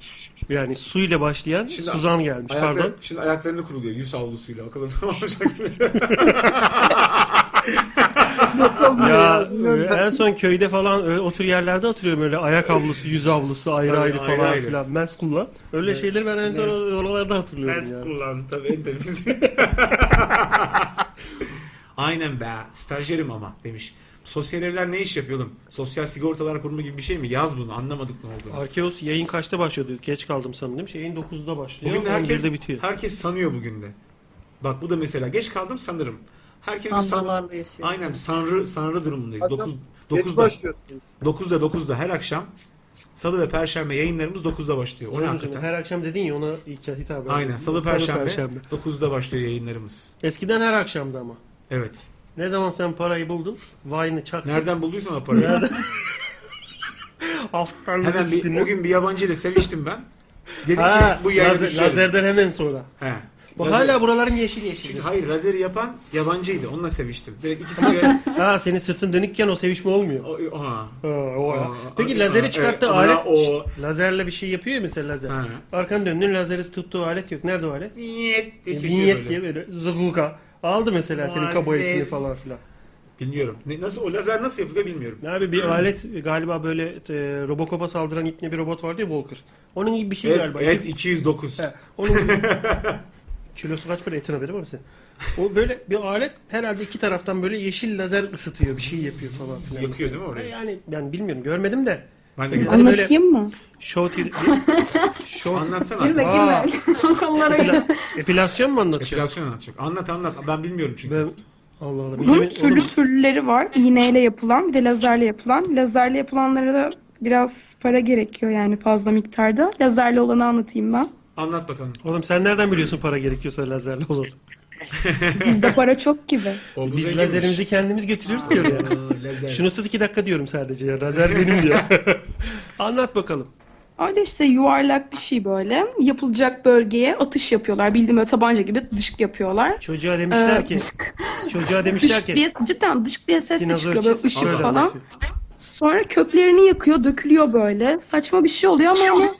Yani suyla başlayan Suzan gelmiş.
ayakları-
Pardon.
Şimdi ayaklarını kuruluyor yüz havlusuyla. Bakalım ne olacak mı?
ya e, en son köyde falan e, o tür yerlerde oturuyorum öyle ayak havlusu, yüz havlusu ayrı
Tabii,
ayrı
ayrı
falan
ayrı.
filan. Mers kullan. Öyle
Evet.
şeyleri ben en son
Mers.
oralarda hatırlıyorum
Mers
yani.
kullan tabii en temiz. Aynen be stajyerim ama demiş. Sosyal evler ne iş yapıyor oğlum? Sosyal sigortalar kurumu gibi bir şey mi? Yaz bunu anlamadık ne oldu.
Arkeos yayın kaçta başlıyordu? Geç kaldım sanırım değil mi? Şey, Yayın 9'da başlıyor.
Bugün de herkes,
11'de bitiyor.
herkes sanıyor bugün de. Bak bu da mesela geç kaldım sanırım. Herkes bir
Sanrılarla yaşıyor.
Aynen sanrı sanrı durumundayız.
Hocam,
9
geç
9'da
başlıyorsunuz.
9'da 9'da her akşam Salı ve Perşembe yayınlarımız 9'da başlıyor. O ne
Canım,
hakikaten?
Her akşam dedin ya ona hitap
Aynen Salı Perşembe, 9'da başlıyor yayınlarımız.
Eskiden her akşamdı ama.
Evet.
Ne zaman sen parayı buldun? Vine'ı çaktın.
Nereden bulduysan o parayı.
Nereden? Haftan
Hemen bir, o gün bir yabancı ile seviştim ben. Dedim
Ha,
ki bu yayını
lazer-
düşürelim.
lazerden hemen sonra.
He.
Bak
Lazer-
hala buralarım yeşil yeşil.
Çünkü hayır lazeri yapan yabancıydı. Onunla seviştim. Direkt ikisini göre...
ha senin sırtın dönükken o sevişme olmuyor.
O,
o ya.
Aa,
Peki
aa,
lazeri
e,
çıkarttı
ona
alet.
o-
Şşt, lazerle bir şey yapıyor ya mesela lazer. Arkanı döndün lazeri tuttuğu alet yok. Nerede o alet?
Vinyet diye
Ya,
kesiyor
vinyet
böyle.
diye böyle zıguka. Aldı mesela senin kaba
Muazzez.
etini falan filan.
Bilmiyorum. Ne- nasıl o lazer nasıl yapılıyor bilmiyorum.
Abi bir alet galiba böyle e, Robocop'a saldıran ipne bir robot vardı ya Walker. Onun gibi bir şey
Evet,
galiba.
evet,
İp-
209.
He, onun gibi. Kilosu kaç para etin haberi var mı senin? O böyle bir alet herhalde iki taraftan böyle yeşil lazer ısıtıyor bir şey yapıyor falan filan.
Yakıyor değil mi orayı?
Ha, Yani ben bilmiyorum görmedim de.
Ben de
Yani
görmedim.
böyle
Anlatayım mı?
Show TV. show
Anlatsana.
Aa,
konulara
epila- Epilasyon mu anlatacak?
Epilasyon anlatacak. Anlat anlat. Ben bilmiyorum çünkü.
Allah Allah.
Bunun türlü türlüleri var. İğneyle yapılan bir de lazerle yapılan. Lazerle yapılanlara da biraz para gerekiyor yani fazla miktarda. Lazerle olanı anlatayım ben.
Anlat bakalım.
Oğlum sen nereden biliyorsun para gerekiyorsa lazerle olan?
Bizde para çok gibi.
Biz lazerimizi kendimiz götürüyoruz ki oraya. Şunu tut iki dakika diyorum sadece ya. Lazer benim diyor. Anlat bakalım.
Öyle işte yuvarlak bir şey böyle. Yapılacak bölgeye atış yapıyorlar. Bildiğim böyle tabanca gibi dışk yapıyorlar.
Çocuğa demişler
Ee,
ki çocuğa demişler
Dışk
ki
diye, cidden dışk diye ses de
dinozor
çıkıyor böyle
çiz-
ışık
Böyle
falan.
anlatıyor.
Sonra köklerini yakıyor, dökülüyor böyle. Saçma bir şey oluyor ama onu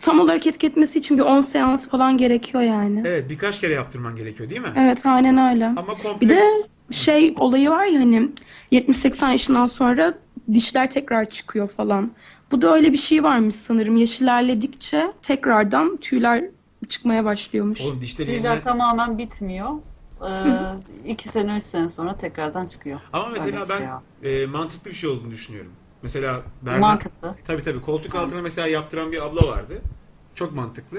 tam olarak etki etmesi için bir 10 seans falan gerekiyor yani.
Evet birkaç kere yaptırman gerekiyor değil mi?
Evet aynen öyle. Bir de şey olayı var ya hani 70-80 yaşından sonra dişler tekrar çıkıyor falan. Bu da öyle bir şey varmış sanırım. Yaş ilerledikçe tekrardan tüyler çıkmaya başlıyormuş.
Oğlum dişleri
Tüyler
yeniden-
tamamen bitmiyor. Ee, iki sene, üç sene sonra tekrardan çıkıyor.
Ama mesela
Öyle bir şey
ben
var.
e, mantıklı bir şey olduğunu düşünüyorum. Mesela Berna,
Mantıklı.
Tabii tabii koltuk altına mesela yaptıran bir abla vardı. Çok mantıklı.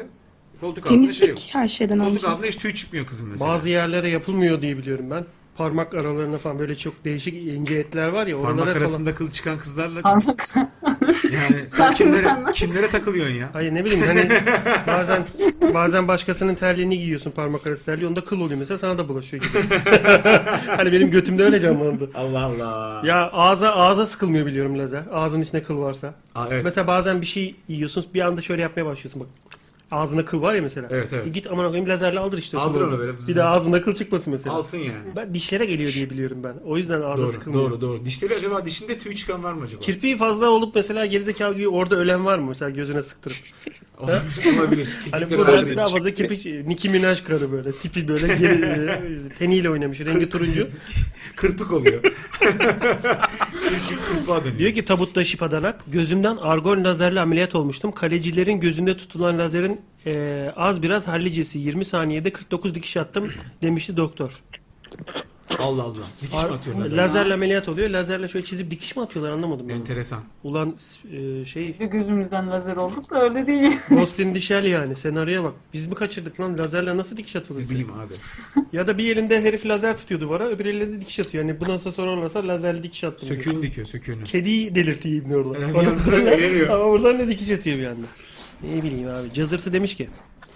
Koltuk altında şey yok.
Temizlik her şeyden
Koltuk
önce.
altında hiç tüy çıkmıyor kızım mesela.
bazı yerlere yapılmıyor diye biliyorum ben. Parmak aralarına falan böyle çok değişik ince etler var ya
Parmak
oralara
arasında
falan.
kıl çıkan kızlarla
Parmak.
yani sen kimlere, kimlere takılıyorsun ya?
Hayır ne bileyim hani bazen bazen başkasının terliğini giyiyorsun parmak arası terliği onda kıl oluyor mesela sana da bulaşıyor gibi. hani benim götümde öyle canlandı.
Allah Allah.
Ya ağza ağza sıkılmıyor biliyorum lazer. Ağzın içinde kıl varsa.
Aa, evet.
Mesela bazen bir şey yiyorsunuz bir anda şöyle yapmaya başlıyorsun bak. Ağzına kıl var ya mesela.
Evet, evet.
E Git aman koyayım lazerle aldır işte. o
Aldır
kılı.
onu böyle.
Bir de ağzına kıl çıkmasın mesela.
Alsın yani.
Ben dişlere geliyor diye biliyorum ben. O yüzden ağza
Doğru,
sıkılmıyor.
doğru, doğru. Dişleri acaba dişinde tüy çıkan var mı acaba?
Kirpiği fazla olup mesela gerizekalı gibi orada ölen var mı? Mesela gözüne sıktırıp. Ha?
Olabilir.
hani
Kirpikleri
bu
olabilir.
belki daha fazla kirpik. Nicki Minaj karı böyle. Tipi böyle geri, e, teniyle oynamış. Rengi turuncu.
Kırpık oluyor. Kırpığa dönüyor.
Diyor ki tabutta şıp adanak. Gözümden argon lazerle ameliyat olmuştum. Kalecilerin gözünde tutulan lazerin Ee, az biraz hallicesi 20 saniyede 49 dikiş attım demişti doktor.
Allah Allah. Dikiş mi atıyor lazerle?
Lazerle ameliyat oluyor. Lazerle şöyle çizip dikiş mi atıyorlar anlamadım.
Enteresan.
Ulan e, şey...
Biz de gözümüzden lazer olduk da öyle değil.
Ghost in the Shell yani senaryoya bak. Biz mi kaçırdık lan lazerle nasıl dikiş atılır?
Bileyim abi.
ya da bir elinde herif lazer tutuyor duvara öbür elinde de dikiş atıyor. Yani bu nasıl sorarlarsa lazerle dikiş attım. diyor.
Söküğünü dikiyor söküğünü.
Kediyi delirtiyor İbni oradan.
Yani
Ondan
bir
sonra-
anda veriyor.
ama buradan ne dikiş atıyor bir anda. Ne bileyim abi. Cazırtı demiş ki.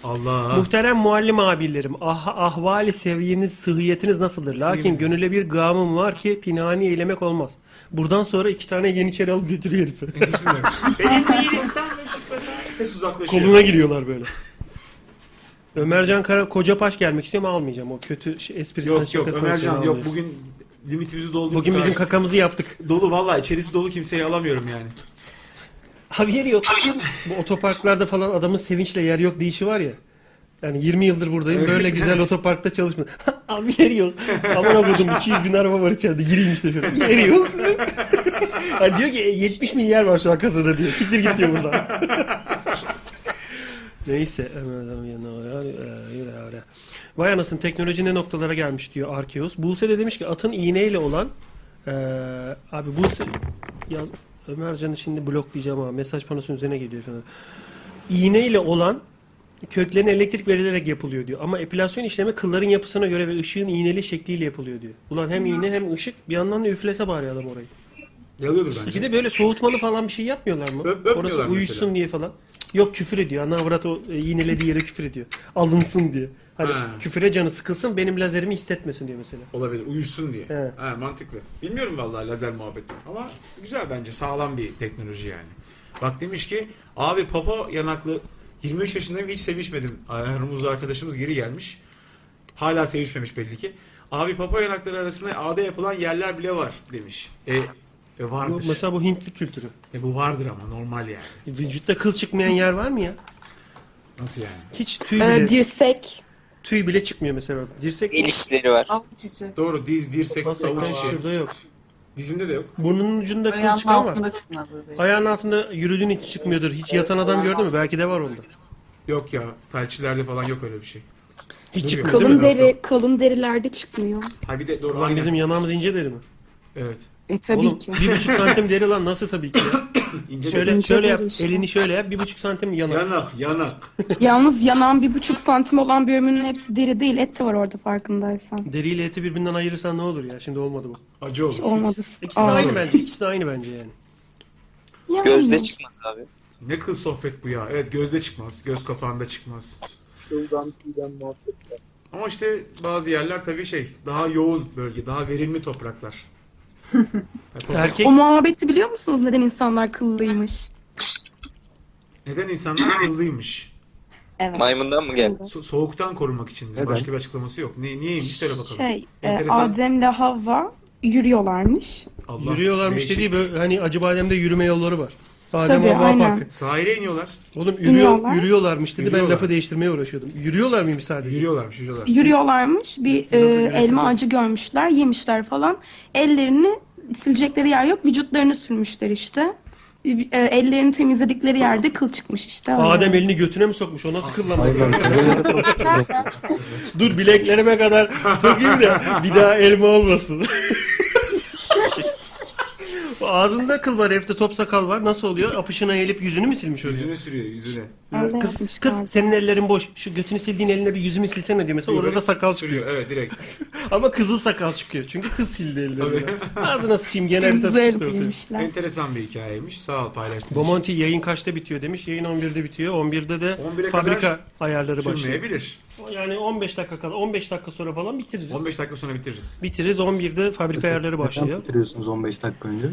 Allah.
Muhterem muallim abilerim, ah, ahvali seviyeniz, sıhhiyetiniz nasıldır? Lakin
Sıhhiyemiz.
gönüle bir gamım var ki pinhani eylemek olmaz. Buradan sonra iki tane yeniçeri alıp götürüyor herifi.
Benim değil İstanbul şüphesi. Herkes uzaklaşıyor.
Koluna giriyorlar böyle. Ömercan Kara Kocapaş gelmek istiyor ama almayacağım. O kötü şey, esprisinden
Yok yok
şakasından
Ömercan
seni
yok
almıyorum.
bugün limitimizi doldurduk.
Bugün bizim
abi.
kakamızı yaptık.
Dolu valla içerisi dolu kimseyi alamıyorum yani.
Abi yeri yok. Bu otoparklarda falan adamın sevinçle yer yok deyişi var ya. Yani 20 yıldır buradayım. Böyle
Evet.
güzel otoparkta çalışmadım. Abi yeri yok. Aman okudum 200 bin araba var içeride. Gireyim işte şöyle. Yeri yok. Ha diyor ki "E, 70 bin yer var şu an kasada diyor. Siktir git diyor buradan. Neyse. Ömer'den yana var. Ee, yürü ara. Vay anasını teknoloji ne noktalara gelmiş diyor Arkeos. Buse de demiş ki atın iğneyle olan ee, abi Buse ya Ömercan'ı şimdi bloklayacağım ama mesaj panosunun üzerine geliyor falan. İğneyle olan köklerine elektrik verilerek yapılıyor diyor. Ama epilasyon işlemi kılların yapısına göre ve ışığın iğneli şekliyle yapılıyor diyor. Ulan hem iğne hem ışık bir yandan da üflese bari adam orayı.
Yalıyordur bence.
Bir de böyle soğutmalı falan bir şey yapmıyorlar mı?
öpmüyorlar
Orası uyuşsun
mesela.
diye falan. Yok küfür ediyor. Ana avrat o e, iğnelediği yere küfür ediyor. Alınsın diye. Hani
Ha.
küfüre canı sıkılsın benim lazerimi hissetmesin diyor mesela.
Olabilir uyuşsun diye.
He.
Ha, mantıklı. Bilmiyorum vallahi lazer muhabbeti ama güzel bence sağlam bir teknoloji yani. Bak demiş ki abi papa yanaklı 23 yaşındayım hiç sevişmedim. Rumuzlu arkadaşımız geri gelmiş. Hala sevişmemiş belli ki. Abi papa yanakları arasında ağda yapılan yerler bile var demiş. E, e
Bu,
vardır.
mesela bu Hintli kültürü.
E bu vardır ama normal yani.
Vücutta kıl çıkmayan yer var mı ya?
Nasıl yani?
Hiç tüy
Ee,
bile,
dirsek.
tüy bile çıkmıyor mesela. Dirsek
El işleri var.
Avuç içi.
Doğru diz, dirsek,
Nasıl
avuç
yapıyorlar?
içi.
Şurada yok.
Dizinde de yok.
Burnunun ucunda kıl
Ayağın
çıkan
altında
var.
çıkmaz öyle.
Ayağın altında yürüdüğün hiç çıkmıyordur. Hiç yatan adam gördün mü? Belki de var onda.
Yok ya felçlerde falan yok öyle bir şey.
Hiç
Dur
çıkmıyor
yok.
değil
Kalın
mi?
deri, kalın derilerde çıkmıyor.
Ha bir de doğru.
Ulan
aynen.
bizim yanağımız ince deri mi?
Evet.
E tabii
Oğlum,
ki.
bir buçuk santim deri lan nasıl tabii ki ya?
İnce
şöyle,
deri.
şöyle yap,
İnce deri işte.
elini şöyle yap, bir buçuk santim yanak.
Yanak, yanak.
Yalnız yanan bir buçuk santim olan bölümünün hepsi deri değil. Et de var orada farkındaysan.
Deriyle eti birbirinden ayırırsan ne olur ya? Şimdi olmadı bu.
Acı olur.
Olmadı.
İkisi de
Aa.
aynı bence, ikisi de aynı bence yani.
Yani.
Gözde çıkmaz abi.
Ne kıl sohbet bu ya. Evet gözde çıkmaz. Göz kapağında çıkmaz.
Şuradan tüyden muhabbetler.
Ama işte bazı yerler tabii şey daha yoğun bölge, daha verimli topraklar. Ha, toprak-
Erkek
O muhabbeti biliyor musunuz neden insanlar kıllıymış?
Neden insanlar kıllıymış?
Evet.
Maymundan mı geldi?
So- soğuktan korumak için. diye.
Neden?
Başka bir açıklaması yok. Ne, niyeymiş söyle bakalım.
Şey, e,
Enteresan.
Adem'le Havva yürüyorlarmış.
Allah,
yürüyorlarmış
değişik.
dediği böyle hani Acıbadem'de yürüme yolları var. Adem
Tabii,
Havva
aynen.
Parkı.
Sahile iniyorlar.
Oğlum yürüyor,
İniyorlar.
yürüyorlarmış dedi ben
Yürüyorlar.
lafı değiştirmeye uğraşıyordum. Yürüyorlar mıymış sadece?
Yürüyorlarmış, yürüyorlar.
Yürüyorlarmış. Bir e,
yürüsünler.
elma ağacı görmüşler, yemişler falan. Ellerini silecekleri yer yok, vücutlarını sürmüşler işte. E, e, ellerini temizledikleri yerde kıl çıkmış işte. öyle.
Adem elini götüne mi sokmuş? O nasıl kıllama?
Nereden?
Dur bileklerime kadar sokayım da bir daha elma olmasın. Ağzında kıl var, herifte top sakal var. Nasıl oluyor? Apışına eğilip yüzünü mü silmiş oluyor?
Yüzüne sürüyor yüzüne.
Öyle
Kız,
yapmış
kız
galiba.
senin ellerin boş. Şu götünü sildiğin eline bir yüzümü silsene diyor mesela. Orada da sakal çıkıyor.
Sürüyor evet direkt.
Ama kızıl sakal çıkıyor. Çünkü kız sildi ellerini.
Tabii.
Ağzına sıçayım gene haritası çıktı ortaya.
Enteresan bir hikayeymiş. Sağ ol paylaştığın için.
Bomonti yayın kaçta bitiyor demiş. Yayın 11'de bitiyor. 11'de de
11'e kadar
fabrika ayarları başlıyor.
Sürmeyebilir.
Yani 15 dakika kala 15 dakika sonra falan bitiririz.
15 dakika sonra bitiririz.
Bitiririz 11'de fabrika ayarları başlıyor.
Neden bitiriyorsunuz 15 dakika önce?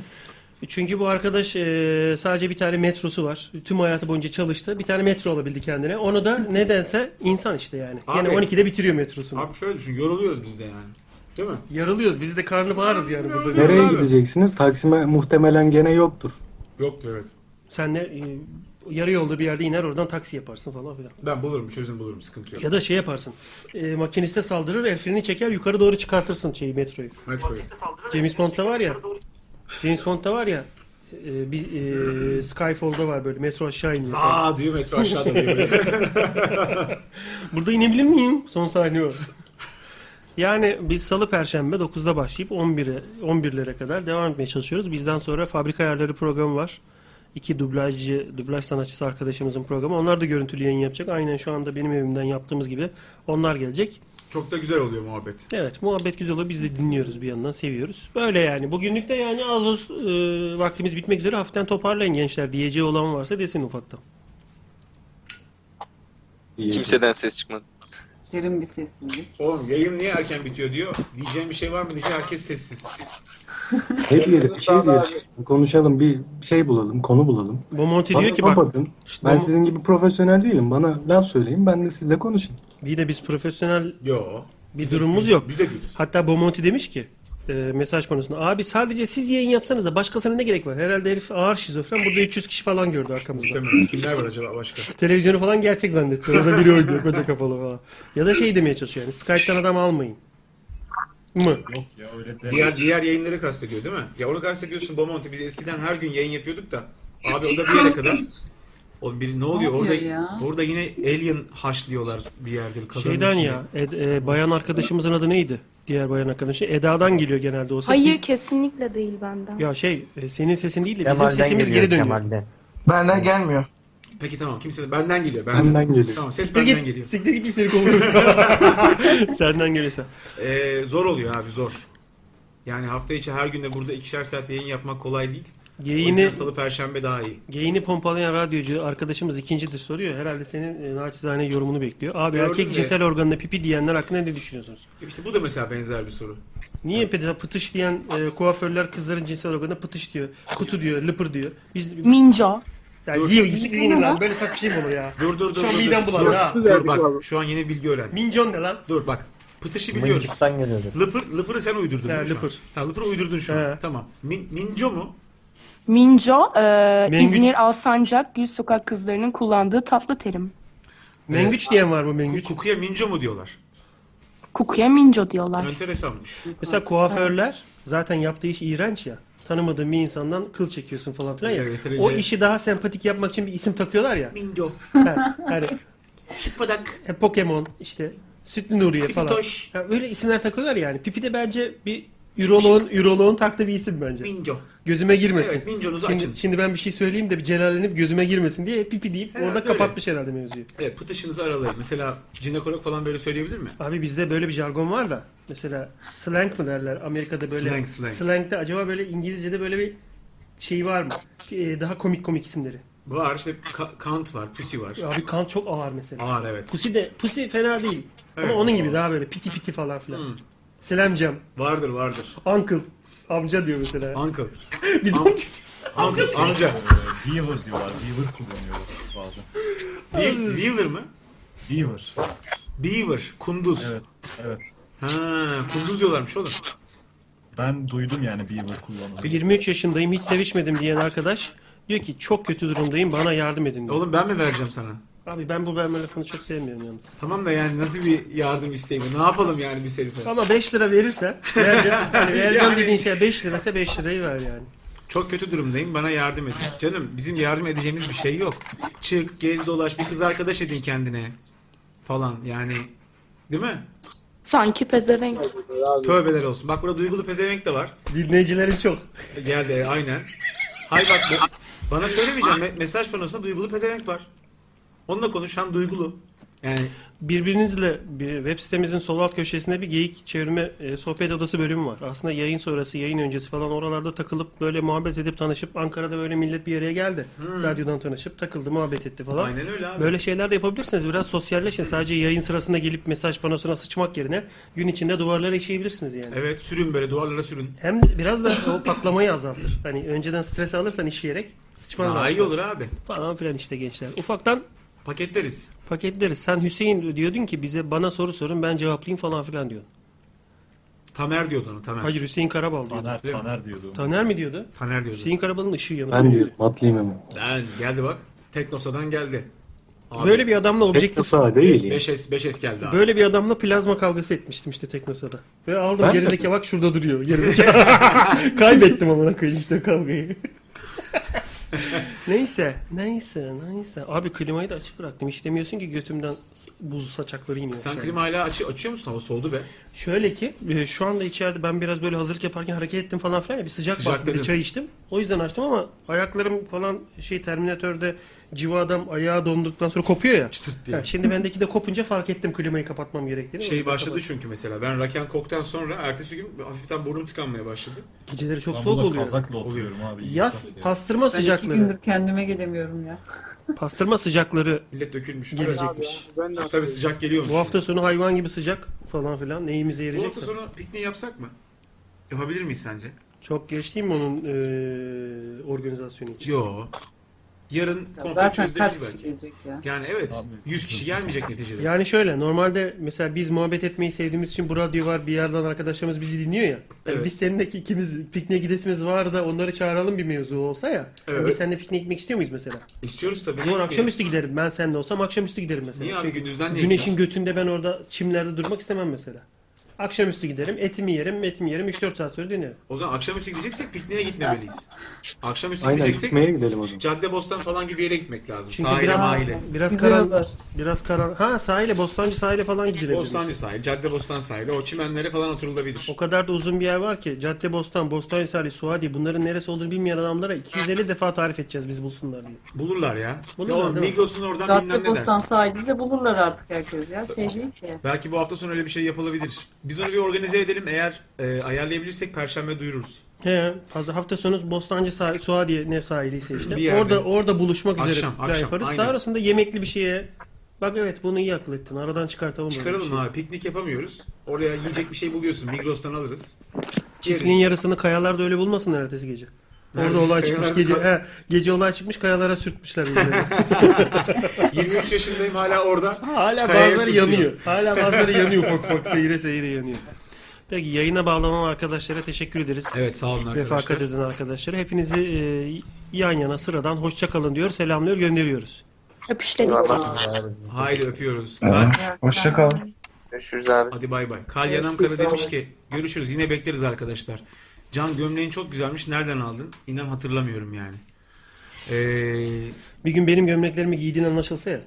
Çünkü bu arkadaş e, sadece bir tane metrosu var. Tüm hayatı boyunca çalıştı. Bir tane metro alabildi kendine. Onu da nedense insan işte yani. Gene
Abi-
12'de bitiriyor metrosunu.
Abi şöyle düşün yoruluyoruz biz de yani. Değil mi?
Yarılıyoruz. Biz de karnı bağırız yani burada.
Nereye gideceksiniz? Taksim'e muhtemelen gene yoktur.
Yoktur evet.
Sen ne e, yarı yolda bir yerde iner oradan taksi yaparsın falan filan.
Ben bulurum çözüm bulurum sıkıntı yok.
Ya da şey yaparsın. E, makiniste saldırır, el freni çeker, yukarı doğru çıkartırsın şeyi metroyu.
Metroyu.
James Bond'da var ya. James Bond'da var ya. e, bir e, Skyfall'da var böyle metro aşağı iniyor.
Aa, diyor, metro aşağıda diyor böyle.
Burada inebilir miyim? Son sahne o. Yani biz salı perşembe 9'da başlayıp 11'e 11'lere kadar devam etmeye çalışıyoruz. Bizden sonra fabrika ayarları programı var. İki dublajcı, dublaj sanatçısı arkadaşımızın programı. Onlar da görüntülü yayın yapacak. Aynen şu anda benim evimden yaptığımız gibi onlar gelecek.
Çok da güzel oluyor muhabbet.
Evet muhabbet güzel oluyor. Biz de dinliyoruz bir yandan seviyoruz. Böyle yani. Bugünlük de yani az az e, vaktimiz bitmek üzere. Hafiften toparlayın gençler. Diyeceği olan varsa desin ufaktan.
Kimseden ses çıkmadı.
Derin bir sessizlik.
Oğlum yayın niye erken bitiyor diyor. Diyeceğim bir şey var mı diye herkes sessiz.
Ne diyelim? Bir şey diyelim. Konuşalım bir şey bulalım. Konu bulalım.
Bomonti
Bana
diyor ki bak-
kapatın.
İşte
ben
Bom-
sizin gibi profesyonel değilim. Bana laf söyleyin. Ben de sizle konuşayım.
İyi de biz profesyonel
Yo.
bir durumumuz yok. Hatta Bomonti demiş ki e, mesaj panosunda abi sadece siz yayın yapsanız da başkasına ne gerek var? Herhalde herif ağır şizofren. Burada 300 kişi falan gördü arkamızda.
Kimler var acaba başka?
Televizyonu falan gerçek zannetti. Orada biri oynuyor koca kapalı falan. Ya da şey demeye çalışıyor yani Skype'tan adam almayın. Mı?
Yok ya öyle deme.
Diğer diğer yayınları kastediyor değil mi? Ya onu kastediyorsun Bomonti. Biz eskiden her gün yayın yapıyorduk da. Abi o da bir yere kadar. O bir, ne oluyor? Orada,
yapıyor ya?
orada yine alien haşlıyorlar bir yerde. bir kazanın
Şeyden
içinde.
ya Ed- e, bayan arkadaşımızın adı neydi? Diğer bayan arkadaşı Eda'dan geliyor genelde o ses.
Hayır kesinlikle değil benden.
Ya şey e, senin sesin değil de bizim
Kemal'den
sesimiz
geliyor,
geri dönüyor.
Kemal'den.
Benden gelmiyor.
Peki tamam. Kimse benden geliyor. Benden,
Benden geliyor.
Tamam ses
Siktir
benden
git,
geliyor.
Siktir git seni kovuyorum. Senden gelirse.
Ee, zor oluyor abi zor. Yani hafta içi her günde burada ikişer saat yayın yapmak kolay değil.
Yayını-
O yüzden Salı perşembe daha iyi.
Geyini pompalayan radyocu arkadaşımız ikincidir soruyor. Herhalde senin e, naçizane yorumunu bekliyor. Abi
Gördüm
erkek
de.
cinsel organına pipi diyenler hakkında ne düşünüyorsunuz?
İşte bu da mesela benzer bir soru.
Niye pede- pıtış diyen e, kuaförler kızların cinsel organına pıtış diyor, kutu diyor, lıpır diyor. Biz
Minca.
Ya ziyo siktir gidin lan böyle saçma şey mi olur ya?
Dur dur dur.
Şu an
dur,
midem
dur,
bulandı
dur,
ha.
Dur, bak şu an yeni bilgi öğren.
Mincon ne lan?
Dur bak. Pıtışı biliyoruz.
Mıncıktan geliyordu.
Lıpır, lıpırı sen uydurdun.
He,
değil mi şu
lıpır.
an? Tamam lıpırı uydurdun şu an. Tamam. Min, minco mu?
Minco, e,
Mengüç.
İzmir Alsancak Gül Sokak kızlarının kullandığı tatlı terim.
Mengüç diyen var mı mengüç?
Kukuya minco mu diyorlar?
Kukuya minco
Ah.
diyorlar.
Enteresanmış.
Mesela kuaförler zaten yaptığı iş iğrenç ya. Tanımadığın bir insandan kıl çekiyorsun falan filan ya.
Evet, Recep.
o işi daha sempatik yapmak için bir isim takıyorlar ya.
Mingo.
Ha, hani
Şıpadak.
e, Pokemon işte Sütlü Nuriye falan.
Pipitoş.
Ya öyle isimler takıyorlar yani. Pipi de bence bir Üroloğun, üroloğun taktığı bir isim bence.
Minco.
Gözüme girmesin.
Evet, minconuzu
şimdi,
açın.
şimdi ben bir şey söyleyeyim de bir celallenip gözüme girmesin diye pipi deyip
Evet,
orada
öyle.
kapatmış herhalde mevzuyu.
Evet pıtışınızı aralayın. Mesela jinekolog falan böyle söyleyebilir mi?
Abi bizde böyle bir jargon var da mesela slang mı derler Amerika'da böyle
Slang, slang.
slang'de acaba böyle İngilizce'de böyle bir şey var mı? Ee, daha komik komik isimleri.
Var işte ka- kant var, pussy var.
Abi kan çok ağır mesela.
Ağır evet.
Pusi de pusi fena değil.
Evet, Hmm.
Ama onun gibi
ağır.
daha böyle piti piti falan filan.
Hı.
Selamcam,
Vardır vardır.
uncle, amca diyor mesela.
Uncle.
Biz
Am- Amca.
amca
amca.
Dealer diyorlar. Dealer kullanıyoruz bazen.
Be- Dealer mı?
Beaver.
Beaver. Kunduz.
Evet. Evet.
Ha, kunduz diyorlarmış oğlum.
Ben duydum yani Beaver kullanımı.
23 yaşındayım hiç sevişmedim diyen arkadaş diyor ki çok kötü durumdayım bana yardım edin diyor.
E Oğlum ben mi vereceğim sana?
Abi ben bu verme lafını çok sevmiyorum yalnız.
Tamam da yani nasıl bir yardım isteği bu? Ne yapalım yani bir herife?
Ama 5 lira verirsen vereceğim, hani vereceğim
Yani.
dediğin şey 5 liraysa 5 lirayı ver yani.
Çok kötü durumdayım bana yardım edin. Canım bizim yardım edeceğimiz bir şey yok. Çık, gez, dolaş, bir kız arkadaş edin kendine. Falan yani. Değil mi?
Sanki pezevenk.
Tövbeler olsun. Bak burada duygulu pezevenk de var.
Dinleyicilerin çok.
Geldi e, aynen. Hay bak ben- bana söylemeyeceğim. Me- mesaj panosunda duygulu pezevenk var. Onunla konuş hem duygulu. Yani
Birbirinizle bir web sitemizin sol alt köşesinde bir geyik çevirme e, sohbet odası bölümü var. Aslında yayın sonrası, yayın öncesi falan oralarda takılıp böyle muhabbet edip tanışıp Ankara'da böyle millet bir araya geldi.
Hmm.
Radyodan tanışıp takıldı, muhabbet etti falan.
Aynen öyle abi.
Böyle şeyler de yapabilirsiniz. Biraz sosyalleşin. Sadece yayın sırasında gelip mesaj panosuna sıçmak yerine gün içinde duvarlara işeyebilirsiniz yani.
evet sürün böyle duvarlara sürün.
Hem de biraz da o patlamayı azaltır. Hani önceden stres alırsan işleyerek sıçman
Daha
lazım.
iyi olur abi.
Falan filan işte gençler. Ufaktan
paketleriz.
Paketleriz. Sen Hüseyin diyordun ki bize bana soru sorun ben cevaplayayım falan filan diyordun.
Tamer diyordu ona Tamer.
Hayır Hüseyin Karabal diyordu.
Taner,
Değil mi?
Taner diyordu.
Taner mi diyordu?
Taner diyordu.
Hüseyin Karabal'ın ışığı yanıyor.
Ben diyorum atlayayım hemen.
Ben geldi bak. Teknosa'dan geldi.
Böyle bir adamla objektif.
Teknosa değil ya.
5S, 5S geldi abi.
Böyle bir adamla plazma kavgası etmiştim işte Teknosa'da. Ve aldım
Ben de-
gerideki bak şurada duruyor. Gerideki. Kaybettim amına koyayım işte kavgayı. neyse, neyse, neyse. Abi klimayı da açık bıraktım. Hiç demiyorsun ki götümden buz saçakları iniyor.
Sen
aşağıya.
klima hala açı, açıyor musun? Hava soğudu be.
Şöyle ki e, şu anda içeride ben biraz böyle hazırlık yaparken hareket ettim falan filan ya bir sıcak
Sıcak
bastı bir de
dedin.
çay içtim. O yüzden açtım ama ayaklarım falan şey Terminator'da civa adam ayağı donduktan sonra kopuyor ya.
diye.
Ha, şimdi bendeki de kopunca fark ettim klimayı kapatmam gerektiğini. O
Şey
yüzden
başladı
kapattım.
çünkü mesela. Ben Raken Kok'tan sonra ertesi gün hafiften burnum tıkanmaya başladı.
Geceleri çok soğuk oluyor.
oturuyorum abi.
Yaz pastırma
Ben
sıcakları.
iki gündür kendime gelemiyorum ya.
Pastırma sıcakları
Millet dökülmüş.
gelecekmiş.
Ben de Tabii sıcak geliyormuş.
Bu hafta sonu hayvan gibi sıcak falan filan neyimize
Bu
yarayacak?
hafta sonu pikniği yapsak mı? Yapabilir miyiz sence?
Çok geç değil mi onun e, organizasyonu için?
Yo. Yarın
Ya
komple
zaten
çözülür
kaç kişi
belki.
gelecek ya?
Yani evet. 100 kişi gelmeyecek neticede.
Yani şöyle normalde mesela biz muhabbet etmeyi sevdiğimiz için bu radyo var bir yerden arkadaşlarımız bizi dinliyor ya. Yani
Evet.
Biz seninle ki ikimiz pikniğe gidesimiz var da onları çağıralım bir mevzu olsa ya. Yani
Evet.
Biz seninle pikniğe gitmek istiyor muyuz mesela?
İstiyoruz tabii.
Zor akşamüstü giderim. Ben seninle olsam akşamüstü giderim mesela.
Niye abi?
Çünkü
Gündüzden niye
Güneşin götünde ben orada çimlerde durmak istemem mesela. Akşamüstü giderim, etimi yerim, etimi yerim 3-4 saat sonra dönerim.
O zaman akşamüstü gideceksek pikniğe gitmemeliyiz. Akşamüstü
Aynen,
gideceksek
gitmeye gidelim o zaman.
Cadde Bostan falan gibi yere gitmek lazım.
Çünkü
sahile
biraz
mahile.
biraz karan biraz karan ha sahile Bostancı sahile falan gidilebilir.
Bostancı sahil, Cadde Bostan sahili. O çimenlere falan oturulabilir.
O kadar da uzun bir yer var ki Cadde Bostan, Bostancı Sahili, Suadi bunların neresi olduğunu bilmeyen adamlara 250 defa tarif edeceğiz biz bulsunlar diye.
Bulurlar ya.
Bulurlar,
ya oğlum
değil mi?
Migros'un oradan bilmem
Cadde
ne dersin.
Bostan sahilinde bulurlar artık herkes ya. Şey değil ki.
Belki bu hafta sonu öyle bir şey yapılabilir. Biz onu bir organize edelim. Eğer e, ayarlayabilirsek perşembe duyururuz.
He, fazla hafta sonu Bostancı sahili, Suadiye ne sahiliyse işte.
Bir yerde.
Orada orada buluşmak üzere
Akşam,
plan
akşam,
yaparız.
aynen.
Sonrasında yemekli bir şeye. Bak evet bunu iyi akıl ettin. Aradan çıkartalım. böyle bir
Çıkaralım
şey.
abi. Piknik yapamıyoruz. Oraya yiyecek bir şey buluyorsun. Migros'tan alırız.
Çiftliğin yarısını kayalarda öyle bulmasın ertesi gece. Orada
Nerede?
olay çıkmış
Kayalarda
gece.
kal-
He, gece olay çıkmış kayalara sürtmüşler. birbirlerini.
23 yaşındayım hala orada.
Hala
Kayaya
bazıları
sürtüyor.
yanıyor. Hala bazıları yanıyor ufak ufak seyre seyre yanıyor. Peki yayına bağlanan arkadaşlara teşekkür ederiz.
Evet sağ olun arkadaşlar.
Refakat eden arkadaşlara. Hepinizi e, yan yana sıradan hoşça kalın diyor. Selamlıyor gönderiyoruz.
Öpüşledik.
Haydi öpüyoruz.
Hoşça kal.
Görüşürüz abi. Hadi bay bay. Kalyanam Kara
Görüşürüz
demiş
abi.
ki görüşürüz yine bekleriz arkadaşlar. Can gömleğin çok güzelmiş. Nereden aldın? İnan hatırlamıyorum yani. Ee,
Bir gün benim gömleklerimi giydiğin anlaşılsa ya.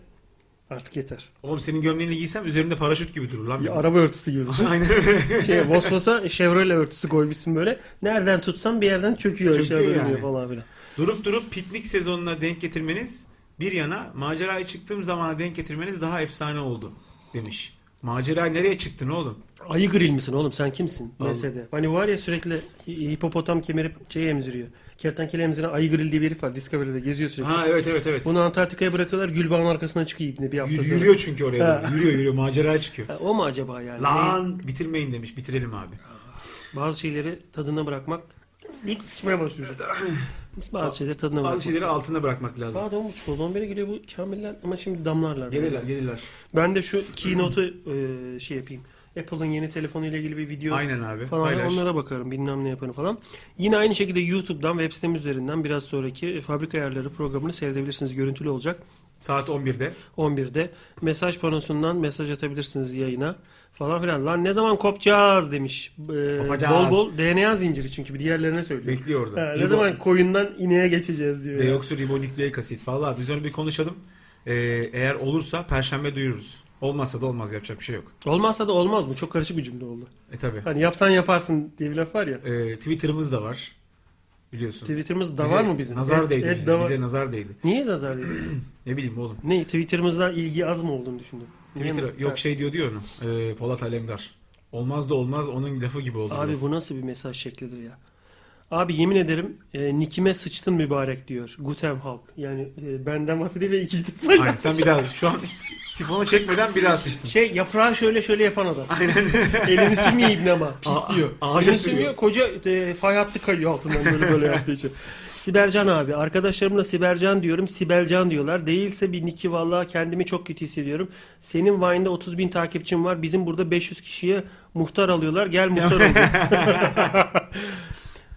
Artık yeter.
oğlum senin gömleğini giysem üzerimde paraşüt gibi durur lan.
Bir
benim.
araba örtüsü gibi. düşün.
Aynen öyle.
şey, Vosvos'a Chevrolet örtüsü koymuşsun böyle. Nereden tutsan bir yerden çöküyor,
Çöküyor
aşağı
yani.
dönüyor falan filan.
Durup durup piknik sezonuna denk getirmeniz bir yana maceraya çıktığım zamana denk getirmeniz daha efsane oldu demiş. Macera nereye çıktın oğlum?
Ayı grill misin oğlum sen kimsin?
Vallahi.
Mesede. Hani var ya sürekli hi- hipopotam kemirip şey emziriyor. Kertenkele emziren ayı grill diye bir herif var. Discovery'de geziyor sürekli.
Ha, evet, evet, evet.
Bunu Antarktika'ya bırakıyorlar. Gülbağın arkasına çıkıyor ibne bir hafta
Y-
sonra.
yürüyor çünkü oraya
Ha.
doğru. Yürüyor yürüyor maceraya çıkıyor.
Ha, O mu acaba yani?
Lan bitirmeyin demiş. Bitirelim abi.
Bazı şeyleri tadına bırakmak deyip sıçmaya başlıyor. Bazı şeyleri tadına bırakmak.
Bazı şeyleri altında bırakmak lazım.
Saat 10.30 oldu. 11'e gidiyor bu kamiller ama şimdi damlarlar.
Gelirler, gelirler.
Ben de şu keynote'u e, şey yapayım. Apple'ın yeni telefonuyla ilgili bir video
Aynen abi,
falan
paylaş.
onlara bakarım. Bilmem ne yaparım falan. Yine aynı şekilde YouTube'dan web sitem üzerinden biraz sonraki e, fabrika ayarları programını seyredebilirsiniz. Görüntülü olacak.
Saat 11'de.
11'de. Mesaj panosundan mesaj atabilirsiniz yayına falan filan. Lan ne zaman kopacağız demiş. Ee,
Kopacağız.
Bol bol DNA zinciri çünkü bir diğerlerine söylüyor.
Bekliyor orada.
Ha, ne
Ribo-
zaman koyundan ineğe geçeceğiz diyor. ya.
Deoksiribonükleik asit. Vallahi biz onu bir konuşalım. Ee, eğer olursa perşembe duyururuz. Olmazsa da olmaz yapacak bir şey yok.
Olmazsa da olmaz mı? Çok karışık bir cümle oldu.
E tabi.
Hani yapsan yaparsın diye bir laf var ya.
Ee, Twitter'ımız da var. Biliyorsun.
Twitter'ımız da
Bize
var mı bizim?
Nazar
Et-
değdi
et
bize.
da var.
Bize nazar değdi.
Niye nazar değdi?
ne bileyim oğlum.
ne Twitter'ımızdan ilgi az mı olduğunu düşündüm. Niye
Twitter
mi?
yok
Ha.
şey diyor diyor onu. Ee, Polat Alemdar. Olmaz da olmaz onun lafı gibi oldu.
Abi bu nasıl bir mesaj şeklidir ya? Abi yemin ederim e, nikime sıçtın mübarek diyor. Guten Halk. Yani e, benden bahsediyor ve ikinci defa
Aynen sen bir daha şu an sifonu çekmeden bir daha sıçtın.
Şey yaprağı şöyle şöyle yapan adam.
Aynen.
Elini sürmüyor ibne ama.
A-
Pis diyor.
ağaca
Elini
sürüyor.
sürmüyor, Koca e, fay hattı kayıyor altından böyle böyle yaptığı için. Sibercan abi. Arkadaşlarımla Sibercan diyorum. Sibelcan diyorlar. Değilse bir Niki vallahi kendimi çok kötü hissediyorum. Senin Vine'da 30 bin takipçin var. Bizim burada 500 kişiye muhtar alıyorlar. Gel muhtar ol.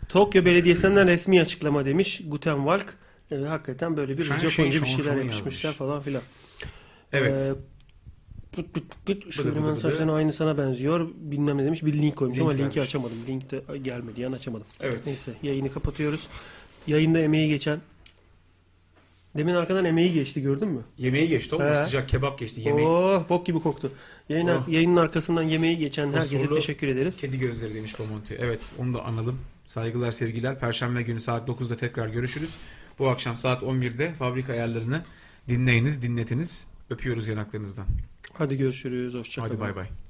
Tokyo Belediyesi'nden resmi açıklama demiş. Guten Walk. E, hakikaten böyle bir
Her
Japonca
şey
bir
şon
şeyler
şon
yapmışlar
yazmış.
falan filan.
Evet.
E, Pıt pıt pıt.
Bıdı bıdı
Şöyle
bıdı.
saçlarına aynı sana benziyor. Bilmem ne demiş. Bir link koymuş
Link
ama linki
vermiş.
açamadım. Link de gelmedi yani açamadım.
Evet.
Neyse yayını kapatıyoruz. Yayında emeği geçen. Demin arkadan emeği geçti gördün mü?
Yemeği geçti oğlum.
He.
Sıcak kebap geçti yemeği.
Oh bok gibi koktu. Yayın,
Oh.
Yayının arkasından yemeği geçen herkese
Kusurlu
teşekkür ederiz.
Kedi gözleri demiş Bomonti. Evet onu da analım. Saygılar sevgiler. Perşembe günü saat 9'da tekrar görüşürüz. Bu akşam saat 11'de fabrika ayarlarını dinleyiniz, dinletiniz. Öpüyoruz yanaklarınızdan.
Hadi görüşürüz. Hoşçakalın.
Hadi bay bay.